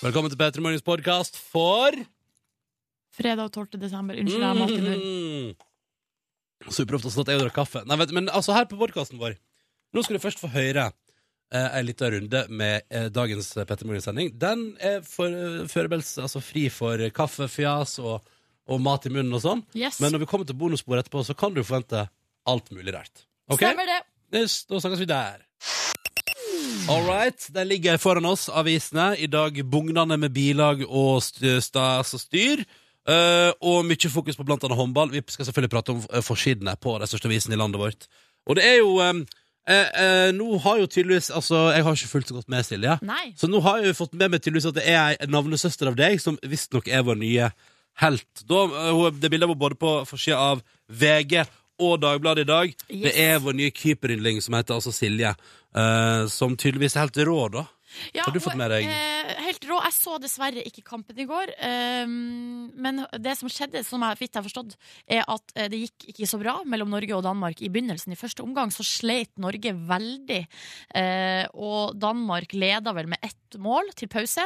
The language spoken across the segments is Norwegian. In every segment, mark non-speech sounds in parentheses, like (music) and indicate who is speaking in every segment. Speaker 1: Velkommen til P3 Morgens podkast for
Speaker 2: Fredag 12. desember. Unnskyld, jeg er mattenur.
Speaker 1: Mm. Superproft og sånn at jeg drakk kaffe. Nei, vet, du, men altså, her på podkasten vår Nå skal du først få høre eh, en liten runde med eh, dagens Petter Morgen-sending. Den er for, eh, forberedt, altså fri for kaffefjas og, og mat i munnen og sånn.
Speaker 2: Yes.
Speaker 1: Men når vi kommer til bonusbordet etterpå, så kan du forvente alt mulig rart. Ok?
Speaker 2: Stemmer det.
Speaker 1: Det s- Da snakkes vi der. All right, der ligger foran oss avisene. I dag bugnende med bilag og st- stas og styr. Eh, og mye fokus på blant annet håndball. Vi skal selvfølgelig prate om eh, forsidene på de største avisene i landet vårt. Og det er jo eh, eh, eh, Nå har jo tydeligvis Altså, jeg har ikke fulgt så godt med, Silje.
Speaker 2: Nei.
Speaker 1: Så nå har jeg jo fått med meg tydeligvis at det er ei navnesøster av deg som visstnok er vår nye helt. Da, eh, hun- det bildet var både på forsida av VG og Dagbladet i dag.
Speaker 2: Yes.
Speaker 1: Det er vår nye keeperyndling som heter altså Silje, eh, som tydeligvis er helt rå, da.
Speaker 2: Ja,
Speaker 1: Har du fått
Speaker 2: og,
Speaker 1: med deg-
Speaker 2: eh, helt rå. Jeg så dessverre ikke kampen i går. eh, men det som skjedde, som jeg vidt har forstått, er at eh, det gikk ikke så bra mellom Norge og Danmark i begynnelsen. I første omgang så sleit Norge veldig. eh, og Danmark leda vel med ett mål til pause.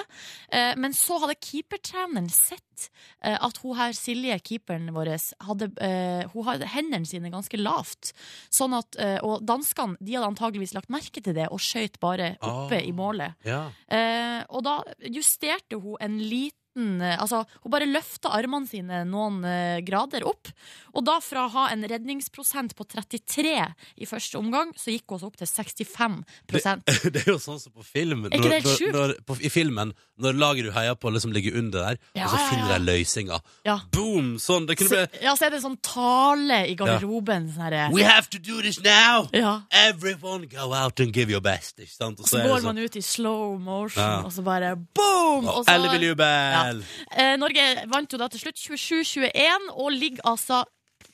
Speaker 2: Eh, men så hadde keepertreneren sett eh, at hun her, Silje, keeperen vår, hadde, eh, hun hadde hendene sine ganske lavt. Sånn at, eh, og danskene de hadde antageligvis lagt merke til det og skøyt bare oppe
Speaker 1: Ah.
Speaker 2: i målet.
Speaker 1: Ja.
Speaker 2: Eh, og da justerte hun en liten eh, Altså, hun bare løfta armene sine noen eh, grader opp. Og da fra å ha en redningsprosent på 33 i første omgang, så gikk hun altså opp til 65
Speaker 1: (laughs) Det er jo sånn som på film.
Speaker 2: ikke det helt
Speaker 1: når,
Speaker 2: sjukt?
Speaker 1: når, på, I filmen, når laget du heier på, liksom ligger under der,
Speaker 2: Ja,
Speaker 1: og så
Speaker 2: ja,
Speaker 1: finner
Speaker 2: ja.
Speaker 1: de løsninga. (laughs)
Speaker 2: Ja.
Speaker 1: Boom! Sånn. Det kunne
Speaker 2: Så,
Speaker 1: bli
Speaker 2: ja, så er det en sånn tale i garderoben. Sånn herre
Speaker 1: We have to do this now!
Speaker 2: ja.
Speaker 1: Everyone go out and give your best. Ikke sant? Og
Speaker 2: Så
Speaker 1: så er det
Speaker 2: går
Speaker 1: sånn
Speaker 2: man ut i slow motion,
Speaker 1: Ja.
Speaker 2: og så bare boom! Og så,
Speaker 1: Elleve jubel!
Speaker 2: eh, Norge vant jo da til slutt 27-21, og ligger altså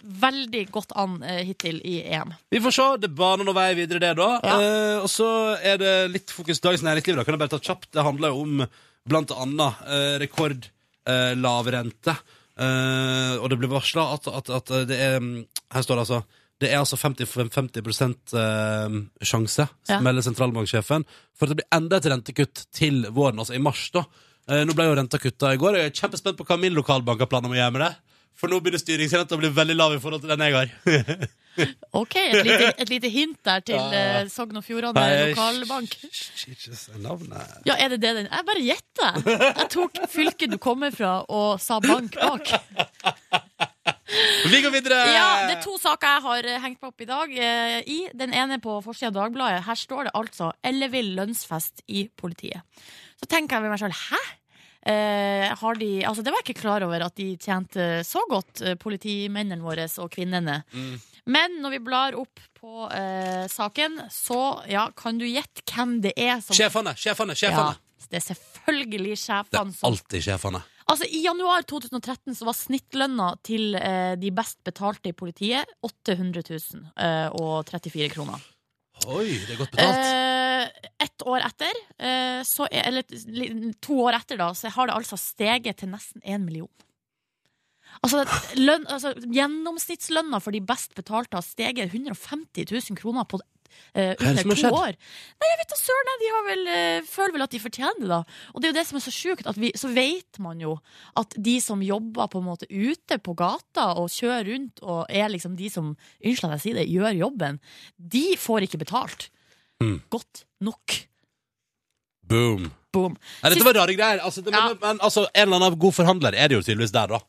Speaker 2: veldig godt an eh, hittil i EM.
Speaker 1: Vi får se. Det baner noen vei videre, det, da.
Speaker 2: Ja.
Speaker 1: Eh, og så er det litt fokus på Dagens Næringsliv. Da. Kan jeg bare ta kjapt? Det handler jo om blant annet eh, rekord eh, lav rente. Eh, og det ble varsla at, at, at det er mm, Her står det altså det er altså 50, 50 eh, sjanse,
Speaker 2: Ja.
Speaker 1: melder sentralbanksjefen, for at det blir enda et rentekutt til våren, altså i mars. da. Eh, nå ble jo renta kutta i går. og Jeg er kjempespent på hva min lokalbank har planer om å gjøre med det. For nå begynner styringsrenta å bli veldig lav i forhold til den jeg har.
Speaker 2: Ok,
Speaker 1: (laughs)
Speaker 2: et lite, et lite hint der til eh, Sogn og Fjordane
Speaker 1: Nei,
Speaker 2: lokalbank.
Speaker 1: sh- sh- sh- sh- sh- Navnet
Speaker 2: Ja, er det det den Jeg bare gjetter! Jeg tok fylket du kommer fra, og sa bank bak.
Speaker 1: Vi går videre!
Speaker 2: Ja, Det er to saker jeg har eh, hengt meg opp i dag. Eh, i. Den ene er på forsida av Dagbladet. Her står det altså 'ellevill lønnsfest i politiet'. Så tenker jeg ved meg sjøl hæ? Eh, har de, altså det var jeg ikke klar over at de tjente så godt, eh, politimennene våre og kvinnene.
Speaker 1: Mm.
Speaker 2: Men når vi blar opp på eh, saken, så ja, kan du gjette hvem det er som
Speaker 1: Sjefene, sjefene,
Speaker 2: Ja,
Speaker 1: sjefene!
Speaker 2: det er selvfølgelig
Speaker 1: Det
Speaker 2: sjefene
Speaker 1: er
Speaker 2: som
Speaker 1: alltid sjefene.
Speaker 2: Altså, I januar 2013 så var snittlønna til eh, de best betalte i politiet 800 000 eh, og 34 kroner.
Speaker 1: Oi, det er godt betalt.
Speaker 2: Eh, ett år etter, eh, så er, eller li- to år etter, da, så har det altså steget til nesten én million. Altså, lønn, altså, gjennomsnittslønna for de best betalte har steget 150 000 kroner på eh,
Speaker 1: er det
Speaker 2: under
Speaker 1: som har
Speaker 2: to
Speaker 1: skjedd?
Speaker 2: år. Nei, jeg vet da søren, jeg, de har vel, eh, føler vel at de fortjener det, da. Og det er jo det som er så sjukt, at vi, så vet man jo at de som jobber på en måte ute på gata og kjører rundt og er liksom de som, unnskyld at jeg sier det, gjør jobben, de får ikke betalt.
Speaker 1: Mm.
Speaker 2: Godt nok.
Speaker 1: Boom.
Speaker 2: Boom.
Speaker 1: Nei, dette var rare greier. Altså, det,
Speaker 2: Ja.
Speaker 1: men, men altså, en eller annen god forhandler er det jo tydeligvis der, da.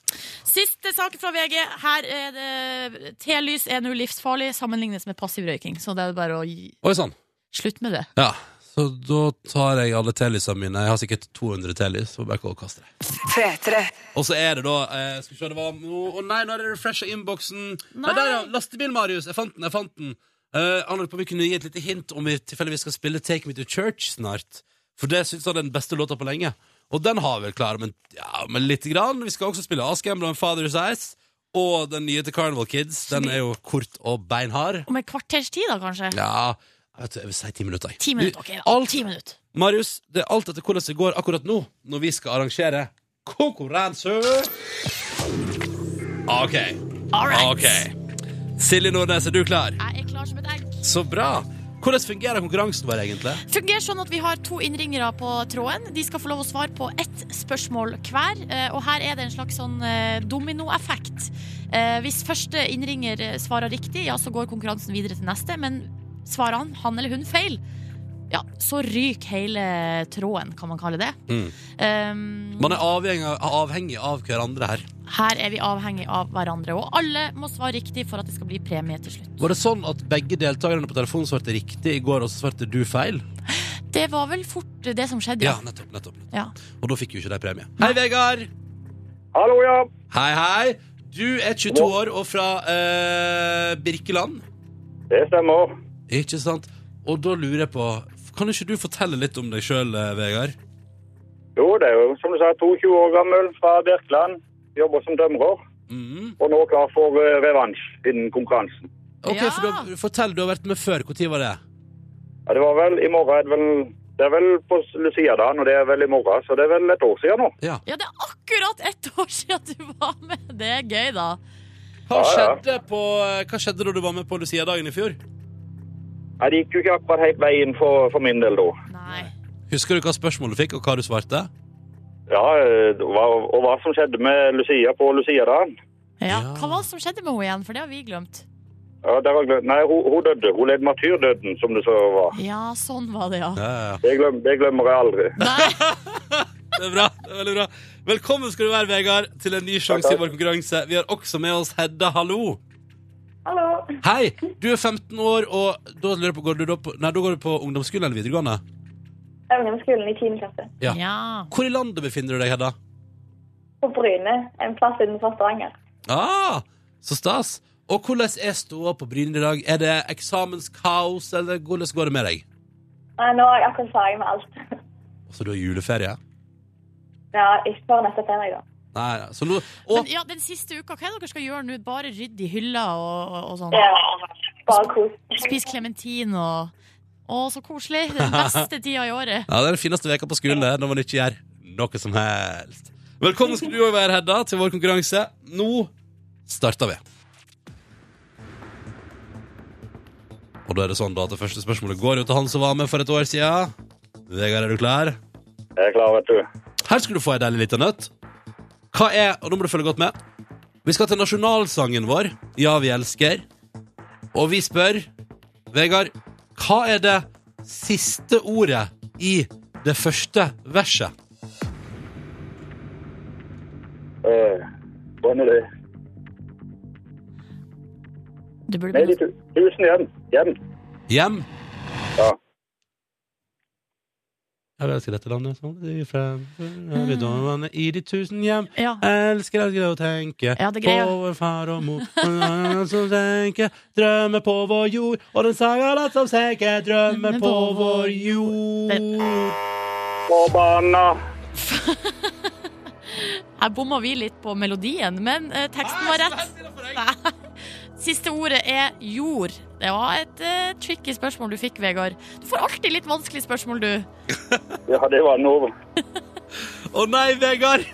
Speaker 2: Siste sak fra VG. Her er det eh, T-lys er nå livsfarlig sammenlignes med passiv røyking. Så det er bare å gi
Speaker 1: Oi sann.
Speaker 2: slutt med det.
Speaker 1: Ja. Så da tar jeg alle telysene mine. Jeg har sikkert 200 telys. Får bare kaste det.
Speaker 3: P3.
Speaker 1: Og så er det da eh, Skal vi se, det var Å nei, nå er det refresha innboksen. Nei.
Speaker 2: Nei.
Speaker 1: der, ja. Lastebil-Marius. Jeg fant den. jeg fant den Eh, Han lurte på om vi kunne gi et lite hint om vi tilfeldigvis skal spille Take Me To Church snart. For det syns han er den beste låta på lenge. Og den har vi vel klar, men, ja, men lite grann. Vi skal også spille Ask Emblem Father's Eyes. Og den nye til Carnival Kids. Den er jo kort og beinhard.
Speaker 2: Om et kvarters tid, da, kanskje?
Speaker 1: Ja, jeg vet du, jeg vil si ti minutter. jeg.
Speaker 2: Ti
Speaker 1: Du,
Speaker 2: minutter. ok da.
Speaker 1: alt-
Speaker 2: Ti minutter.
Speaker 1: Marius, det er alt etter hvordan det går akkurat nå Når vi skal arrangere konkurranse Ok,
Speaker 2: All right.
Speaker 1: ok Silje Nordnes, er du klar?
Speaker 2: Jeg er klar som et egg.
Speaker 1: Så bra Hvordan fungerer konkurransen vår egentlig?
Speaker 2: fungerer sånn at vi har to innringere på tråden. De skal få lov å svare på ett spørsmål hver. eh, Og her er det en slags sånn eh, dominoeffekt. Eh, Hvis første innringer eh, svarer riktig, ja, så går konkurransen videre til neste. Men svarer han, han eller hun, feil, ja, så ryker hele tråden, kan man kalle det.
Speaker 1: Mm.
Speaker 2: Um,
Speaker 1: Man er avhengig, avhengig av hverandre her.
Speaker 2: her er vi avhengig av hverandre, og alle må svare riktig for at det skal bli premie til slutt.
Speaker 1: Var det sånn at begge deltakerne på telefonen svarte riktig i går, og så svarte du feil?
Speaker 2: Det var vel fort det som skjedde,
Speaker 1: Ja,
Speaker 2: ja.
Speaker 1: nettopp. nettopp, nettopp.
Speaker 2: ja.
Speaker 1: Og da fikk jo ikke de premie. Hei, Vegard!
Speaker 3: Hallo, ja.
Speaker 1: Hei, hei! Du er 22 år og fra eh, Birkeland.
Speaker 3: Det stemmer.
Speaker 1: Ikke sant? Og da lurer jeg på Kan ikke du fortelle litt om deg sjøl, Vegard?
Speaker 3: Jo, det er jo som du sa, 22 år gammel fra Birkeland. Jobber som tømrer.
Speaker 1: Mm.
Speaker 3: Og nå klar for eh, revansj innen konkurransen.
Speaker 1: Ok,
Speaker 2: Ja.
Speaker 1: for du, har- Fortell, du har vært med før. Når var det?
Speaker 3: Ja, det var vel i morgen er det vel Det er vel på Lucia-dagen, og det er vel i morgen, så det er vel et år siden nå.
Speaker 2: ja, det er akkurat ett år siden du var med! Det er gøy, da.
Speaker 1: Hva
Speaker 3: Ja, ja.
Speaker 1: skjedde, på, eh, hva skjedde da du var med på Lucia-dagen i fjor?
Speaker 3: Nei, det gikk jo ikke akkurat helt veien for, for min del da.
Speaker 2: Nei.
Speaker 1: Husker du hva spørsmålet du fikk, og hva du svarte?
Speaker 3: Ja, eh, hva, og hva som skjedde med Lucia på Lucia-dagen?
Speaker 2: Ja.
Speaker 1: Ja.
Speaker 2: Hva var det som skjedde med henne igjen? For det har vi glemt.
Speaker 3: Ja, der har jeg glemt. Nei, hun, hun døde. Hun led martyrdøden, som det så var.
Speaker 2: Ja, sånn var det, ja.
Speaker 1: Ja, ja, ja.
Speaker 3: Det glemmer, det glemmer jeg aldri.
Speaker 2: Nei,
Speaker 1: Det er bra. det er veldig bra Velkommen skal du være, Vegard, til en ny sjanse i
Speaker 3: Takk, takk.
Speaker 1: vår konkurranse. Vi har også med oss Hedda. Hallo.
Speaker 4: Hallo.
Speaker 1: Hei, du er 15 år, og da lurer jeg på, går du da på, nei, da går du på ungdomsskolen eller videregående?
Speaker 4: Jeg er ungdomsskolen i 10. klasse.
Speaker 1: Ja.
Speaker 2: (laughs) ja.
Speaker 1: Hvor i landet befinner du deg, Hedda?
Speaker 4: På Bryne, en plass utenfor Stavanger.
Speaker 1: Ah, så stas. Og hvordan er ståa på Bryne i dag? Er det eksamenskaos, eller hvordan går det med deg?
Speaker 4: Nei, nå er jeg akkurat ferdig med alt. (laughs)
Speaker 1: Så Altså, du har juleferie?
Speaker 4: Ja, ikke før neste ferie, da.
Speaker 1: Nei, nei, så nå
Speaker 2: Men
Speaker 1: og,
Speaker 2: ja, den siste uka, hva er det dere skal gjøre nå? Bare rydde i hylla og, og, og sånn?
Speaker 4: Ja. Bare kos.
Speaker 2: Spise klementin og Å, så koselig! Den (laughs) beste tida i året.
Speaker 1: Ja, det er den fineste veka på skolen, det, når man ikke gjør noe som helst. Velkommen skal du òg være, Hedda, til vår konkurranse. Nå starter vi. Og da er det sånn da at det første spørsmålet går jo til han som var med for et år siden. Vegard, er du klar?
Speaker 3: Jeg er klar, vet du.
Speaker 1: Her skal du få ei deilig lita nøtt. Hva er Og nå må du følge godt med. Vi skal til nasjonalsangen vår, Ja, vi elsker. Og vi spør Vegard, hva er det siste ordet i det første verset?
Speaker 3: Eh, Hvordan er det?
Speaker 2: Du burde
Speaker 3: Nei, de tu- tusen hjem. Hjem.
Speaker 1: Hjem.
Speaker 3: Ja.
Speaker 1: Jeg elsker dette landet som de fremfører dommerne i de tusen hjem.
Speaker 2: Ja.
Speaker 1: Jeg elsker, elsker å tenke
Speaker 2: Ja, det
Speaker 1: på
Speaker 2: greier.
Speaker 1: vår far og mor. Som tenker drømmer på vår jord, og den saga latt som senker drømmer på vår jord.
Speaker 3: Forbanna.
Speaker 2: Her bomma vi litt på melodien, men eh, teksten var rett. (laughs) Nei. Siste ordet er jord. Det var et eh, tricky spørsmål du fikk, Vegard. Du får alltid litt vanskelige spørsmål, du.
Speaker 3: Ja, det var noe.
Speaker 1: Å nei, Vegard!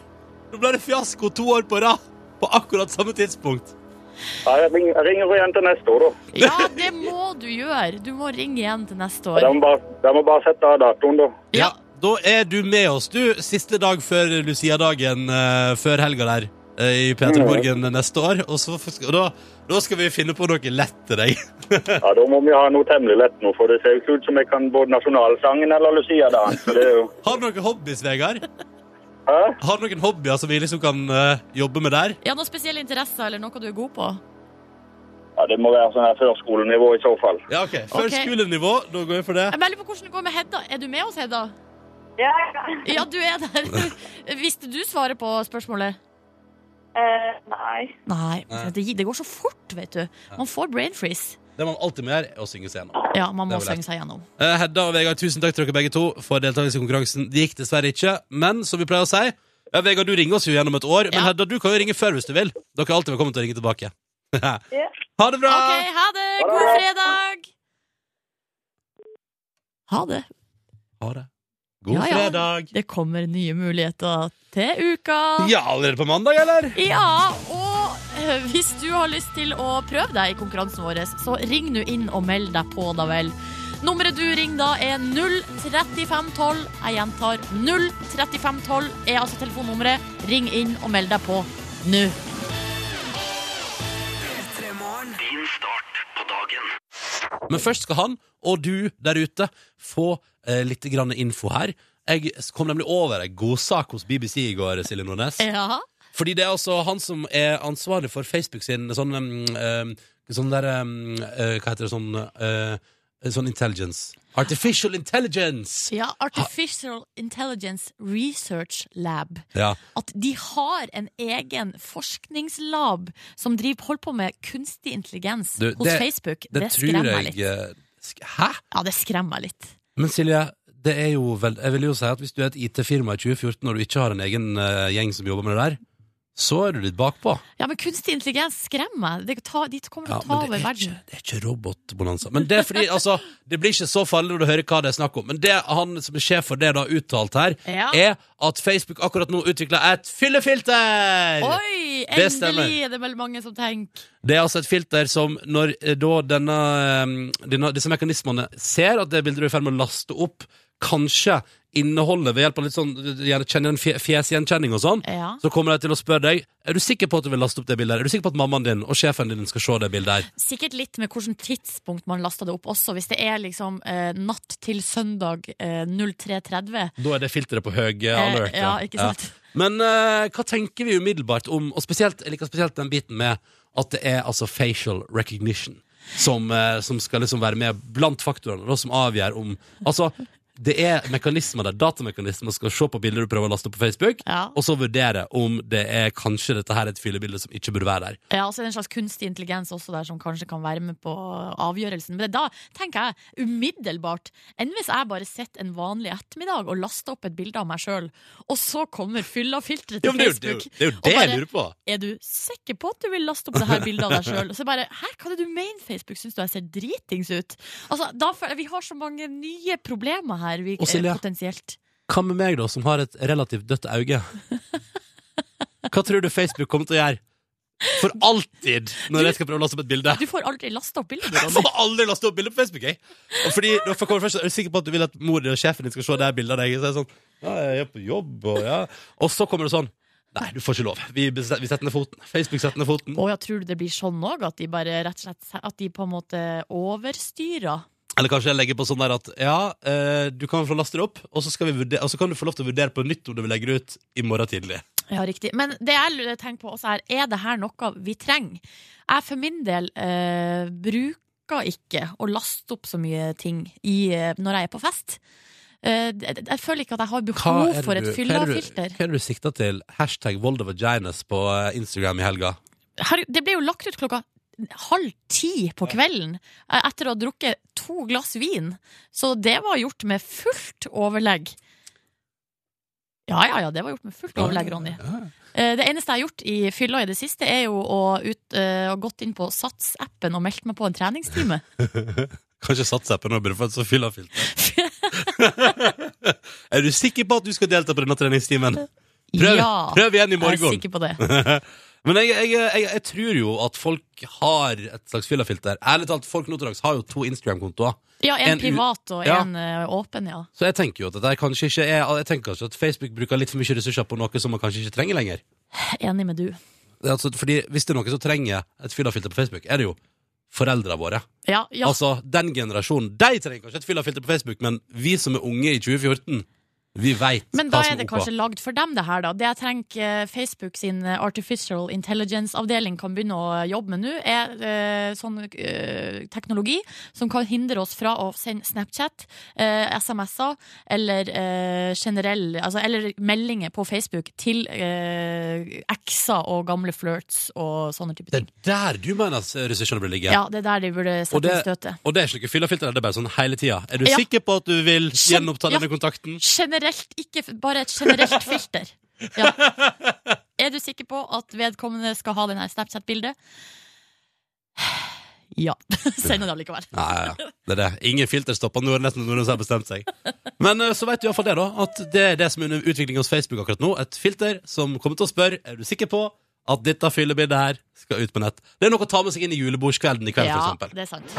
Speaker 1: Nå ble det fiasko to år på rad. På akkurat samme tidspunkt.
Speaker 3: Ja, jeg ringer, jeg ringer igjen til neste år, da.
Speaker 2: Ja, det må du gjøre. Du må ringe igjen til neste
Speaker 3: De
Speaker 2: år.
Speaker 3: må bare, de må bare sette av datoen, da.
Speaker 2: Ja.
Speaker 1: Da er du med oss, du. Siste dag før Lucia-dagen eh, før helga der eh, i P3 Morgen neste år. Og, så, og da, da skal vi finne på noe lett til deg.
Speaker 3: Ja, Da må vi ha noe temmelig lett nå, for det ser jo ikke ut som jeg kan både nasjonalsangen eller Lucia-dagen. Så det er jo
Speaker 1: Har du noen hobbies, Vegard?
Speaker 3: Hæ?
Speaker 1: Har du noen hobbyer som vi liksom kan eh, jobbe med der?
Speaker 2: Ja, noen spesielle interesser eller noe du er god på?
Speaker 3: Ja, Det må være sånn her førskolenivå i så fall.
Speaker 1: Ja, ok. Før
Speaker 2: Ok.
Speaker 1: skolenivå, da går vi for det.
Speaker 2: Jeg melder på hvordan det går med Hedda. Er du med oss, Hedda?
Speaker 4: Ja, ja.
Speaker 2: Ja, du er
Speaker 1: (laughs)
Speaker 2: der. Visste du svaret på spørsmålet?
Speaker 4: Eh, nei.
Speaker 2: Nei.
Speaker 1: Nei.
Speaker 2: Det, det går så fort, vet du. Man får brain freeze.
Speaker 1: Det man alltid må gjøre, er å synge scenen.
Speaker 2: Ja, man må
Speaker 1: Det er vel
Speaker 2: synge seg gjennom.
Speaker 1: Eh, Hedda og Vegard, tusen takk til dere begge to for deltakelse i konkurransen. Det gikk dessverre ikke, men som vi pleier å si ja, Vegard, du ringer oss jo gjennom et år, men
Speaker 2: Ja.
Speaker 1: Hedda, du kan jo ringe før hvis du vil. Dere er alltid velkommen til å ringe tilbake. (laughs)
Speaker 4: Ja.
Speaker 1: ha det bra!
Speaker 2: OK, ha det! God fredag! Ha det.
Speaker 1: Ha det. God
Speaker 2: Ja, ja.
Speaker 1: fredag.
Speaker 2: Det kommer nye muligheter til uka.
Speaker 1: Ja, allerede på mandag, eller?
Speaker 2: Ja, og eh, hvis du har lyst til å prøve deg i konkurransen vår, så ring nå inn og meld deg på, da vel. Nummeret du ringer da er 03512. Jeg gjentar 03512 er altså telefonnummeret. Ring inn og meld deg på nå.
Speaker 1: Men først skal han og du der ute få eh, litt grann info her. Jeg kom nemlig over en god sak hos BBC i går, Silje Nordnes.
Speaker 2: Ja.
Speaker 1: Fordi det er altså han som er ansvarlig for Facebook sin sånn um, um, Sånn der um, eh, Hva heter det sånn eh, Sånn intelligence. Artificial intelligence!
Speaker 2: ja. Artificial Intelligence Research Lab.
Speaker 1: Ja.
Speaker 2: At de har en egen forskningslab som driver, holder på med kunstig intelligens
Speaker 1: Du,
Speaker 2: hos
Speaker 1: det-
Speaker 2: Facebook.
Speaker 1: Det,
Speaker 2: Det,
Speaker 1: tror
Speaker 2: skremmer
Speaker 1: jeg
Speaker 2: meg litt.
Speaker 1: eh, sk- Hæ?
Speaker 2: Ja, det skremmer meg litt.
Speaker 1: Men Silje, det er jo vel, jeg vil jo si at hvis du er et IT-firma i 2014 og du ikke har en egen eh, gjeng som jobber med det der, så er du litt bakpå.
Speaker 2: Ja, men kunstig intelligens skremmer meg. Det tar- De kommer til
Speaker 1: Ja,
Speaker 2: å ta
Speaker 1: men det
Speaker 2: over
Speaker 1: er ikke,
Speaker 2: verden.
Speaker 1: det er ikke robotbonanza. Men det er fordi, altså, det blir ikke så farlig når du hører hva det er snakk om. Men det han som er sjef for det da uttalt her,
Speaker 2: Ja.
Speaker 1: er at Facebook akkurat nå utvikler et fyllefilter!
Speaker 2: Oi!
Speaker 1: Det stemmer.
Speaker 2: Endelig er det vel mange som tenker.
Speaker 1: Det er altså et filter som når eh, da denne, eh, denne, disse mekanismene ser at det bildet du er i ferd med å laste opp, kanskje inneholder ved hjelp av litt sånn gjerne kjenner en fje- fjesgjenkjenning og sånn,
Speaker 2: Ja.
Speaker 1: så kommer de til å spørre deg Er du sikker på at du vil laste opp det bildet. her? Er du sikker på at mammaen din og sjefen din skal se det bildet her?
Speaker 2: Sikkert litt med hvilket tidspunkt man lasta det opp også. Hvis det er liksom eh, natt til søndag eh, 03.30.
Speaker 1: Da er det filteret på høy eh,
Speaker 2: Eh,
Speaker 1: alert.
Speaker 2: ja, ikke sant?
Speaker 1: Men eh, hva tenker vi umiddelbart om, og spesielt, jeg liker spesielt den biten med at det er altså facial recognition som, eh, som skal liksom være med blant faktorene, da, som avgjør om Altså, det er mekanismer der, datamekanismer skal se på bilder du prøver å laste opp på Facebook,
Speaker 2: Ja.
Speaker 1: og så vurdere om det er kanskje dette her er et fyllebilde som ikke burde være der.
Speaker 2: Ja, altså En slags kunstig intelligens også der som kanskje kan være med på avgjørelsen. Men da tenker jeg umiddelbart Enn hvis jeg bare sitter en vanlig ettermiddag og laster opp et bilde av meg sjøl, og så kommer fyllafilteret til Facebook. og bare,
Speaker 1: på!
Speaker 2: Er du sikker på at du vil laste opp det her bildet av deg sjøl? Og så bare Hæ, hva er det du mener, Facebook? Syns du jeg ser dritings ut? Altså, da føler jeg Vi har så mange nye problemer her, vi,
Speaker 1: Og Silje.
Speaker 2: eh, potensielt.
Speaker 1: Hva med meg, da, som har et relativt dødt øye? Hva tror du Facebook kommer til å gjøre? For alltid, når jeg skal prøve å laste opp et bilde.
Speaker 2: Du får aldri lasta opp bildet.
Speaker 1: Jeg får aldri laste opp bilder på Facebook. Jeg. Og fordi da får jeg komme først, Er du sikker på at du vil at mor din og sjefen din skal se det her bildet av deg? Så er jeg sånn, ja, jeg er på jobb Og ja Og så kommer det sånn Nei, du får ikke lov. Vi, bestet- vi setter ned foten. Facebook setter ned foten.
Speaker 2: Å ja, tror du det blir sånn òg? At de bare rett og slett At de på en måte overstyrer?
Speaker 1: Eller kanskje jeg legger på sånn der at ja, eh, du kan få laste det opp, og så, skal vi vurdere, og så kan du få lov til å vurdere på nytt om du vil legge det ut i morgen tidlig.
Speaker 2: Ja, riktig. Men det jeg lurer- tenker på også er, er det her noe vi trenger? Jeg for min del eh, bruker ikke å laste opp så mye ting i, eh, når jeg er på fest. Eh, d- d- jeg føler ikke at jeg har behov for et fyllafilter.
Speaker 1: hva er det du sikter til? Hashtag Vold of Vaginas på eh, Instagram i helga.
Speaker 2: Herregud, Det ble jo lagt ut klokka halv ti på kvelden eh, etter å ha drukket to glass vin. Så det var gjort med fullt overlegg. Ja, ja, ja, det var gjort med fullt overlegg, Ronny.
Speaker 1: Ja.
Speaker 2: Eh, Det eneste jeg har gjort i fylla i det siste, er jo å ut, eh, å gått inn på Sats-appen og meldt meg på en treningstime.
Speaker 1: Kanskje satsappen nå burde få et så
Speaker 2: (laughs)
Speaker 1: fyllafilter. er du sikker på at du skal delta på denne treningstimen? (laughs) Prøv,
Speaker 2: ja,
Speaker 1: prøv igjen i
Speaker 2: jeg er
Speaker 1: morgen.
Speaker 2: sikker på det.
Speaker 1: Men jeg, jeg, jeg, jeg tror jo at folk har et slags fyllafilter. Ærlig talt, folk nå til dags har jo to Instagram-kontoer.
Speaker 2: Ja, en,
Speaker 1: En u-
Speaker 2: privat og
Speaker 1: Ja.
Speaker 2: en eh, åpen, ja.
Speaker 1: Så jeg tenker jo at dette her kanskje ikke er Jeg tenker kanskje at Facebook bruker litt for mye ressurser på noe som man kanskje ikke trenger lenger.
Speaker 2: Enig med du.
Speaker 1: Det er Altså, fordi Hvis det er noen som trenger et fyllafilter på Facebook, er det jo foreldrene våre.
Speaker 2: Ja, ja.
Speaker 1: Altså, Den generasjonen de trenger kanskje et fyllafilter på Facebook, men vi som er unge i 2014, vi veit
Speaker 2: Men da er det kanskje lagd for dem, det her, da. Det jeg tenker eh, Facebook sin eh, Artificial Intelligence-avdeling kan begynne å jobbe med nå, er eh, sånn eh, teknologi som kan hindre oss fra å sende Snapchat, eh, SMS-er eller eh, generell Altså eller meldinger på Facebook til eh, ekser og gamle flørts og sånne type
Speaker 1: Det er
Speaker 2: ting.
Speaker 1: der du mener at ressursene bør ligge?
Speaker 2: Ja, det er der de burde
Speaker 1: Og
Speaker 2: sette
Speaker 1: det,
Speaker 2: inn støtet.
Speaker 1: og det er ikke noe fyllafilter, det er bare sånn hele tida. Er du
Speaker 2: Ja.
Speaker 1: sikker på at du vil
Speaker 2: Skjøn-
Speaker 1: gjenoppta
Speaker 2: ja.
Speaker 1: denne kontakten?
Speaker 2: Generelt, ikke f- bare et generelt filter. Ja. Er du sikker på at vedkommende skal ha denne Snapchat-bildet? (sighs) Ja. (laughs) Send det allikevel.
Speaker 1: Nei, ja. det er det. Ingen filter stopper Nordnes når Nordnes har bestemt seg. Men eh, så vet du iallfall det, da. At det er det som er under utvikling hos Facebook akkurat nå. Et filter som kommer til å spørre Er du sikker på at dette fyllebildet her skal ut på nett. Det er noe å ta med seg inn i julebordskvelden i kveld,
Speaker 2: Ja,
Speaker 1: for
Speaker 2: det er sant.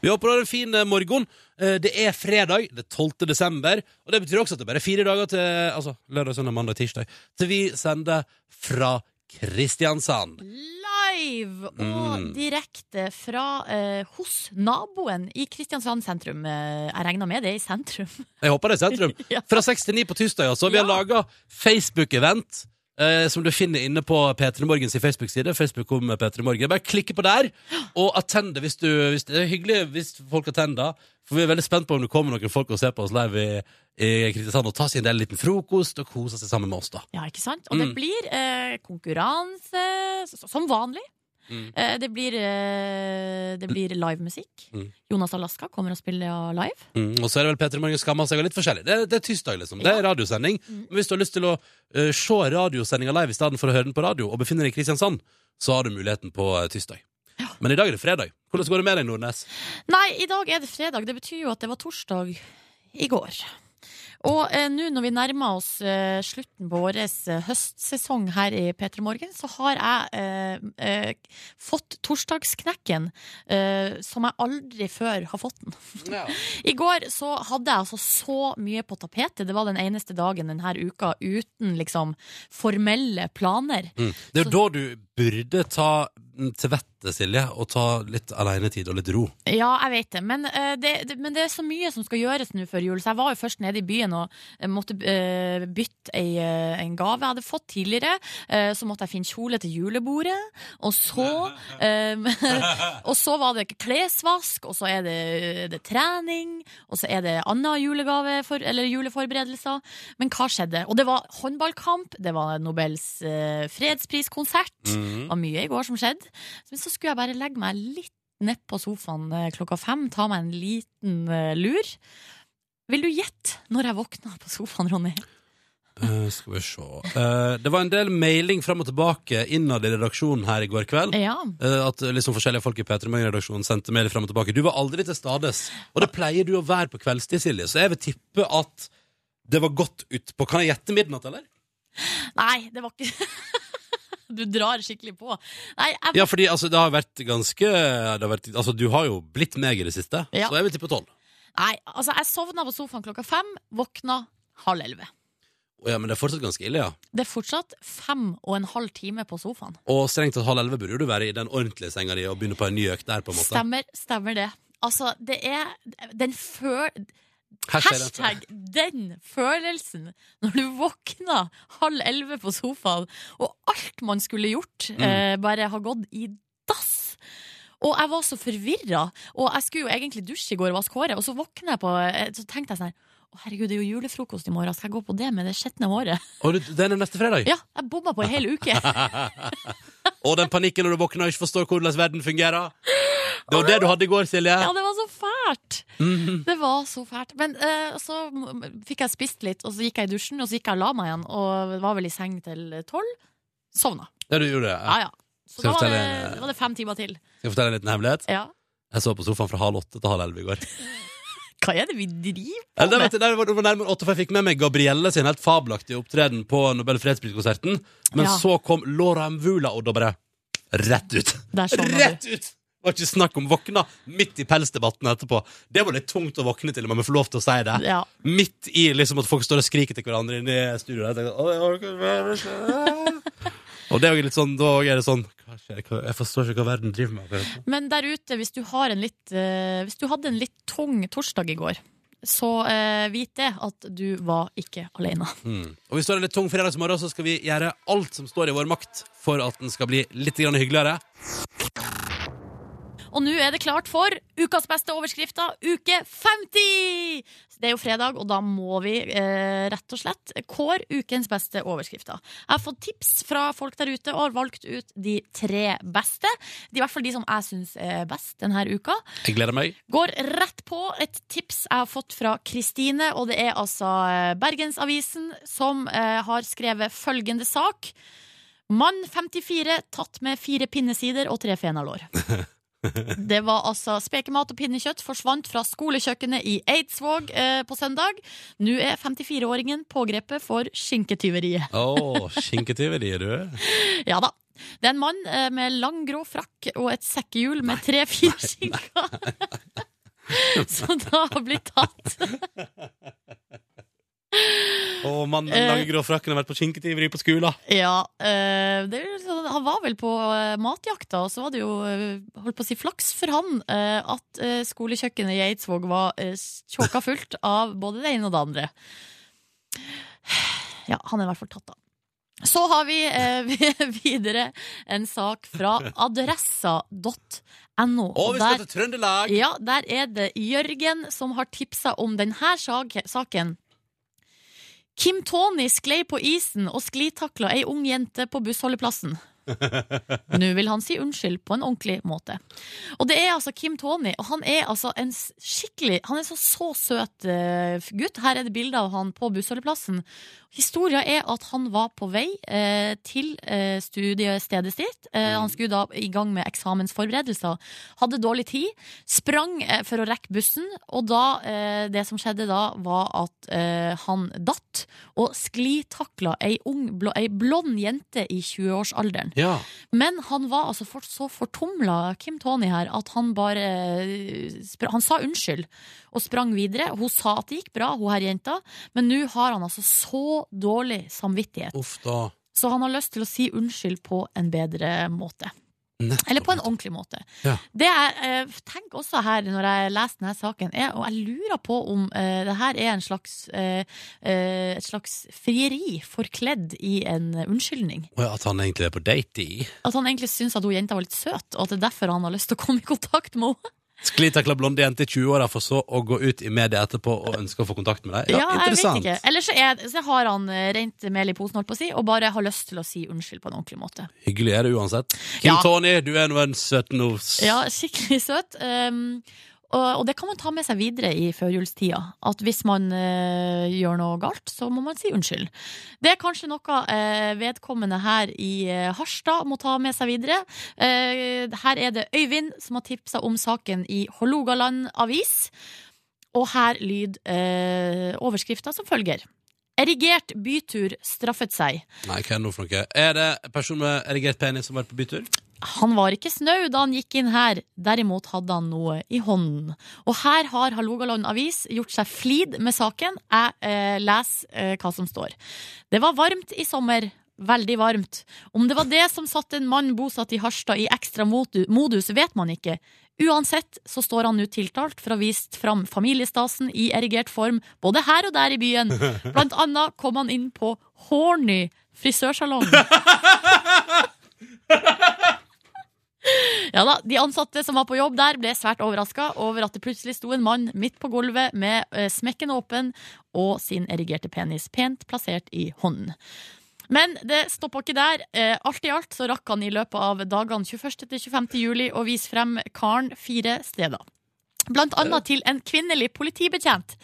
Speaker 1: Vi håper du har en fin eh, morgen. Eh, Det er fredag, det er 12. desember. Og det betyr også at det bare er fire dager til altså, lørdag, søndag, mandag, tirsdag. Til vi sender fra Kristiansand.
Speaker 2: Live og
Speaker 1: Mm.
Speaker 2: direkte fra eh, hos naboen i Kristiansand sentrum. Eh, jeg regner med det er i sentrum. (laughs)
Speaker 1: Jeg håper det er sentrum.
Speaker 2: Ja.
Speaker 1: Fra 6 til 9 på tirsdag, altså. Vi har
Speaker 2: Ja.
Speaker 1: laga Facebook-event. Eh, som du finner inne på P3 Morgens i Facebook-side. Facebook om P3 Morgen. Bare klikke på der, og attende hvis du hvis Det er hyggelig hvis folk attender. For vi er veldig spent på om det kommer noen folk og ser på oss live i, i Kristiansand og tar seg en del liten frokost og koser seg sammen med oss, da.
Speaker 2: Ja, ikke sant? Og det
Speaker 1: Mm.
Speaker 2: blir eh, konkurranse, s- s- som vanlig.
Speaker 1: Mm.
Speaker 2: Eh, det blir, eh, det blir livemusikk.
Speaker 1: Mm.
Speaker 2: Jonas Alaska kommer og spiller live.
Speaker 1: Mm, og så er det vel Peter Morgen skammer seg og litt forskjellig. Det, er- det er tirsdag, liksom. Det er radiosending.
Speaker 2: Mm.
Speaker 1: Men hvis du har lyst til å eh, se radiosendinga live i stedet for å høre den på radio, og befinner deg i Kristiansand, så har du muligheten på eh, tirsdag. Men i dag er det fredag. Hvordan går det med deg, Nordnes?
Speaker 2: Nei, i dag er det fredag. Det betyr jo at det var torsdag i går. Og eh, nå når vi nærmer oss eh, slutten på vår eh, høstsesong her i P3 Morgen, så har jeg eh, eh, fått torsdagsknekken eh, som jeg aldri før har fått den. I går så hadde jeg altså så mye på tapetet. Det var den eneste dagen denne uka uten liksom formelle planer.
Speaker 1: Mm. Det er jo da du burde ta mm, til vettet, Silje, og ta litt alenetid og litt ro.
Speaker 2: Ja, jeg vet det. Men, eh, det, det, men det er så mye som skal gjøres nå før jul, så jeg var jo først nede i byen og eh, måtte eh, bytte ei, eh, en gave jeg hadde fått tidligere. Eh, så måtte jeg finne kjole til julebordet, og så eh, (laughs) Og så var det klesvask, og så er det, eh, det er trening, og så er det annen julegave for, eller juleforberedelser. Men hva skjedde? Og det var håndballkamp, det var Nobels eh, fredspriskonsert.
Speaker 1: Mm.
Speaker 2: Det var mye i går som skjedde. Men så skulle jeg bare legge meg litt ned på sofaen eh, klokka fem, ta meg en liten eh, lur. Vil du gjette når jeg våkna på sofaen, Ronny?
Speaker 1: (laughs) Eh, skal vi se Eh, Det var en del mailing fram og tilbake innad i redaksjonen her i går kveld.
Speaker 2: Ja.
Speaker 1: Eh, At liksom forskjellige folk i P3 Morgen-redaksjonen sendte mail frem og tilbake. Du var aldri til stades, og det pleier du å være på kveldstid, Silje. Så jeg vil tippe at det var godt utpå. Kan jeg gjette midnatt, eller?
Speaker 2: Nei, det var ikke (laughs) Du drar skikkelig på. Nei, jeg,
Speaker 1: Ja, fordi altså, det har vært ganske det har vært, Altså, du har jo blitt meg i det siste,
Speaker 2: Ja.
Speaker 1: så jeg vil tippe tolv.
Speaker 2: nei altså, jeg sovna på sofaen klokka fem, våkna halv elleve.
Speaker 1: Å Ja, men det er fortsatt ganske ille, ja.
Speaker 2: Det er fortsatt fem og en halv time på sofaen.
Speaker 1: Og strengt tatt halv elleve burde jo du være i den ordentlige senga di og begynne på en ny økt der, på en måte.
Speaker 2: Stemmer, stemmer det. Altså, det er Den føl...
Speaker 1: Hashtag-
Speaker 2: Hashtag den følelsen når du våkna halv elleve på sofaen, og alt man skulle gjort, eh, bare har gått i dass. Og jeg var så forvirra, og jeg skulle jo egentlig dusje i går og vaske håret, og så våkna jeg på eh, Så tenkte jeg sånn her, å herregud, det er jo julefrokost i morgen, skal jeg gå på det med det skjetne håret?
Speaker 1: Og du, den er neste fredag.
Speaker 2: Ja, jeg bomma på ei hel uke.
Speaker 1: Og den panikken når du våkner og ikke forstår hvordan verden
Speaker 2: (gasps)
Speaker 1: fungerer. Det var det du hadde i går, Silje.
Speaker 2: Ja, det var så fælt!
Speaker 1: Mhm.
Speaker 2: Det var så fælt. Men eh, så m- fikk jeg spist litt, og så gikk jeg i dusjen, og så gikk jeg og la meg igjen, og var vel i seng til tolv. Sovna.
Speaker 1: Ja, du gjorde det. Ja.
Speaker 2: Ja, ja. Så
Speaker 1: Skal
Speaker 2: da
Speaker 1: jeg
Speaker 2: var det,
Speaker 1: fortelle-
Speaker 2: da var det fem timer til.
Speaker 1: Skal jeg fortelle en liten hemmelighet?
Speaker 2: Ja.
Speaker 1: Jeg så på sofaen fra halv åtte til halv elleve i går.
Speaker 2: Hva er det vi driver
Speaker 1: Eller, det, vet du, det var det var nærmere åtte, for jeg fikk med meg Gabrielle sin helt fabelaktige opptreden på Nobel fredspriskonserten. Men
Speaker 2: Ja.
Speaker 1: så kom Laura Mvula, og da bare rett ut.
Speaker 2: Der sovna du.
Speaker 1: Rett ut! Det var ikke snakk om våkna midt i pelsdebatten etterpå. Det var litt tungt å våkne til, om jeg får lov til å si det.
Speaker 2: Ja.
Speaker 1: Midt i liksom at folk står og skriker til hverandre inne i studioet. Jeg tenkte, «Å, jeg orker ikke mer». og det er jo litt sånn, da er det sånn hva skjer? Hva- Jeg forstår ikke hva verden driver med. akkurat nå.
Speaker 2: Men der ute, hvis du, har en litt, eh, hvis du hadde en litt tung torsdag i går, så eh, vit det at du var ikke alene.
Speaker 1: Mm. Og hvis du har en litt tung fredagsmorgen, så skal vi gjøre alt som står i vår makt for at den skal bli litt grann hyggeligere.
Speaker 2: Og nå er det klart for ukas beste overskrifter, uke 50! Det er jo fredag, og da må vi eh, rett og slett kåre ukens beste overskrifter. Jeg har fått tips fra folk der ute og har valgt ut de tre beste. De, I hvert fall de som jeg syns er best denne uka.
Speaker 1: Jeg gleder meg.
Speaker 2: Går rett på et tips jeg har fått fra Kristine, og det er altså eh, Bergensavisen som eh, har skrevet følgende sak. Mann 54 tatt med fire pinnesider og tre fenalår. Det var altså spekemat og pinnekjøtt forsvant fra skolekjøkkenet i Eidsvåg eh, på søndag. Nå er 54-åringen pågrepet for skinketyveriet.
Speaker 1: Å, skinketyveri, du.
Speaker 2: (laughs) Ja da. Det er en mann eh, med lang, grå frakk og et sekkehjul med tre-fire skinker. (laughs) Som da har blitt tatt.
Speaker 1: Og mannen med
Speaker 2: Eh.
Speaker 1: den lange grå frakken har vært på skinketimer på skolen.
Speaker 2: Ja, eh, det, er jo sånn- han var vel på eh, matjakta, og så var det jo eh, holdt på å si flaks for han eh, at eh, skolekjøkkenet i Eidsvåg var eh, tjåka fullt av både det ene og det andre. Ja, han er i hvert fall tatt, da. Så har vi eh, (laughs) videre en sak
Speaker 1: (laughs)
Speaker 2: fra adressa.no.
Speaker 1: Og vi skal til Trøndelag!
Speaker 2: Ja, der er det Jørgen som har tipsa om denne saken. Kim Tony sklei på isen og sklitakla ei ung jente på bussholdeplassen. Nå vil han si unnskyld på en ordentlig måte. Og det er altså Kim Tony, og han er altså en s- skikkelig Han er så, så søt eh, gutt. Her er det bilde av han på bussholdeplassen. Historia er at han var på vei eh, til eh, studiestedet sitt. Eh, han skulle da i gang med eksamensforberedelser. Hadde dårlig tid sprang eh, for å rekke bussen, og da, eh, det som skjedde da, var at eh, han datt og sklitakla ei, ung, blå, ei blond jente i 20-årsalderen.
Speaker 1: Ja.
Speaker 2: Men han var altså for, så fortumla, Kim Tony her, at han bare eh, spra- Han sa unnskyld og sprang videre. Hun sa at det gikk bra, hun her jenta, men nå har han altså så dårlig samvittighet.
Speaker 1: Uff da.
Speaker 2: Så han har lyst til å si unnskyld på en bedre måte.
Speaker 1: Nettopp.
Speaker 2: Eller på en ordentlig måte.
Speaker 1: Ja.
Speaker 2: Det jeg eh, tenker også her når jeg leser denne saken, er, og jeg lurer på om eh, det her er en slags, eh, eh, et slags frieri forkledd i en unnskyldning.
Speaker 1: Å ja, At han egentlig er på date i.
Speaker 2: At han egentlig syns at hun jenta var litt søt, og at det er derfor han har lyst til å komme i kontakt med henne.
Speaker 1: Sklitakla blonde jente i 20-åra for så å gå ut i media etterpå og ønske å få kontakt med deg.
Speaker 2: (laughs)
Speaker 1: Ja,
Speaker 2: jeg vet
Speaker 1: interessant.
Speaker 2: ikke. Eller så, er, så har han eh, rent mel i posen, holdt på å si, og bare har lyst til å si unnskyld på en ordentlig måte.
Speaker 1: Hyggelig er det uansett. Kim
Speaker 2: Ja.
Speaker 1: Tony, du er nå en søtnos.
Speaker 2: Ja, skikkelig søt. Um, og, og det kan man ta med seg videre i førjulstida. At hvis man eh, gjør noe galt, så må man si unnskyld. Det er kanskje noe eh, vedkommende her i eh, Harstad må ta med seg videre. Eh, her er det Øyvind som har tipsa om saken i Hålogaland avis. Og her lyd uh, overskrifta som følger. Erigert bytur straffet seg.
Speaker 1: Nei, hva er det nå for noe? Er det en person med erigert penis som har vært på bytur?
Speaker 2: Altså, Han var ikke snau da han gikk inn her, derimot hadde han noe i hånden. Og her har Hålogaland Avis gjort seg flid med saken. Jeg eh, leser eh, hva som står. Det var varmt i sommer. Veldig varmt. Om det var det som satte en mann bosatt i Harstad i ekstra motu- modus, vet man ikke. Uansett så står han nå tiltalt for å ha vist fram familiestasen i erigert form både her og der i byen. Blant annet kom han inn på Horny frisørsalong. Ja da, De ansatte som var på jobb der, ble svært overraska over at det plutselig sto en mann midt på gulvet med eh, smekken åpen og sin erigerte penis pent plassert i hånden. Men det stoppa ikke der. Eh, Alt i alt så rakk han i løpet av dagene 21. til 25. juli å vise frem karen fire steder. Blant annet til en kvinnelig politibetjent.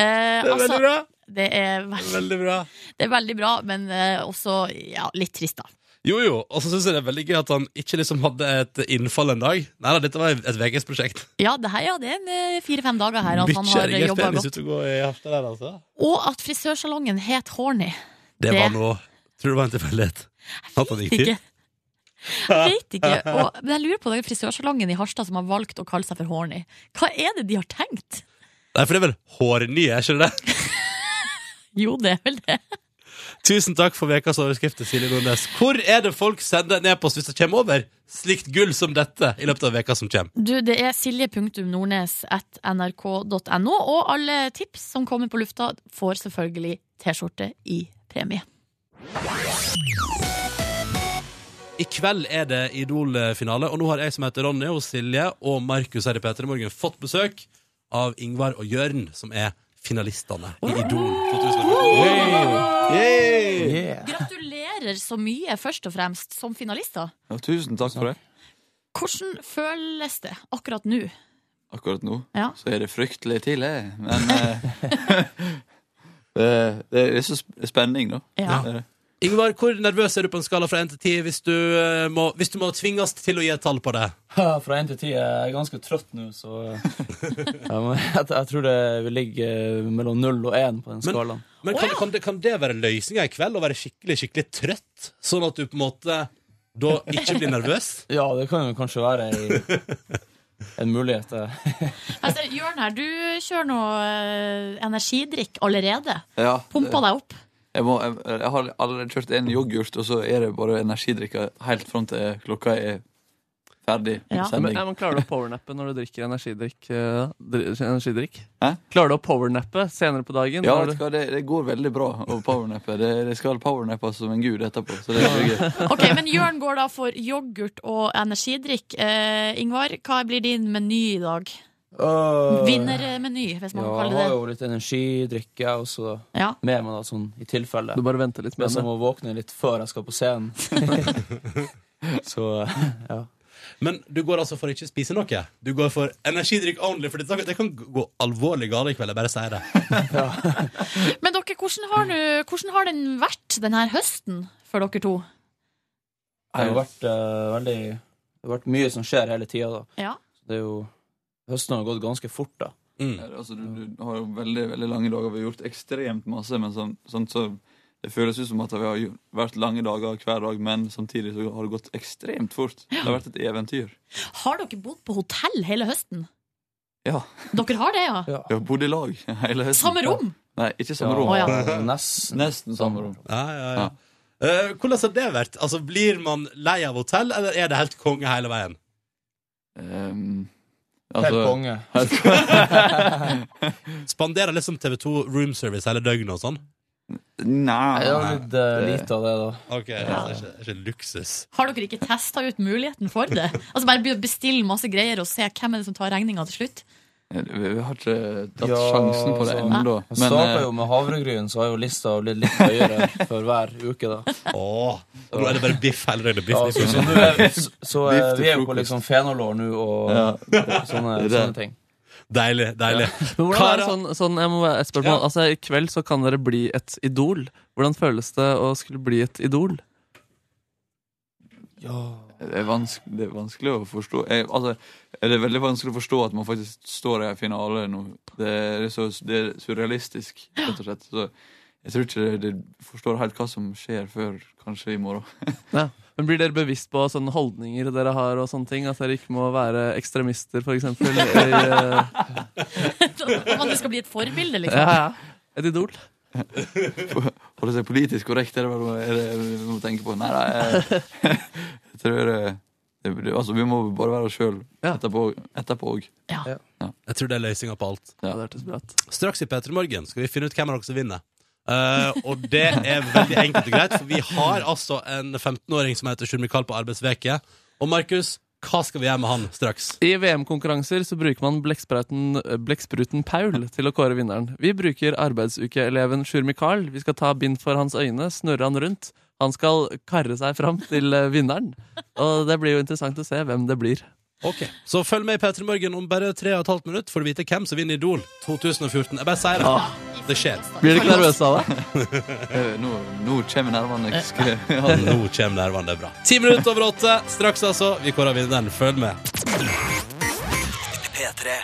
Speaker 2: Eh, altså,
Speaker 1: bra.
Speaker 2: det er, veld-
Speaker 1: Veldig bra.
Speaker 2: det er veldig bra, men eh, også ja, litt trist, da.
Speaker 1: Jo, jo. Og så syns jeg det er veldig gøy at han ikke liksom hadde et innfall en dag. Nei da, dette var et VGS-prosjekt.
Speaker 2: Ja, det, her, ja, det er en, eh, fire-fem dager her at han
Speaker 1: Mykje
Speaker 2: har
Speaker 1: erigert
Speaker 2: jobba
Speaker 1: penis
Speaker 2: godt.
Speaker 1: ute og går i hjertet der, altså.
Speaker 2: Og at frisørsalongen het Horny.
Speaker 1: Det
Speaker 2: Det-
Speaker 1: var noe Tror du det var en tilfeldighet? At han gikk
Speaker 2: Ikke. Jeg vet ikke. Og, men jeg lurer på den frisørsalongen i Harstad som har valgt å kalle seg for Horny. Hva er det de har tenkt?
Speaker 1: Nei, for det er vel hårnye, er ikke det? det?
Speaker 2: Jo, det er vel det.
Speaker 1: Tusen takk for ukas overskrifter, Silje Nordnes. Hvor er det folk sender en e-post hvis det kommer over slikt gull som dette i løpet av veka som kommer?
Speaker 2: Du, det er silje.nordnes.nrk.no, og alle tips som kommer på lufta, får selvfølgelig T-skjorte i premie.
Speaker 1: I kveld er det Idol-finale, og nå har jeg som heter Ronny og Silje og Markus her i P3 Morgen fått besøk av Ingvar og Jørn, som er finalistene i Idol 2014.
Speaker 5: Yeah.
Speaker 2: Gratulerer så mye, først og fremst, som finalister.
Speaker 5: Ja, tusen takk for det.
Speaker 2: Hvordan føles det akkurat nå?
Speaker 5: Akkurat nå
Speaker 2: Ja.
Speaker 5: så er det fryktelig tidlig, men
Speaker 2: (laughs)
Speaker 5: eh, (laughs) det, det er så sp- spenning, da.
Speaker 2: Ja.
Speaker 5: Det er det.
Speaker 1: Ingvar, hvor nervøs er du på en skala fra 1 til 10 hvis du, eh, må, hvis du må tvinges til å gi et tall på det?
Speaker 6: Ja, (laughs) Fra én til ti. Jeg er ganske trøtt nå, så eh. (laughs) ja, men jeg, jeg tror det vil ligge mellom null og én på den
Speaker 1: Men-
Speaker 6: skalaen.
Speaker 1: Men
Speaker 2: Å,
Speaker 1: kan,
Speaker 2: ja.
Speaker 1: kan, det, kan det være løsninga i kveld? Å være skikkelig skikkelig trøtt? Sånn at du på en måte da ikke bli nervøs?
Speaker 6: Ja, det kan jo kanskje
Speaker 7: (laughs)
Speaker 6: være ei, en mulighet. eh.
Speaker 2: Altså, Jørn her, du kjører nå eh, energidrikk allerede.
Speaker 5: Ja,
Speaker 2: Pumpa deg opp.
Speaker 5: jeg, må, jeg, jeg har allerede kjørt en yoghurt, og så er det bare energidrikker helt fram til klokka er ferdig.
Speaker 2: Ja.
Speaker 7: Ja, men,
Speaker 5: Sending.
Speaker 7: ja, men Klarer du å powernappe når du drikker energidrikk? eh, dri- energidrikk?
Speaker 5: Hæ?
Speaker 7: Klarer du å powernappe senere på dagen?
Speaker 5: Ja, vet du
Speaker 7: Når du,
Speaker 5: hva, det, det går veldig bra å powernappe. Det, det skal powernappe som en gud etterpå. Så
Speaker 2: (laughs)
Speaker 5: det er gøy.
Speaker 2: Ok, Men Jørn går da for yoghurt og energidrikk. Eh, Ingvar, hva blir din meny i dag?
Speaker 6: Øh,
Speaker 2: Vinnermeny, hvis man
Speaker 6: Ja,
Speaker 2: kan
Speaker 6: jeg
Speaker 2: kalle det
Speaker 6: har
Speaker 2: det.
Speaker 6: jo litt energidrikke også da.
Speaker 2: Ja.
Speaker 6: med meg, da, sånn i tilfelle.
Speaker 7: du bare venter litt
Speaker 6: Det
Speaker 7: med
Speaker 6: er som
Speaker 7: det.
Speaker 6: å våkne litt før jeg skal på
Speaker 7: (laughs)
Speaker 6: scenen. Så eh, ja.
Speaker 1: Men du går altså for å ikke spise noe? Du går for energidrikk only? For det, det kan gå alvorlig galt i kveld, jeg bare sier det.
Speaker 2: Men dere, hvordan har, nu, hvordan har den vært denne høsten for dere to?
Speaker 6: Det har jo vært eh, veldig Det har vært mye som skjer hele tida, da.
Speaker 2: Ja.
Speaker 6: Det er jo Høsten har gått ganske fort, da.
Speaker 1: Mm.
Speaker 5: Altså, du, du har jo veldig, veldig lange dager. Vi har gjort ekstremt masse, men sånn, sånn så det føles ut som at vi har jo- vært lange dager hver dag, men samtidig så har det gått ekstremt fort. Det har vært et eventyr.
Speaker 2: Har dere bodd på hotell hele høsten?
Speaker 5: Ja.
Speaker 2: Dere har det, ja?
Speaker 5: Vi har bodd i lag (laughs) hele høsten.
Speaker 2: Samme rom?
Speaker 5: Nei, ikke
Speaker 7: Sånn
Speaker 5: samme rom.
Speaker 2: Å,
Speaker 6: ja. Nesten.
Speaker 5: Nesten samme rom.
Speaker 1: Ja, ja, ja. Eh, hvordan har det vært? Altså, Blir man lei av hotell, eller er det helt konge hele veien?
Speaker 5: Ehm,
Speaker 6: Helt
Speaker 5: altså, (laughs)
Speaker 6: konge.
Speaker 1: Spanderer liksom TV2 room service hele døgnet og sånn?
Speaker 6: Det var
Speaker 5: Nei.
Speaker 6: litt eh, lite av det, da.
Speaker 1: Ok, altså, det er ikke, det er ikke luksus.
Speaker 2: Har dere ikke testa ut muligheten for det? Altså Bare be- bestill masse greier og se hvem er det som tar regninga til slutt?
Speaker 5: Vi, vi har ikke tatt
Speaker 6: Ja,
Speaker 5: sjansen på det
Speaker 6: altså.
Speaker 5: ennå.
Speaker 6: Jeg
Speaker 5: Men
Speaker 6: starta
Speaker 5: eh,
Speaker 6: jo med havregryn, så har jo lista blitt litt høyere (laughs) for hver uke, da.
Speaker 1: Åh, og nå er det bare biff hele døgnet. Biff,
Speaker 6: Ja,
Speaker 1: biff,
Speaker 6: så, så,
Speaker 1: biff.
Speaker 6: nå er, så, så eh,
Speaker 5: Biff til
Speaker 6: vi er jo på
Speaker 5: frokost.
Speaker 6: liksom fenalår nå og
Speaker 5: eh, Ja.
Speaker 6: sånne,
Speaker 5: Det er det.
Speaker 6: sånne ting.
Speaker 1: Deilig. deilig
Speaker 7: Men hvordan er det
Speaker 1: Klara-
Speaker 7: sånn, sånn jeg må være, jeg spør meg,
Speaker 1: Ja.
Speaker 7: altså I kveld så kan dere bli et idol. Hvordan føles det å skulle bli et idol?
Speaker 5: det er, vanske, det er vanskelig å forstå jeg, altså, er Det er veldig vanskelig å forstå at man faktisk står i en finale nå. Det er, så, det er surrealistisk, rett og slett. Så jeg tror ikke det, det forstår helt hva som skjer før kanskje i morgen. (laughs)
Speaker 7: Men Blir dere bevisst på sånne holdninger dere har, og sånne ting? At dere ikke må være ekstremister, for
Speaker 5: (laughs)
Speaker 7: eksempel? I, eh,
Speaker 2: Om at du skal bli et forbilde,
Speaker 7: ja,
Speaker 2: liksom?
Speaker 7: ja. Et idol?
Speaker 5: Holde seg politisk korrekt er det vel er det vi må tenke på. Nei, nei jeg, (laughs) jeg tror det, det, det Altså, vi må bare være oss sjøl
Speaker 7: Ja.
Speaker 5: etterpå etterpå òg.
Speaker 1: Jeg tror det er løsninga på alt.
Speaker 7: Ja, det hørtes bra ut.
Speaker 1: Straks i P3 Morgen skal vi finne ut hvem av dere som vinner. Eh, og det er veldig enkelt og greit, for vi har altså en 15-åring som heter Sjur Mikael på arbeidsveke. Og Markus, hva skal vi gjøre med han straks?
Speaker 7: I VM-konkurranser så bruker man blekkspruten, blekkspruten Paul til å kåre vinneren. Vi bruker arbeidsukeeleven Sjur Mikael. Vi skal ta bind for hans øyne, snurre han rundt. Han skal karre seg fram til eh, vinneren. Og det blir jo interessant å se hvem det blir.
Speaker 1: Ok, Så følg med i P3 Morgen om bare tre og et halvt minutt får du vite hvem som vinner Idol 2014. Jeg bare sier det. Det skjer.
Speaker 7: Blir du ikke nervøs av det?
Speaker 5: Eh, Nå, nå kommer nervene. Jeg skal-
Speaker 1: Nå kommer nervene, det er bra. Ti minutter over åtte, straks altså. Vi kårer vinneren. Følg med.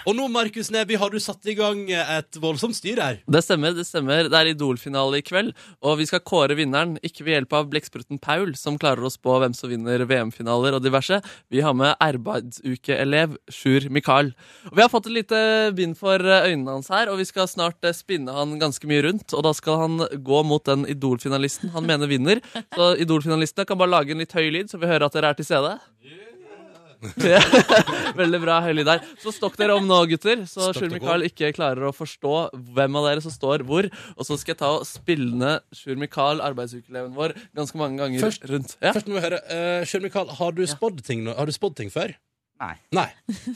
Speaker 1: Og nå, Markus Neby, har du satt i gang et voldsomt styr her.
Speaker 7: Det stemmer. Det stemmer. Det er Idol-finale i kveld, og vi skal kåre vinneren. Ikke ved hjelp av blekkspruten Paul, som klarer å spå hvem som vinner VM-finaler og diverse. Vi har med arbeidsukeelev Sjur Mikael. Og Vi har fått et lite bind for eh, øynene hans her, og vi skal snart eh, spinne han ganske mye rundt. Og da skal han gå mot den Idol-finalisten han mener vinner. Så Idol-finalistene kan bare lage en litt høy lyd, så vi hører at dere er til stede. (laughs) Ja. Veldig bra høy lyd her. Så stokk dere om nå, gutter. Så
Speaker 1: Stokk
Speaker 7: Sjur
Speaker 1: dere
Speaker 7: Mikael ikke klarer å forstå hvem av dere som står hvor. Og så skal jeg ta og spille ned Sjur Mikael, arbeidsukeleven vår, ganske mange ganger
Speaker 1: Først-
Speaker 7: rundt. Ja.
Speaker 1: Først må vi høre, eh, Sjur Mikael, har du spådd ting, nå? Har du spådd ting før?
Speaker 8: Nei.
Speaker 1: Nei,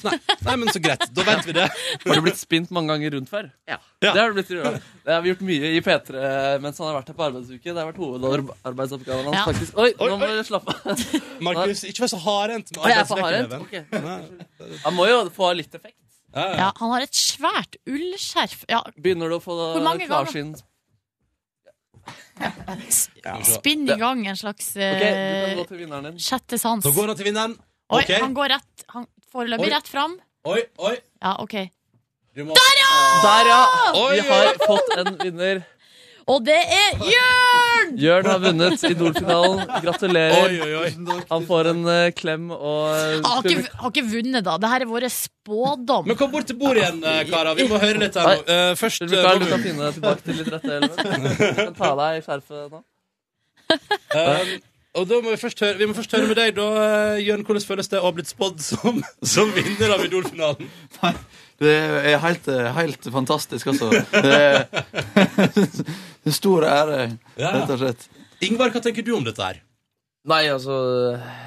Speaker 1: Nei. Nei, men så greit. Da vet vi det.
Speaker 7: Har du blitt spint mange ganger rundt før? Ja. Det
Speaker 1: Ja.
Speaker 7: har du blitt tror jeg. Det har vi gjort mye i P3 mens han har vært her på arbeidsuke. Det har vært hovedarbeidsoppgaven hans,
Speaker 2: Ja.
Speaker 7: faktisk. Oi,
Speaker 1: Oi,
Speaker 7: nå må dere slappe av.
Speaker 1: Markus, ikke vær så hardhendt med
Speaker 7: Å, jeg er for hardhendt? Ok.
Speaker 1: Nei.
Speaker 7: Han må jo få litt effekt.
Speaker 1: Ja, ja.
Speaker 2: Ja, han har et svært ullskjerf. Ja,
Speaker 7: Begynner du å få
Speaker 2: Hvor mange ganger?
Speaker 7: klarsyn?
Speaker 2: spinn i gang en slags
Speaker 7: Ok, du kan
Speaker 2: eh,
Speaker 7: gå til vinneren din.
Speaker 2: sjette sans.
Speaker 1: Så går han til vinneren.
Speaker 2: Oi,
Speaker 1: OK.
Speaker 2: han går rett Han foreløpig
Speaker 1: Oi.
Speaker 2: rett fram.
Speaker 1: Oi, oi.
Speaker 2: Ja, OK.
Speaker 1: Du må... Der, ja!
Speaker 7: Der, ja!
Speaker 1: Oi,
Speaker 7: Vi
Speaker 1: oi,
Speaker 7: har fått en vinner.
Speaker 2: Og det er Jørn!
Speaker 7: Jørn har vunnet Idol-finalen.
Speaker 1: Oi,
Speaker 7: Gratulerer.
Speaker 1: oi, oi.
Speaker 7: Han får en eh, klem og
Speaker 2: Har ikke, har ikke vunnet, da. Dette er vår spådom.
Speaker 1: Men kom bort til bordet igjen, eh, karer. Vi må høre litt her nå. Eh, først eh,
Speaker 7: Mikael, du
Speaker 1: Robin.
Speaker 7: kan finne tilbake til litt rette elven. Du
Speaker 6: (laughs)
Speaker 7: kan ta av deg skjerfet nå.
Speaker 1: Eh, og da må vi, først høre, vi må først høre med deg, da, eh, Jørn. Hvordan føles det å ha blitt spådd som, (laughs) som vinner av Idol-finalen?
Speaker 5: Det er helt, eh, helt fantastisk, altså. Det er (laughs) en stor ære,
Speaker 1: Ja.
Speaker 5: rett og slett.
Speaker 1: Ingvar, hva tenker du om dette her?
Speaker 6: Nei, altså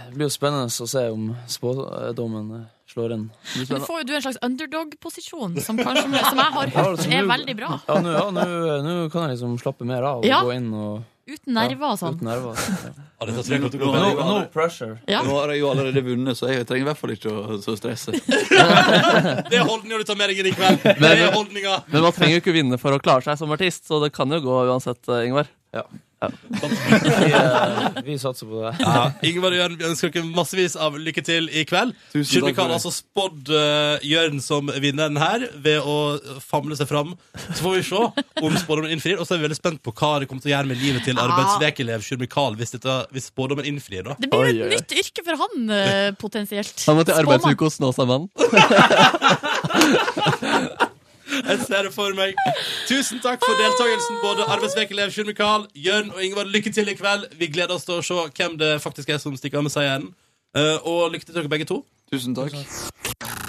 Speaker 6: Det blir jo spennende å se om spådommen eh, slår inn. Det blir
Speaker 2: Men
Speaker 6: spennende.
Speaker 2: får jo du en slags underdog-posisjon, som, kanskje, som jeg har hørt er veldig bra.
Speaker 6: Ja, nå ja, nå- nå kan jeg liksom slappe mer av og
Speaker 2: Ja.
Speaker 6: gå inn og
Speaker 2: Uten nerver og sånn.
Speaker 6: Uten nerver. Ja.
Speaker 1: Ja, dette tror jeg kommer til å gå
Speaker 5: Nå-
Speaker 1: veldig
Speaker 5: nå-
Speaker 6: No pressure.
Speaker 2: Ja.
Speaker 5: Nå har jeg jo allerede vunnet, så jeg trenger i hvert fall ikke å så stresse.
Speaker 1: Det er holdninga du tar med deg inn i kveld. Det er holdninga.
Speaker 7: Men man trenger jo ikke vinne for å klare seg som artist, så det kan jo gå uansett, eh, Ingvar.
Speaker 6: Vi, eh, vi satser på det.
Speaker 1: (laughs) Ja, Ingvar og Jørn, vi ønsker dere massevis av lykke til i kveld.
Speaker 5: Tusen
Speaker 1: Tusen
Speaker 5: takk for
Speaker 1: har
Speaker 5: det.
Speaker 1: altså spådd eh, Jørn som vinneren her ved å famle seg fram. Så får vi se om spådommen innfrir. Og så er vi veldig spent på hva det kommer til å gjøre med livet til
Speaker 2: Ja.
Speaker 1: arbeidsvekelev Sjur Mikael hvis, dette- hvis spådommen innfrir, da.
Speaker 2: Det blir
Speaker 7: Oi,
Speaker 2: jo
Speaker 7: oi, oi.
Speaker 2: et nytt yrke for han, eh, potensielt.
Speaker 7: Han må til
Speaker 2: Spåmann.
Speaker 7: arbeidsuke hos Snåsamannen.
Speaker 1: Jeg ser det for meg. Tusen takk for deltakelsen, både arbeidsvekelev Sjur Mikael, Jørn og Ingvar. Lykke til i kveld. Vi gleder oss til å se hvem det faktisk er som stikker av med seieren. Eh, og lykke til dere begge to.
Speaker 5: Tusen takk.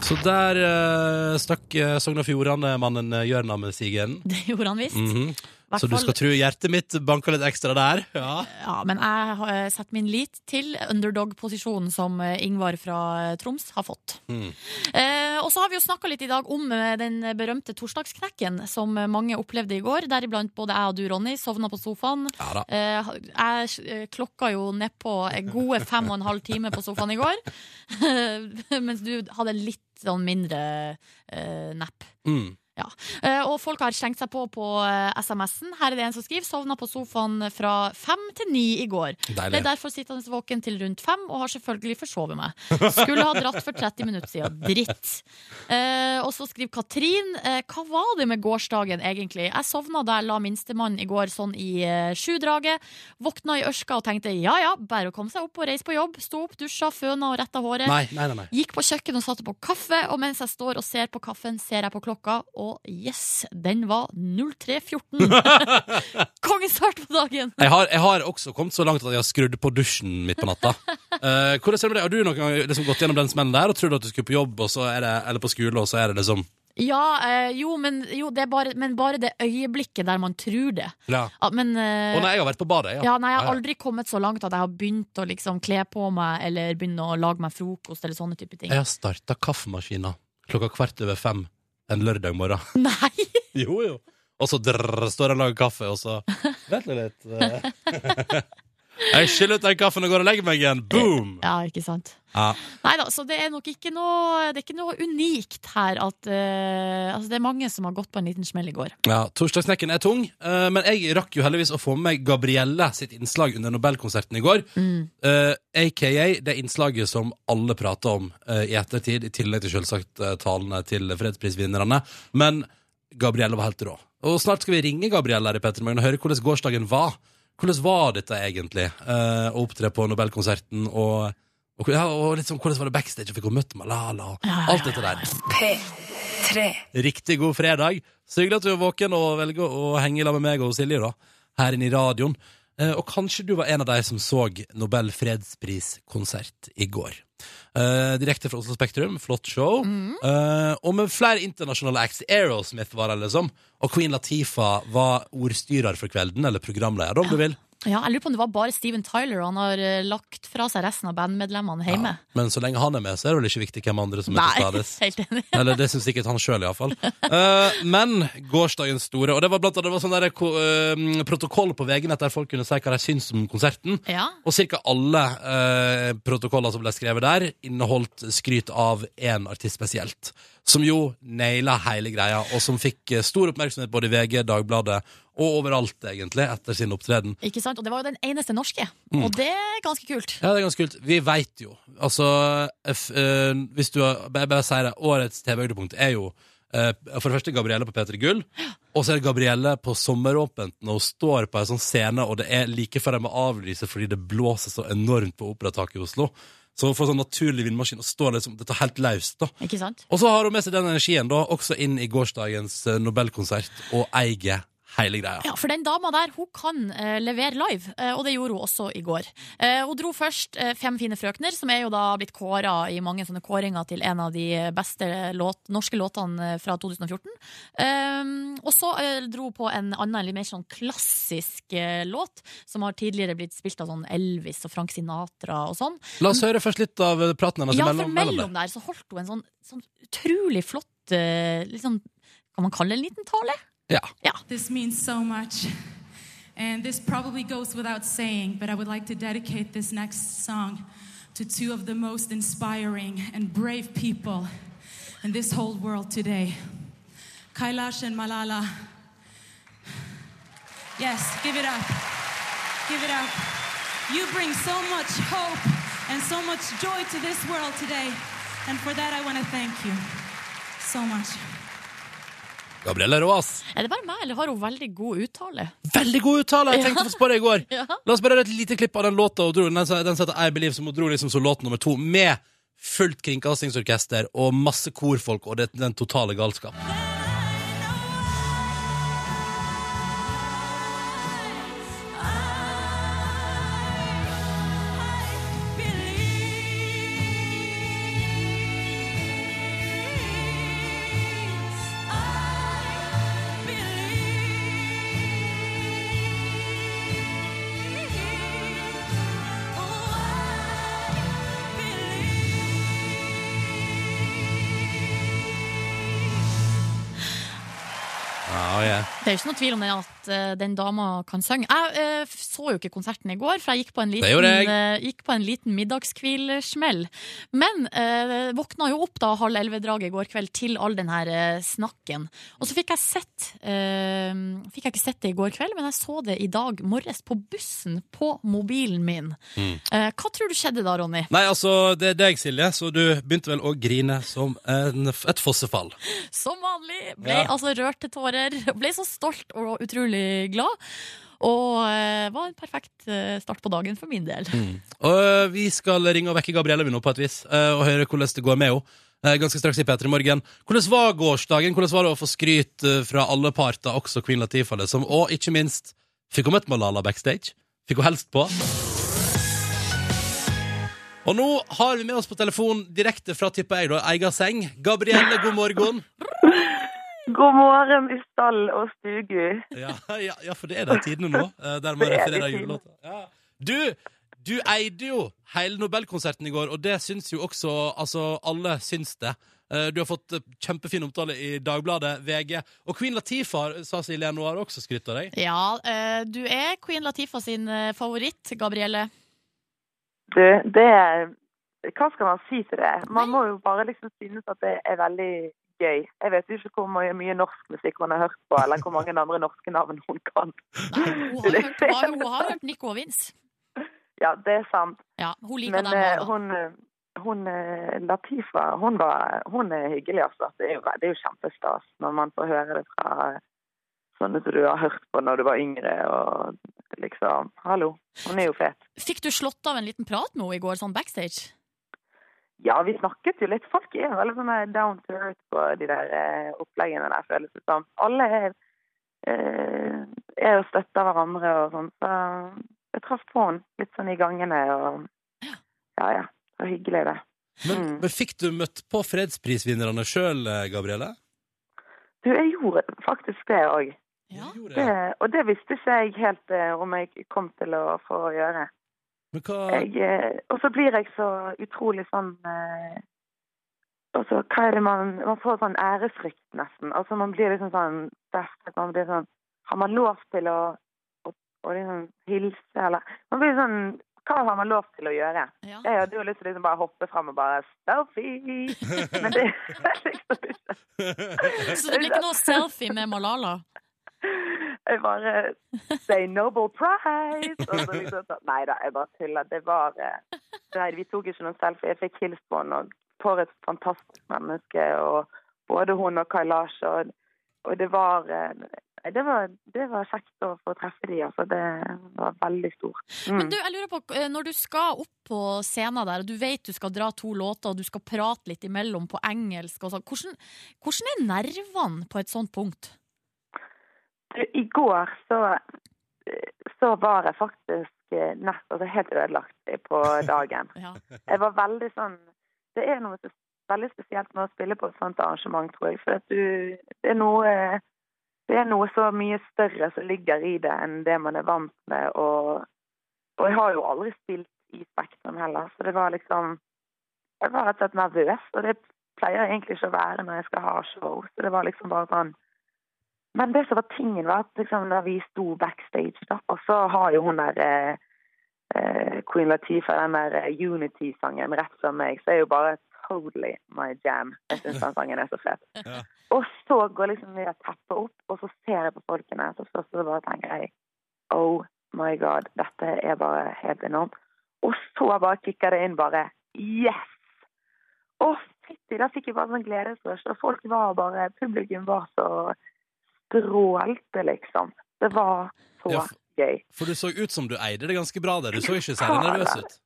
Speaker 1: Så der eh, stakk eh, Sogn og Fjordane-mannen eh, Jørn av med sigeren.
Speaker 2: (laughs) Det gjorde han visst.
Speaker 1: Mhm.
Speaker 2: Hvert
Speaker 1: Så du
Speaker 2: fall-
Speaker 1: skal tro hjertet mitt banka litt ekstra der? Ja.
Speaker 2: Ja, men jeg har eh, sett min lit til underdog-posisjonen som eh, Ingvar fra eh, Troms har fått.
Speaker 1: Mm.
Speaker 2: Eh, og så har vi jo snakka litt i dag om eh, den berømte torsdagsknekken som eh, mange opplevde i går. Deriblant både jeg og du, Ronny, sovna på sofaen.
Speaker 1: ja da.
Speaker 2: Eh, jeg eh, klokka jo nedpå gode fem og en halv time på sofaen i går. (laughs) Mens du hadde litt sånn mindre eh, nepp.
Speaker 1: Mm.
Speaker 2: Eh, og folk har slengt seg på på eh, SMS-en. Her er det en som skriver 'sovna på sofaen fra fem til ni i går'. Ble
Speaker 1: Deilig.
Speaker 2: derfor sittende våken til rundt fem og har selvfølgelig forsovet meg. Skulle ha dratt for 30 minutter siden. Dritt. Eh, og så skriver Katrin eh, hva var det med gårsdagen egentlig? Jeg sovna da jeg la minstemann i går sånn i eh, sjudraget. Våkna i ørska og tenkte ja ja, bare å komme seg opp og reise på jobb. Sto opp, dusja, føna og retta håret.
Speaker 1: Nei, nei, nei. nei.
Speaker 2: Gikk på kjøkkenet og satte på kaffe, og mens jeg står og ser på kaffen, ser jeg på klokka, og yes, den var 03.14. Kongestart på dagen!
Speaker 1: Jeg, har, jeg har også kommet så langt at jeg har skrudd på dusjen midt på
Speaker 2: (laughs)
Speaker 1: natta. Eh, hvordan ser det med deg? Har du noen gang liksom gått gjennom den smellen der og trodd at du skulle på jobb, og så er det, eller på skole, og så er det liksom
Speaker 2: Ja, eh, jo, men, jo det er bare, men bare det øyeblikket der man tror det.
Speaker 1: ja.
Speaker 2: Ja, men
Speaker 1: Å
Speaker 2: eh,
Speaker 1: nei, jeg har vært på badet, ja.
Speaker 2: ja, nei, jeg har aldri kommet så langt at jeg har begynt å liksom kle på meg eller begynne å lage meg frokost eller sånne type ting.
Speaker 1: Jeg har starta kaffemaskina klokka kvart over fem en lørdag morgen.
Speaker 2: (laughs) Nei!
Speaker 1: Jo, jo. Og så drrr, står han og lager kaffe, og så (laughs) Vent nå litt. eh. (laughs) jeg skyller ut den kaffen og går og legger meg igjen. Boom!
Speaker 2: Ja, ikke sant.
Speaker 1: Ja.
Speaker 2: Nei da, så det er nok ikke noe, det er ikke noe unikt her at eh, Altså, det er mange som har gått på en liten smell i går.
Speaker 1: Ja, Torsdagsknekken er tung, eh, men jeg rakk jo heldigvis å få med meg Gabrielle sitt innslag under Nobelkonserten i går. Eh, AKA det innslaget som alle prater om eh, i ettertid, i tillegg til selvsagt eh, talene til fredsprisvinnerne. Men Gabrielle var helt rå. Og snart skal vi ringe Gabrielle her i Petter Magne og høre hvordan gårsdagen var. Hvordan var dette egentlig, eh, å opptre på Nobelkonserten, og, og, ja, og litt sånn, hvordan var det backstage, og fikk hun møtt Malala, og alt dette der. Riktig god fredag. Så hyggelig at du er våken og velger å henge sammen med meg og Silje da, her inne i radioen. Eh, Og kanskje du var en av de som så Nobel fredspriskonsert i går. Eh, direkte fra Oslo Spektrum, flott show.
Speaker 2: Mhm.
Speaker 1: Eh, og med flere internasjonale acts. Aerosmith var det, liksom. Og Queen Latifa var ordstyrer for kvelden, eller programleder, om du vil.
Speaker 2: Ja, jeg lurer på om det var bare Steven Tyler, og han har eh, lagt fra seg resten av bandmedlemmene hjemme.
Speaker 1: Men så lenge han er med, så er det vel ikke viktig hvem andre som er til
Speaker 2: Nei,
Speaker 1: stades.
Speaker 2: (laughs) helt enig.
Speaker 1: Eller det syns sikkert han sjøl, iallfall. Uh, men gårsdagens store Og det var blant annet det var sånn der, ko- eh, protokoll på VG-nett der folk kunne si hva de syns om konserten.
Speaker 2: Ja.
Speaker 1: Og ca. alle eh, protokoller som ble skrevet der, inneholdt skryt av én artist spesielt. Som jo naila hele greia, og som fikk eh, stor oppmerksomhet både i VG, Dagbladet og overalt, egentlig, etter sin opptreden.
Speaker 2: Ikke sant? Og det var jo den eneste norske,
Speaker 1: Mm.
Speaker 2: og det er ganske kult.
Speaker 1: Ja, det er ganske kult. Vi veit jo. Altså, f, eh, hvis du har, jeg bare sier det, årets TV-høydepunkt er jo eh, eh, For det første Gabrielle på P3 Gull, og så er det Gabrielle på Sommeråpent når hun står på en sånn scene, og det er like før de må avlyse fordi det blåser så enormt på Operataket i Oslo. Så hun får sånn naturlig vindmaskin og står liksom, dette er helt løst, da.
Speaker 2: Ikke sant?
Speaker 1: Og så har hun med seg den energien da, også inn i gårsdagens eh, Nobelkonsert, og eier hele greia.
Speaker 2: Ja, for den dama der, hun kan eh, levere live, eh, og det gjorde hun også i går. Eh, hun dro først eh, Fem fine frøkner, som er jo da blitt kåra i mange sånne kåringer til en av de beste låt, norske låtene eh, fra 2014. Eh, og så eh, dro hun på en annen, litt mer sånn klassisk eh, låt, som har tidligere blitt spilt av sånn Elvis og Frank Sinatra og sånn.
Speaker 1: La oss høre først litt av eh, praten hennes
Speaker 2: ja,
Speaker 1: imellom-
Speaker 2: for Altså, mellom der så holdt hun en sånn, sånn utrolig flott, eh, litt sånn, kan man kalle det en liten tale?
Speaker 1: Ja.
Speaker 8: This means so much. And this probably goes without saying, but I would like to dedicate this next song to two of the most inspiring and brave people in this whole world today Kailash and Malala. Yes, give it up. Give it up. You bring so much hope and so much joy to this world today. And for that, I want to thank you so much.
Speaker 1: Gabrielle Rå, ass.
Speaker 2: Er det bare meg, eller har hun veldig god uttale?
Speaker 1: Veldig god uttale! Jeg tenkte faktisk på det i går.
Speaker 2: Ja.
Speaker 1: La oss bare høre et lite klipp av den låta hun dro. Den, den heter I Believe, som hun dro liksom som låt nummer to. Med fullt kringkastingsorkester og masse korfolk og det, den totale galskap. Ja, ja.
Speaker 2: Det er jo ikke noe tvil om det at eh, den dama kan synge. Jeg eh, f- så jo ikke konserten i går, for jeg gikk på en
Speaker 1: Det gjorde
Speaker 2: liten,
Speaker 1: jeg.
Speaker 2: eh, gikk på en liten middagskvilsmell. Men eh, våkna jo opp da halv elleve-draget i går kveld til all den her eh, snakken. Og så fikk jeg sett eh, Fikk jeg ikke sett det i går kveld, men jeg så det i dag morges på bussen på mobilen min.
Speaker 1: Mm.
Speaker 2: Eh, hva tror du skjedde da, Ronny?
Speaker 1: Nei, altså, det er deg, Silje, så du begynte vel å grine som en, et fossefall.
Speaker 2: Som vanlig. Ble
Speaker 1: Ja.
Speaker 2: altså rørt til tårer. (laughs) Ble så stolt og utrolig glad. Og eh, var en perfekt eh, start på dagen for min del.
Speaker 9: Mm.
Speaker 1: Og øh, vi skal ringe og vekke Gabrielle vi nå på et vis, øh, og høre hvordan det går med henne. øh, Ganske straks i P3 Morgen. Hvordan var gårsdagen? Hvordan var det å få skryt øh, fra alle parter, også Queen Latifah, liksom? Og ikke minst, fikk hun møtt Malala backstage? Fikk hun helst på? Og nå har vi med oss på telefon direkte fra tipper jeg, da, egen seng. Gabrielle, god morgen.
Speaker 9: God morgen i stall og stugu.
Speaker 1: Ja, ja, ja for det er de tidene nå, eh, der man
Speaker 9: Det er de
Speaker 1: refererer
Speaker 9: tidene.
Speaker 1: julelåta. Ja. Du, du eide jo hele Nobelkonserten i går, og det syns jo også Altså, alle syns det. Eh, Du har fått eh, kjempefin omtale i Dagbladet, VG. Og Queen Latifah, eh, sa Silje nå, har også skrytt av deg.
Speaker 2: Ja, eh, du er Queen Latifah sin eh, favoritt, Gabrielle.
Speaker 9: Du, det er Hva skal man si til det? Man må jo bare liksom synes at det er veldig gøy. Jeg vet jo ikke hvor mye, mye norsk musikk man har hørt på, eller hvor mange andre norske navn hun kan. (laughs)
Speaker 2: Nei, hun har hørt, hun har, hun har hørt Nico og Vince.
Speaker 9: Ja, det er sant.
Speaker 2: Ja, hun liker
Speaker 9: Men
Speaker 2: dem
Speaker 9: eh,
Speaker 2: også. da.
Speaker 9: hun, hun eh, Latifa, hun, var, hun er hyggelig, altså. Det er, jo, det er jo kjempestas når man får høre det fra sånne som du har hørt på når du var yngre, og liksom Hallo, hun er jo fet.
Speaker 2: Fikk du slått av en liten prat med henne i går, sånn backstage?
Speaker 9: Ja, vi snakket jo litt. Folk er jo veldig sånn der down to earth på de der eh, oppleggene der, føles det som. Alle er, eh, er og støtter hverandre og sånn. Så jeg traff på henne litt sånn i gangene og Ja ja. Det var hyggelig, det.
Speaker 1: Men,
Speaker 9: Mm.
Speaker 1: men fikk du møtt på fredsprisvinnerne sjøl, Gabrielle?
Speaker 9: Du, jeg gjorde faktisk det òg.
Speaker 2: Ja.
Speaker 1: Du gjorde det.
Speaker 9: Og det visste ikke jeg helt eh, om jeg kom til å få gjøre.
Speaker 1: Men hva
Speaker 9: Jeg, eh, og så blir jeg så utrolig sånn eh, altså, hva er det man, man får sånn ærefrykt, nesten. Altså, man blir liksom sånn best, man blir sånn, Har man lov til å, å, å liksom hilse, eller Man blir sånn Hva har man lov til å gjøre? (laughs)
Speaker 2: Ja.
Speaker 9: Jeg hadde jo lyst til å liksom bare hoppe fram og bare Selfie! Men det er liksom ikke
Speaker 2: Så det blir ikke noe selfie med Malala?
Speaker 9: Jeg bare Say Nobel Prize! Og så liksom sånn Nei da, jeg bare tuller. Det var eh, Nei, vi tok ikke noen selfie. Jeg fikk hilst på henne og for et fantastisk menneske. Og både hun og Kailash. Og, og det var eh, nei, det var, det var kjekt å få treffe de, altså. Det var veldig stort. Mm.
Speaker 2: Men du, jeg lurer på, eh, når du skal opp på scenen der, og du vet du skal dra to låter, og du skal prate litt imellom på engelsk og sånn, hvordan, hvordan er nervene på et sånt punkt?
Speaker 9: Du, I går så, eh, så var jeg faktisk eh, nest, altså helt ødelagt på dagen.
Speaker 2: Ja.
Speaker 9: Jeg var veldig sånn Det er noe så, veldig spesielt med å spille på et sånt arrangement, tror jeg. For at du Det er noe eh, det er noe så mye større som ligger i det enn det man er vant med. Og, og jeg har jo aldri spilt i Spektrum heller, så det var liksom Jeg var rett og slett nervøs, og det pleier jeg egentlig ikke å være når jeg skal ha show. Så det var liksom bare sånn men det som var tingen, var at liksom, da vi sto backstage, da, og så har jo hun der eh, eh, Queen Latifah den der eh, Unity-sangen rett som meg, så er jo bare totally my jam. Jeg syns den sangen er så fet.
Speaker 1: (laughs) Ja.
Speaker 9: Og så går liksom det teppet opp, og så ser jeg på folkene, så først så bare tenker jeg oh my god, dette er bare helt enormt. Og så bare kicker det inn bare yes! Å, fytti, da fikk jeg bare sånn gledesrush, og folk var bare Publikum var så strålte, liksom. Det var så
Speaker 1: Ja, for-
Speaker 9: gøy.
Speaker 1: For du så ut som du eide det ganske bra der. Du så ikke særlig nervøs
Speaker 2: (laughs)
Speaker 1: ut.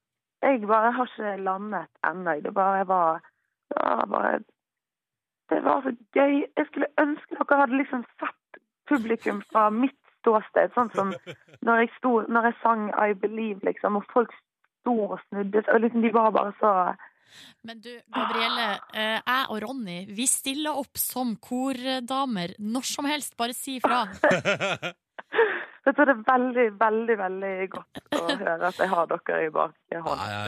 Speaker 9: Jeg bare har ikke landet ennå. Det bare var det var bare Det var så gøy. Jeg skulle ønske dere hadde liksom sett publikum fra mitt ståsted. Sånn som når jeg, sto, når jeg sang I Believe, liksom, og folk sto og snudde seg. og Liksom, de var bare så
Speaker 2: Men du, Gabrielle, eh, jeg og Ronny, vi stiller opp som kordamer når som helst, bare si ifra.
Speaker 9: Vet du, Det er veldig, veldig veldig godt å høre at jeg har dere i bakhånd.
Speaker 1: Ja,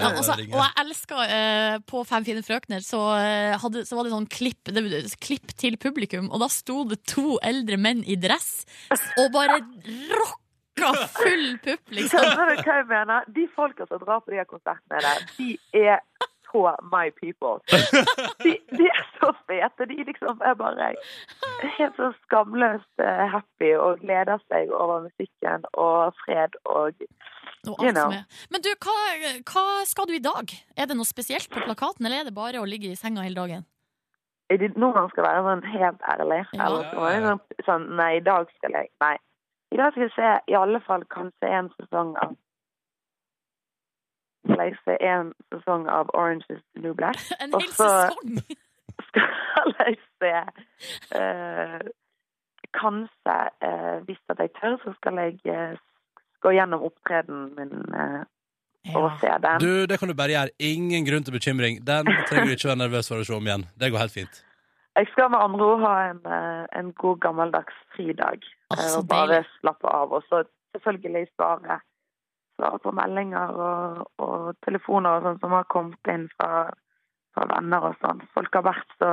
Speaker 2: Ja, og så- og jeg elsker eh, på Fem fine frøkner, så, eh, hadde, så var det sånn klipp, det, klipp til publikum, og da sto det to eldre menn i dress og bare rocka full pupp, liksom.
Speaker 9: Skjønner du hva jeg mener? De folka som drar på de her konsertene der, de er så my people. De, de er så fete. De liksom er bare helt så skamløst eh, happy og gleder seg over musikken og fred og
Speaker 2: Og
Speaker 9: You
Speaker 2: alt som
Speaker 9: know.
Speaker 2: er. Men du, hva, hva skal du i dag? Er det noe spesielt på plakaten, eller er det bare å ligge i senga hele dagen? (laughs)
Speaker 9: Er det Noe man skal være sånn helt ærlig.
Speaker 2: Ja.
Speaker 9: Eller skal man liksom sånn Nei, i dag skal jeg Nei. I dag skal jeg se i alle fall kanskje en sesong av Skal jeg se en sesong av Orange is the New Black? (laughs)
Speaker 2: En
Speaker 9: Og
Speaker 2: hel
Speaker 9: så-
Speaker 2: sesong!
Speaker 9: (laughs) skal jeg se eh, Kanskje, eh, hvis at jeg tør, så skal jeg eh, gå gjennom opptredenen min eh, og
Speaker 2: Ja.
Speaker 9: se den.
Speaker 1: Du, det kan du bare gjøre. Ingen grunn til bekymring. Den trenger du ikke være nervøs for å se om igjen. Det går helt fint.
Speaker 9: Jeg skal med andre ord ha en, eh, en god gammeldags fridag.
Speaker 2: Åh,
Speaker 9: eh,
Speaker 2: så
Speaker 9: og bare
Speaker 2: deilig.
Speaker 9: slappe av. Og så selvfølgelig svare, svare på meldinger og, og telefoner og sånn som har kommet inn fra, fra venner og sånn. Folk har vært så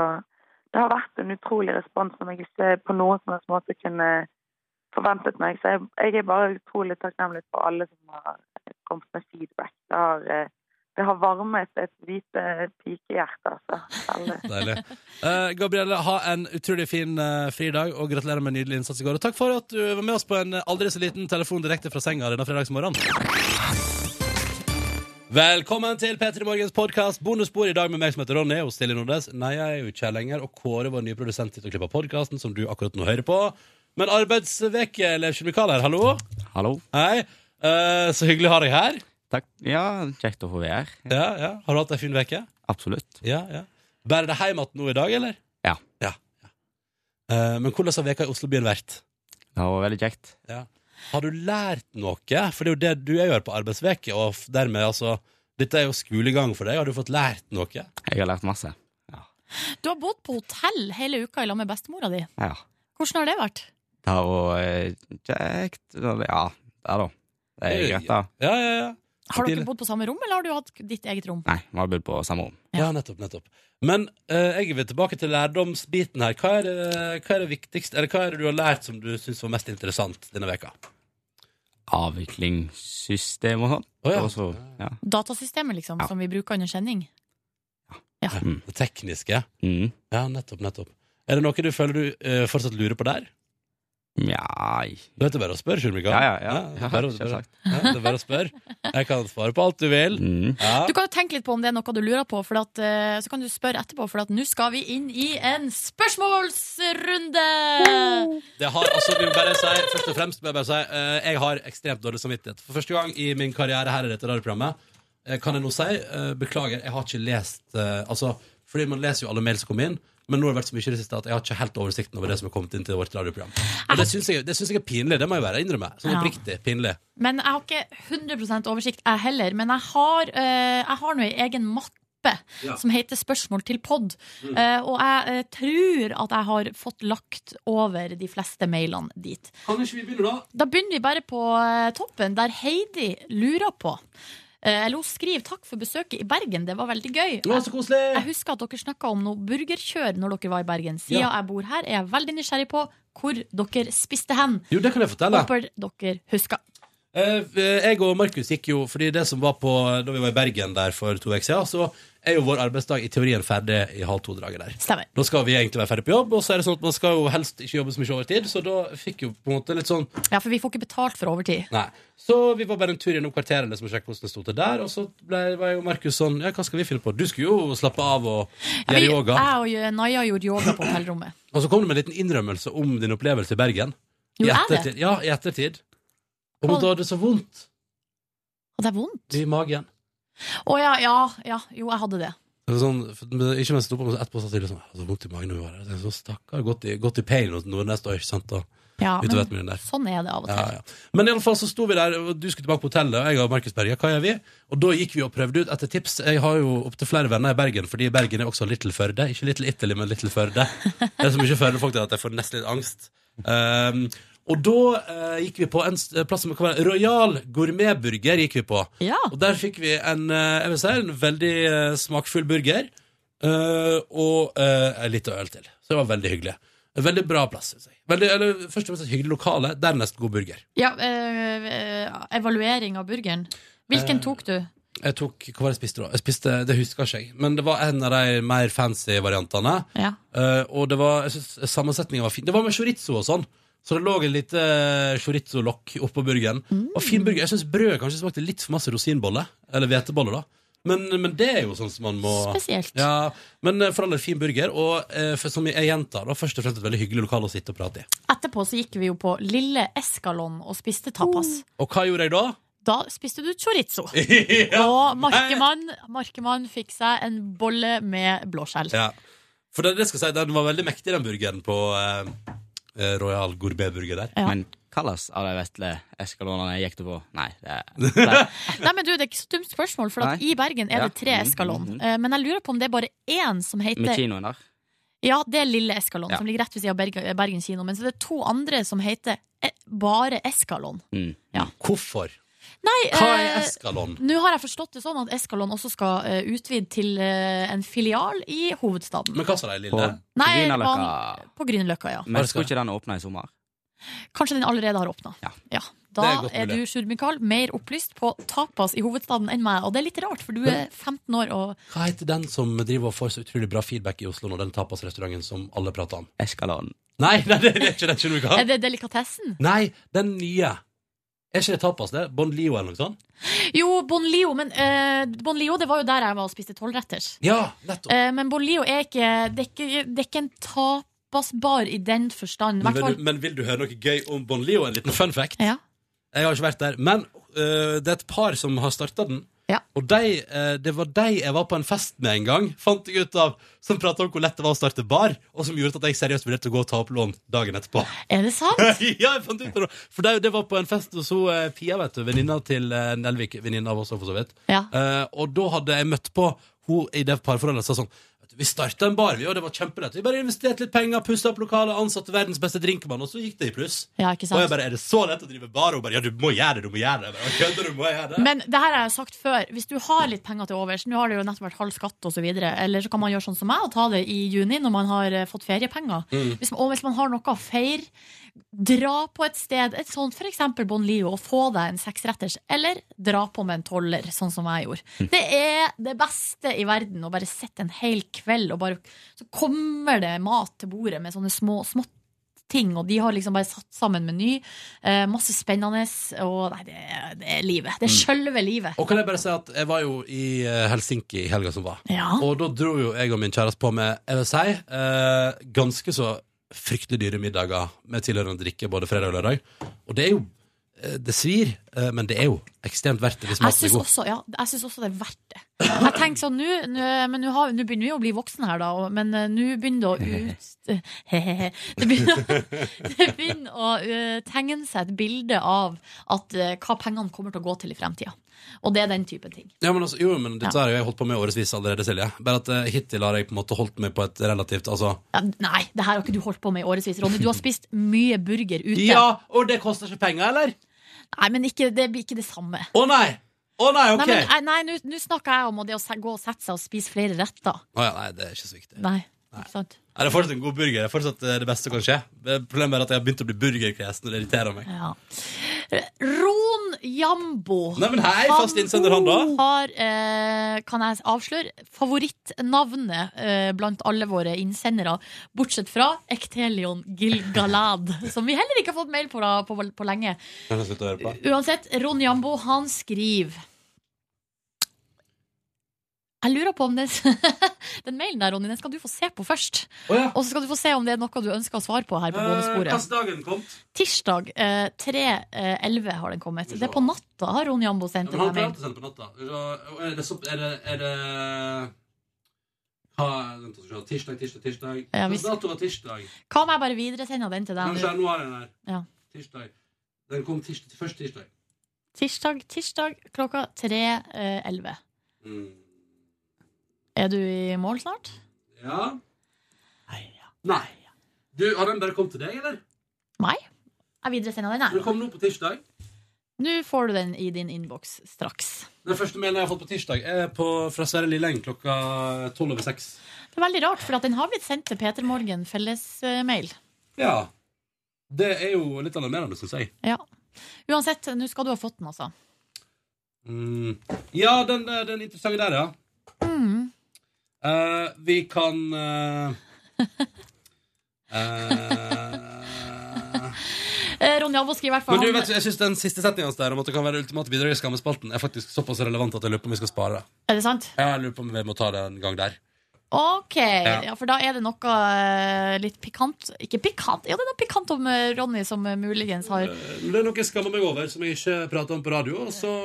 Speaker 9: Det har vært en utrolig respons som jeg ikke på noen som helst måte kunne forventet meg. Så jeg, jeg er bare utrolig takknemlig for alle som har kommet med feedback. Det har, eh, det har varmet et lite
Speaker 2: (laughs)
Speaker 9: pikehjerte, altså. Veldig.
Speaker 1: Deilig. Eh, Gabrielle, ha en utrolig fin eh, fridag, og gratulerer med en nydelig innsats i går. Og takk for at du var med oss på en eh, aldri så liten telefon direkte fra senga denne fredagsmorgenen. Velkommen til P3 Morgens podkast bonusbord i dag med meg som heter Ronny og Silje Nordnes. Nei, jeg er jo ikke her lenger, og Kåre, vår nye produsent, sitter og klipper podkasten som du akkurat nå hører på. Men arbeidsveke, Leif Kjemikal her, hallo.
Speaker 10: Hallo.
Speaker 1: Hei. Eh, så hyggelig å ha deg her.
Speaker 10: Takk. Ja, kjekt å få være her.
Speaker 1: Ja, ja. Har du hatt ei fin uke?
Speaker 10: Mm. Absolutt.
Speaker 1: Ja, ja. Bærer det hjem igjen nå i dag, eller?
Speaker 10: Ja.
Speaker 1: ja, ja. Eh, men hvordan har veka i Oslobyen vært?
Speaker 10: Det var veldig kjekt.
Speaker 1: Har du lært noe? For det er jo det du gjør på arbeidsveke, og f- dermed, altså Dette er jo skolegang for deg. Har du fått lært noe?
Speaker 10: Jeg har lært masse.
Speaker 2: Du har bodd på hotell hele uka i lag med bestemora di.
Speaker 10: Ja.
Speaker 2: Hvordan har det vært?
Speaker 10: Det var eh, kjekt. Ja, det da. Det er greit, da.
Speaker 1: Ja, ja, ja.
Speaker 2: Har dere
Speaker 1: Til-
Speaker 2: bodd på samme rom, eller har du hatt ditt eget rom?
Speaker 10: Nei, vi har bodd på samme rom.
Speaker 1: Ja, nettopp, nettopp. Men eh, jeg vil tilbake til lærdomsbiten her. Hva er, det, hva er det viktigste, eller hva er det du har lært som du syns var mest interessant denne veka?
Speaker 10: Avviklingssystem og sånn.
Speaker 1: Å, ja.
Speaker 10: Og så, ja.
Speaker 2: Datasystemet, liksom,
Speaker 10: Ja.
Speaker 2: som vi bruker under kjenning?
Speaker 1: Det tekniske?
Speaker 10: Mm.
Speaker 1: Ja, nettopp, nettopp. Er det noe du føler du eh, fortsatt lurer på der?
Speaker 10: Nei
Speaker 1: Det er bare å spørre, Sjur Mikael.
Speaker 10: Ja, ja, ja.
Speaker 1: det er bare å-
Speaker 10: Ja, selvsagt.
Speaker 1: Ja, det er bare å spørre. Jeg kan svare på alt du vil. Ja.
Speaker 2: Du kan jo tenke litt på om det er noe du lurer på, for at, eh, så kan du spørre etterpå, for at nå skal vi inn i en spørsmålsrunde!
Speaker 1: Det har, altså, vi må bare si, først og fremst må jeg bare si eh, Jeg har ekstremt dårlig samvittighet. For første gang i min karriere her i dette radioprogrammet eh, kan jeg nå si eh, beklager, jeg har ikke lest eh, Altså, fordi man leser jo alle mail som kommer inn. Men nå har det vært så mye i det siste at jeg har ikke helt oversikten over det som er kommet inn til vårt radioprogram. Og det syns jeg, det synes jeg er pinlig. Det må jeg være innrømme. Sånn
Speaker 2: Ja.
Speaker 1: oppriktig pinlig.
Speaker 2: Men jeg har ikke 100 oversikt, jeg heller. Men jeg har, eh, jeg har nå ei egen mappe
Speaker 11: Ja.
Speaker 2: som heter 'Spørsmål til pod'.
Speaker 11: Mm.
Speaker 2: Eh, og jeg eh, tror at jeg har fått lagt over de fleste mailene dit.
Speaker 1: Kan ikke vi begynne, da?
Speaker 2: Da begynner vi bare på eh, toppen, der Heidi lurer på. eh, Eller hun skriver 'Takk for besøket i Bergen, det var veldig gøy'.
Speaker 1: Å, så koselig
Speaker 2: Jeg husker at dere snakka om noe burgerkjør når dere var i Bergen. Siden
Speaker 1: Ja.
Speaker 2: jeg bor her, er jeg veldig nysgjerrig på hvor dere spiste hen.
Speaker 1: Jo, det kan jeg fortelle.
Speaker 2: Håper dere husker.
Speaker 1: Eh, Jeg og Markus gikk jo Fordi det som var på Da vi var i Bergen der for to uker siden Så er jo vår arbeidsdag i teorien ferdig I halv to-draget der
Speaker 2: Stemmer.
Speaker 1: Da skal vi egentlig være ferdig på jobb Og så er det sånn at man skal jo helst ikke jobbe så mye overtid Så da fikk jo på en måte litt sånn
Speaker 2: Ja, for vi får ikke betalt for overtid.
Speaker 1: Nei Så vi var bare en tur gjennom kvarteret liksom, og sjekket hvordan det stod til der Og så ble, var jo Markus sånn Ja, hva skal vi finne på? Du skulle jo slappe av og
Speaker 2: Ja,
Speaker 1: gjøre
Speaker 2: vi-
Speaker 1: yoga
Speaker 2: Jeg og Naya gjorde yoga på hotellrommet.
Speaker 1: Og så kom du med en liten innrømmelse om din opplevelse i Bergen
Speaker 2: Jo,
Speaker 1: I
Speaker 2: er det?
Speaker 1: ettertid Ja, i ettertid Om at du hadde så vondt
Speaker 2: Og det er vondt
Speaker 1: I magen
Speaker 2: Å ja, ja, ja. Jo, jeg hadde det.
Speaker 1: Det var sånn, for- men ikke mens jeg sto på, men så etterpå satt jeg liksom altså, vondt i magen. når vi var der. Det er sånn, Stakkar, gått i, gått i pain og noe neste år, ikke sant? Da,
Speaker 2: Ja,
Speaker 1: utover
Speaker 2: men
Speaker 1: ettermiddagen der.
Speaker 2: Sånn er det av og til.
Speaker 1: Ja, ja. Men i alle fall så sto vi der, og du skulle tilbake på hotellet, og jeg og Markus Berger, hva gjør vi? Og da gikk vi og prøvde ut etter tips. Jeg har jo opptil flere venner i Bergen, fordi Bergen er også Little Førde. Ikke Little Italy, men Little
Speaker 2: (laughs)
Speaker 1: Førde. Det er så mye Førde-folk der at jeg får nesten litt angst. Um, og da eh, gikk vi på en s- plass som kan være Royal Gourmetburger gikk vi på. Og der fikk vi en, eh, jeg vil si, en veldig eh, smakfull burger, eh, og eh, litt øl til. Så det var veldig hyggelig. En veldig bra plass, synes jeg. Veldig, eller, først og fremst et hyggelig lokale, dernest god burger.
Speaker 2: Ja, eh, eh, evaluering av burgeren. Hvilken
Speaker 1: Eh,
Speaker 2: tok du?
Speaker 1: Jeg tok, hva var det jeg spiste da? Jeg spiste, det husker ikke jeg Men det var en av de mer fancy variantene
Speaker 2: Ja.
Speaker 1: Eh, Og det var, jeg synes sammensetningen var fin Det var med chorizo og sånn Så det lå en lite chorizo-lokk oppå burgeren Og fin burger, jeg synes brød kanskje smakte litt for masse rosinbolle Eller vetebolle da men, men det er jo sånn som man må
Speaker 2: Spesielt.
Speaker 1: ja, Men eh, for alle fin burger Og eh, for, som jeg gjentar, da, først og fremst et veldig hyggelig lokal Å sitte og prate i
Speaker 2: Etterpå så gikk vi jo på Lille Eskalon og spiste tapas.
Speaker 1: Og hva gjorde jeg da?
Speaker 2: Da spiste du chorizo.
Speaker 1: Ja.
Speaker 2: Og Markemann, Markemann fikk seg en bolle med blåskjell.
Speaker 1: Ja. For det, det skal jeg si, den var veldig mektig, den burgeren på eh, eh, Royal Gourmet-burger der.
Speaker 2: Ja.
Speaker 10: Men hvilken av de vesle eskalonene gikk du på? Nei, det er
Speaker 2: Nei, men du, Det er ikke så dumt spørsmål, for at
Speaker 10: Nei.
Speaker 2: i Bergen er
Speaker 10: Ja.
Speaker 2: det tre
Speaker 10: Mhm,
Speaker 2: Eskalon.
Speaker 10: mhm.
Speaker 2: Eh, Men jeg lurer på om det er bare én som heter
Speaker 10: med kinoen der.
Speaker 2: Ja, det er Lille Eskalon,
Speaker 10: Ja.
Speaker 2: som ligger rett ved siden av Bergen, Bergen kino. Men så det er to andre som heter eh, bare Eskalon.
Speaker 1: Hvorfor?
Speaker 2: Nei,
Speaker 1: Hva er
Speaker 2: eh,
Speaker 1: Eskalon?
Speaker 2: Nå har jeg forstått det sånn at Eskalon også skal eh, utvide til eh, en filial i hovedstaden.
Speaker 1: Men hva sa de,
Speaker 10: På
Speaker 1: Lille?
Speaker 2: Nei,
Speaker 10: Grünerløkka.
Speaker 2: På Grünerløkka, ja.
Speaker 10: Men skulle ikke den åpne i sommer?
Speaker 2: Kanskje den allerede har åpna. Ja. Da
Speaker 10: Det er
Speaker 2: er,
Speaker 10: godt
Speaker 2: du
Speaker 10: mulig.
Speaker 2: Sjur Mikael, mer opplyst på tapas i hovedstaden enn meg. Og det er litt rart, for du er 15 år og
Speaker 1: Hva heter den som driver og får så utrolig bra feedback i Oslo når den tapasrestauranten som alle prater om?
Speaker 10: Eskalon.
Speaker 1: Nei, nei, det det er ikke den Kjell
Speaker 2: Er
Speaker 1: Mikael.
Speaker 2: det delikatessen?
Speaker 1: Nei, den nye. Er ikke det tapas, det? Bon Lio eller noe sånt?
Speaker 2: Jo, Bon Lio, men eh, Bon Lio det var jo der jeg var og spiste tolvretters.
Speaker 1: Ja,
Speaker 2: Eh, men Bon Lio er ikke Det er ikke, det er ikke en tapasbar i den forstand.
Speaker 1: Men vil,
Speaker 2: Hvertfall-
Speaker 1: du, men vil du høre noe gøy om Bon Lio? En liten fun fact?
Speaker 2: Ja.
Speaker 1: Jeg har ikke vært der, men øh, det er et par som har starta den. Og de, øh, det var de jeg var på en fest med en gang, fant jeg ut av, som prata om hvor lett det var å starte bar, og som gjorde at jeg seriøst vurderte å gå og ta opp lån dagen etterpå.
Speaker 2: Er det sant?
Speaker 1: (laughs) ja, jeg fant ut av det. For det, det var på en fest hos hun, øh, Pia, vet du, venninna til øh, Nelvik, venninna av oss også, for så vidt.
Speaker 2: Ja.
Speaker 1: Eh, og da hadde jeg møtt på hun i det parforholdet som sa sånn «Vet du, vi starta en bar, vi, og det var kjempelett. Vi bare investerte litt penger, pussa opp lokalet, ansatte verdens beste drinkmann, og så gikk det i pluss.
Speaker 2: Ja, ikke
Speaker 1: Og
Speaker 2: sant?
Speaker 1: jeg bare, er det så lett å drive bar? Og hun bare, ja, du må gjøre det, du må gjøre det. Jeg bare, Kødder du, må jeg gjøre det?
Speaker 2: Men det her har jeg sagt før. Hvis du har litt penger til overs, nå har det jo nettopp vært halv skatt osv., eller så kan man gjøre sånn som meg og ta det i juni når man har eh, fått feriepenger.
Speaker 11: Mm.
Speaker 2: Hvis man, og hvis man har noe å feire, dra på et sted, et sånt f.eks. Bon Lio, og få deg en seksretters, eller dra på med en tolver, sånn som jeg gjorde. Det er det beste i verden å bare sitte en hel kveld, og bare, så kommer det mat til bordet med sånne små smått ting, og de har liksom bare satt sammen meny. Eh, masse spennende, og nei, det, er- det er livet. Det er sjølve livet.
Speaker 1: Og kan jeg bare si at jeg var jo i eh, Helsinki i helga som var.
Speaker 2: Ja.
Speaker 1: Og da dro jo jeg og min kjæreste på med, jeg vil si, eh, ganske så fryktelig dyre middager med tilhørende drikke både fredag og lørdag. Og det er jo eh, Det svir, eh, men det er jo ekstremt verdt det hvis
Speaker 2: Jeg
Speaker 1: maten er
Speaker 2: syns
Speaker 1: god.
Speaker 2: også, ja, jeg synes også det er verdt det. Jeg tenker sånn, nå- nå- men nå har- nå begynner vi å bli voksne her, da, og- men eh, nå begynner det å ut... (laughs) Det begynner, det begynner å eh, tegne seg et bilde av at, eh, hva pengene kommer til å gå til i fremtida. Og det er den type ting.
Speaker 1: Ja, men altså, jo, men dette har jeg jo holdt på med i årevis allerede, Silje. Bare at eh, hittil har jeg på en måte holdt meg på et relativt altså,
Speaker 2: Ja, nei, det her har ikke du holdt på med i årevis. Ronny, du har spist mye burger ute.
Speaker 1: Ja, og det koster ikke penger, eller?
Speaker 2: Nei, men ikke, det blir ikke det samme.
Speaker 1: Å nei! Å nei, ok!
Speaker 2: Nei, men, eh, nei, nå- nå snakker jeg om det å se- gå og sette seg og spise flere retter.
Speaker 1: Å ja, nei, det er ikke så viktig.
Speaker 2: Nei, ikke sant?
Speaker 1: Nei, det er fortsatt en god burger. Det er fortsatt eh, det beste som kan skje. Det- Problemet er at jeg har begynt å bli burgerkresen, og det irriterer meg.
Speaker 2: Ja. Ron Jambo.
Speaker 1: Nei, men hei, fast innsender han da.
Speaker 2: har, eh, kan jeg avsløre, favorittnavnet eh, blant alle våre innsendere, bortsett fra Ektelion Gilgalad, (laughs) som vi heller ikke har fått mail på, da, på, på lenge.
Speaker 1: Kan jeg slutte å høre på?
Speaker 2: Uansett, Ron Jambo, han skriver jeg lurer på om den, (laughs) den mailen der, Ronny, den skal du få se på først. Og så skal du få se om det er noe du ønsker å svare på her på
Speaker 1: Eh,
Speaker 2: bonusbordet.
Speaker 1: dagen kommet?
Speaker 2: Tirsdag eh, 3.11 har den kommet. Det er på natta har Ron Jambo sendt
Speaker 1: Men
Speaker 2: en
Speaker 1: han pleier
Speaker 2: mail.
Speaker 1: alltid å sende på natta. Så, Er det, så, er det, er det ha, vent, skal vi se. Tirsdag, tirsdag, tirsdag.
Speaker 2: Ja,
Speaker 1: Hvilken
Speaker 2: hvis-
Speaker 1: dato var tirsdag?
Speaker 2: Hva om jeg bare videresender den til
Speaker 1: Kan vi
Speaker 2: deg?
Speaker 1: se,
Speaker 2: nå?
Speaker 1: nå er den her.
Speaker 2: Ja.
Speaker 1: Tirsdag. Den kom tirsdag, først tirsdag.
Speaker 2: Tirsdag, tirsdag klokka 3.11.
Speaker 1: Mm.
Speaker 2: Er du i mål snart?
Speaker 1: Ja. Nei. Du, har den bare kommet til deg, eller?
Speaker 2: Nei. Jeg videresender den,
Speaker 1: Den kom nå på tirsdag.
Speaker 2: jeg. Nå får du den i din innboks straks.
Speaker 1: Den første mailen jeg har fått på tirsdag, er på, fra Sverre Lilleng klokka tolv over seks.
Speaker 2: Det er veldig rart, for at den har blitt sendt til Peter Morgen eh, fellesmail.
Speaker 1: Ja. Det er jo litt alarmerende, syns jeg.
Speaker 2: Ja. Uansett, nå skal du ha fått den, altså.
Speaker 1: Mm. Ja, den, eh, den interessante der, ja.
Speaker 2: Mm.
Speaker 1: Eh, vi kan eh, (laughs) eh,
Speaker 2: Eh, Ron Jambo skriver i hvert fall
Speaker 1: Men du,
Speaker 2: han-
Speaker 1: vet du, jeg synes Den siste setningen hans der om at det kan være ultimate bidrag i Skammespalten, er faktisk såpass relevant at jeg lurer på om vi skal spare det.
Speaker 2: Er det sant?
Speaker 1: Ja, Jeg lurer på om vi må ta det en gang der.
Speaker 2: Ok,
Speaker 1: Ja.
Speaker 2: ja. for da er det noe eh, litt pikant Ikke pikant, ja det er noe pikant om eh, Ronny som eh, muligens har
Speaker 1: Men Det er noe jeg skammer meg over, som jeg ikke prater om på radio. Og så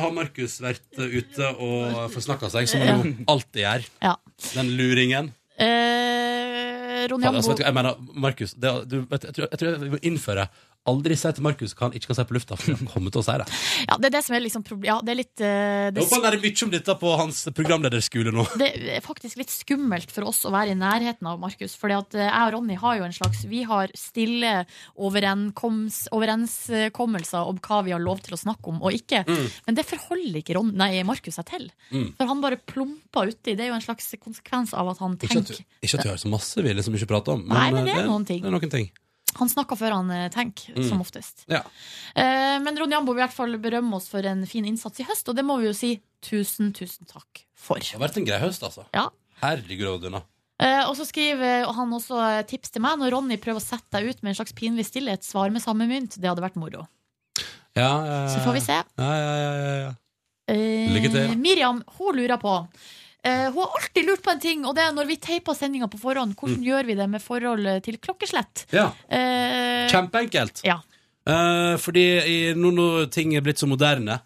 Speaker 1: har Markus vært eh, ute og forsnakka seg, som han jo alltid gjør.
Speaker 2: Ja.
Speaker 1: Den luringen.
Speaker 2: eh, Ronny
Speaker 1: Faen, altså,
Speaker 2: Ambo
Speaker 1: vet du, hva, jeg mener, Markus, det, du, vet, jeg, tror, jeg tror vi må innføre Aldri si til Markus hva han ikke kan si på lufta, for han kommer til å si det.
Speaker 2: (laughs) Ja, det er det som er liksom problem Ja, det er litt eh,
Speaker 1: Jeg
Speaker 2: det,
Speaker 1: håper han lærer mye om dette på hans programlederskole nå.
Speaker 2: det er faktisk litt skummelt for oss å være i nærheten av Markus Fordi at eh, jeg og Ronny har jo en slags Vi har stille overenkoms, overenskommelser om hva vi har lov til å snakke om og ikke
Speaker 11: Mm.
Speaker 2: Men det forholder ikke Ron, nei, Markus seg til
Speaker 1: Mm.
Speaker 2: For han bare plumper uti Det er jo en slags konsekvens av at han
Speaker 1: Ikke at,
Speaker 2: tenker
Speaker 1: ikke at vi har så masse vi liksom ikke prater om,
Speaker 2: Nei, men
Speaker 1: eh,
Speaker 2: det er noen ting.
Speaker 1: Det er noen ting.
Speaker 2: Han snakker før han eh, tenker,
Speaker 1: Mm.
Speaker 2: som oftest.
Speaker 1: Ja.
Speaker 2: Eh, men Ronny Ambo vil i hvert fall berømme oss for en fin innsats i høst, og det må vi jo si tusen, tusen takk for.
Speaker 1: Det har vært en grei høst, altså.
Speaker 2: Ja.
Speaker 1: Herregud, Odduna.
Speaker 2: Eh, og så skriver han også eh, tips til meg når Ronny prøver å sette deg ut med en slags pinlig stillhet. Svar med samme mynt. Det hadde vært moro.
Speaker 1: Ja, ja, ja.
Speaker 2: Så får vi se.
Speaker 1: Ja, ja, ja, ja, ja.
Speaker 2: Eh,
Speaker 1: Lykke til.
Speaker 2: Miriam, hun lurer på eh, Hun har alltid lurt på en ting, og det er når vi teiper sendinga på forhånd, hvordan
Speaker 1: Mm.
Speaker 2: gjør vi det med forhold til klokkeslett?
Speaker 1: Ja.
Speaker 2: Eh,
Speaker 1: Kjempeenkelt.
Speaker 2: Ja.
Speaker 1: Eh, fordi i, nå når ting er blitt så moderne,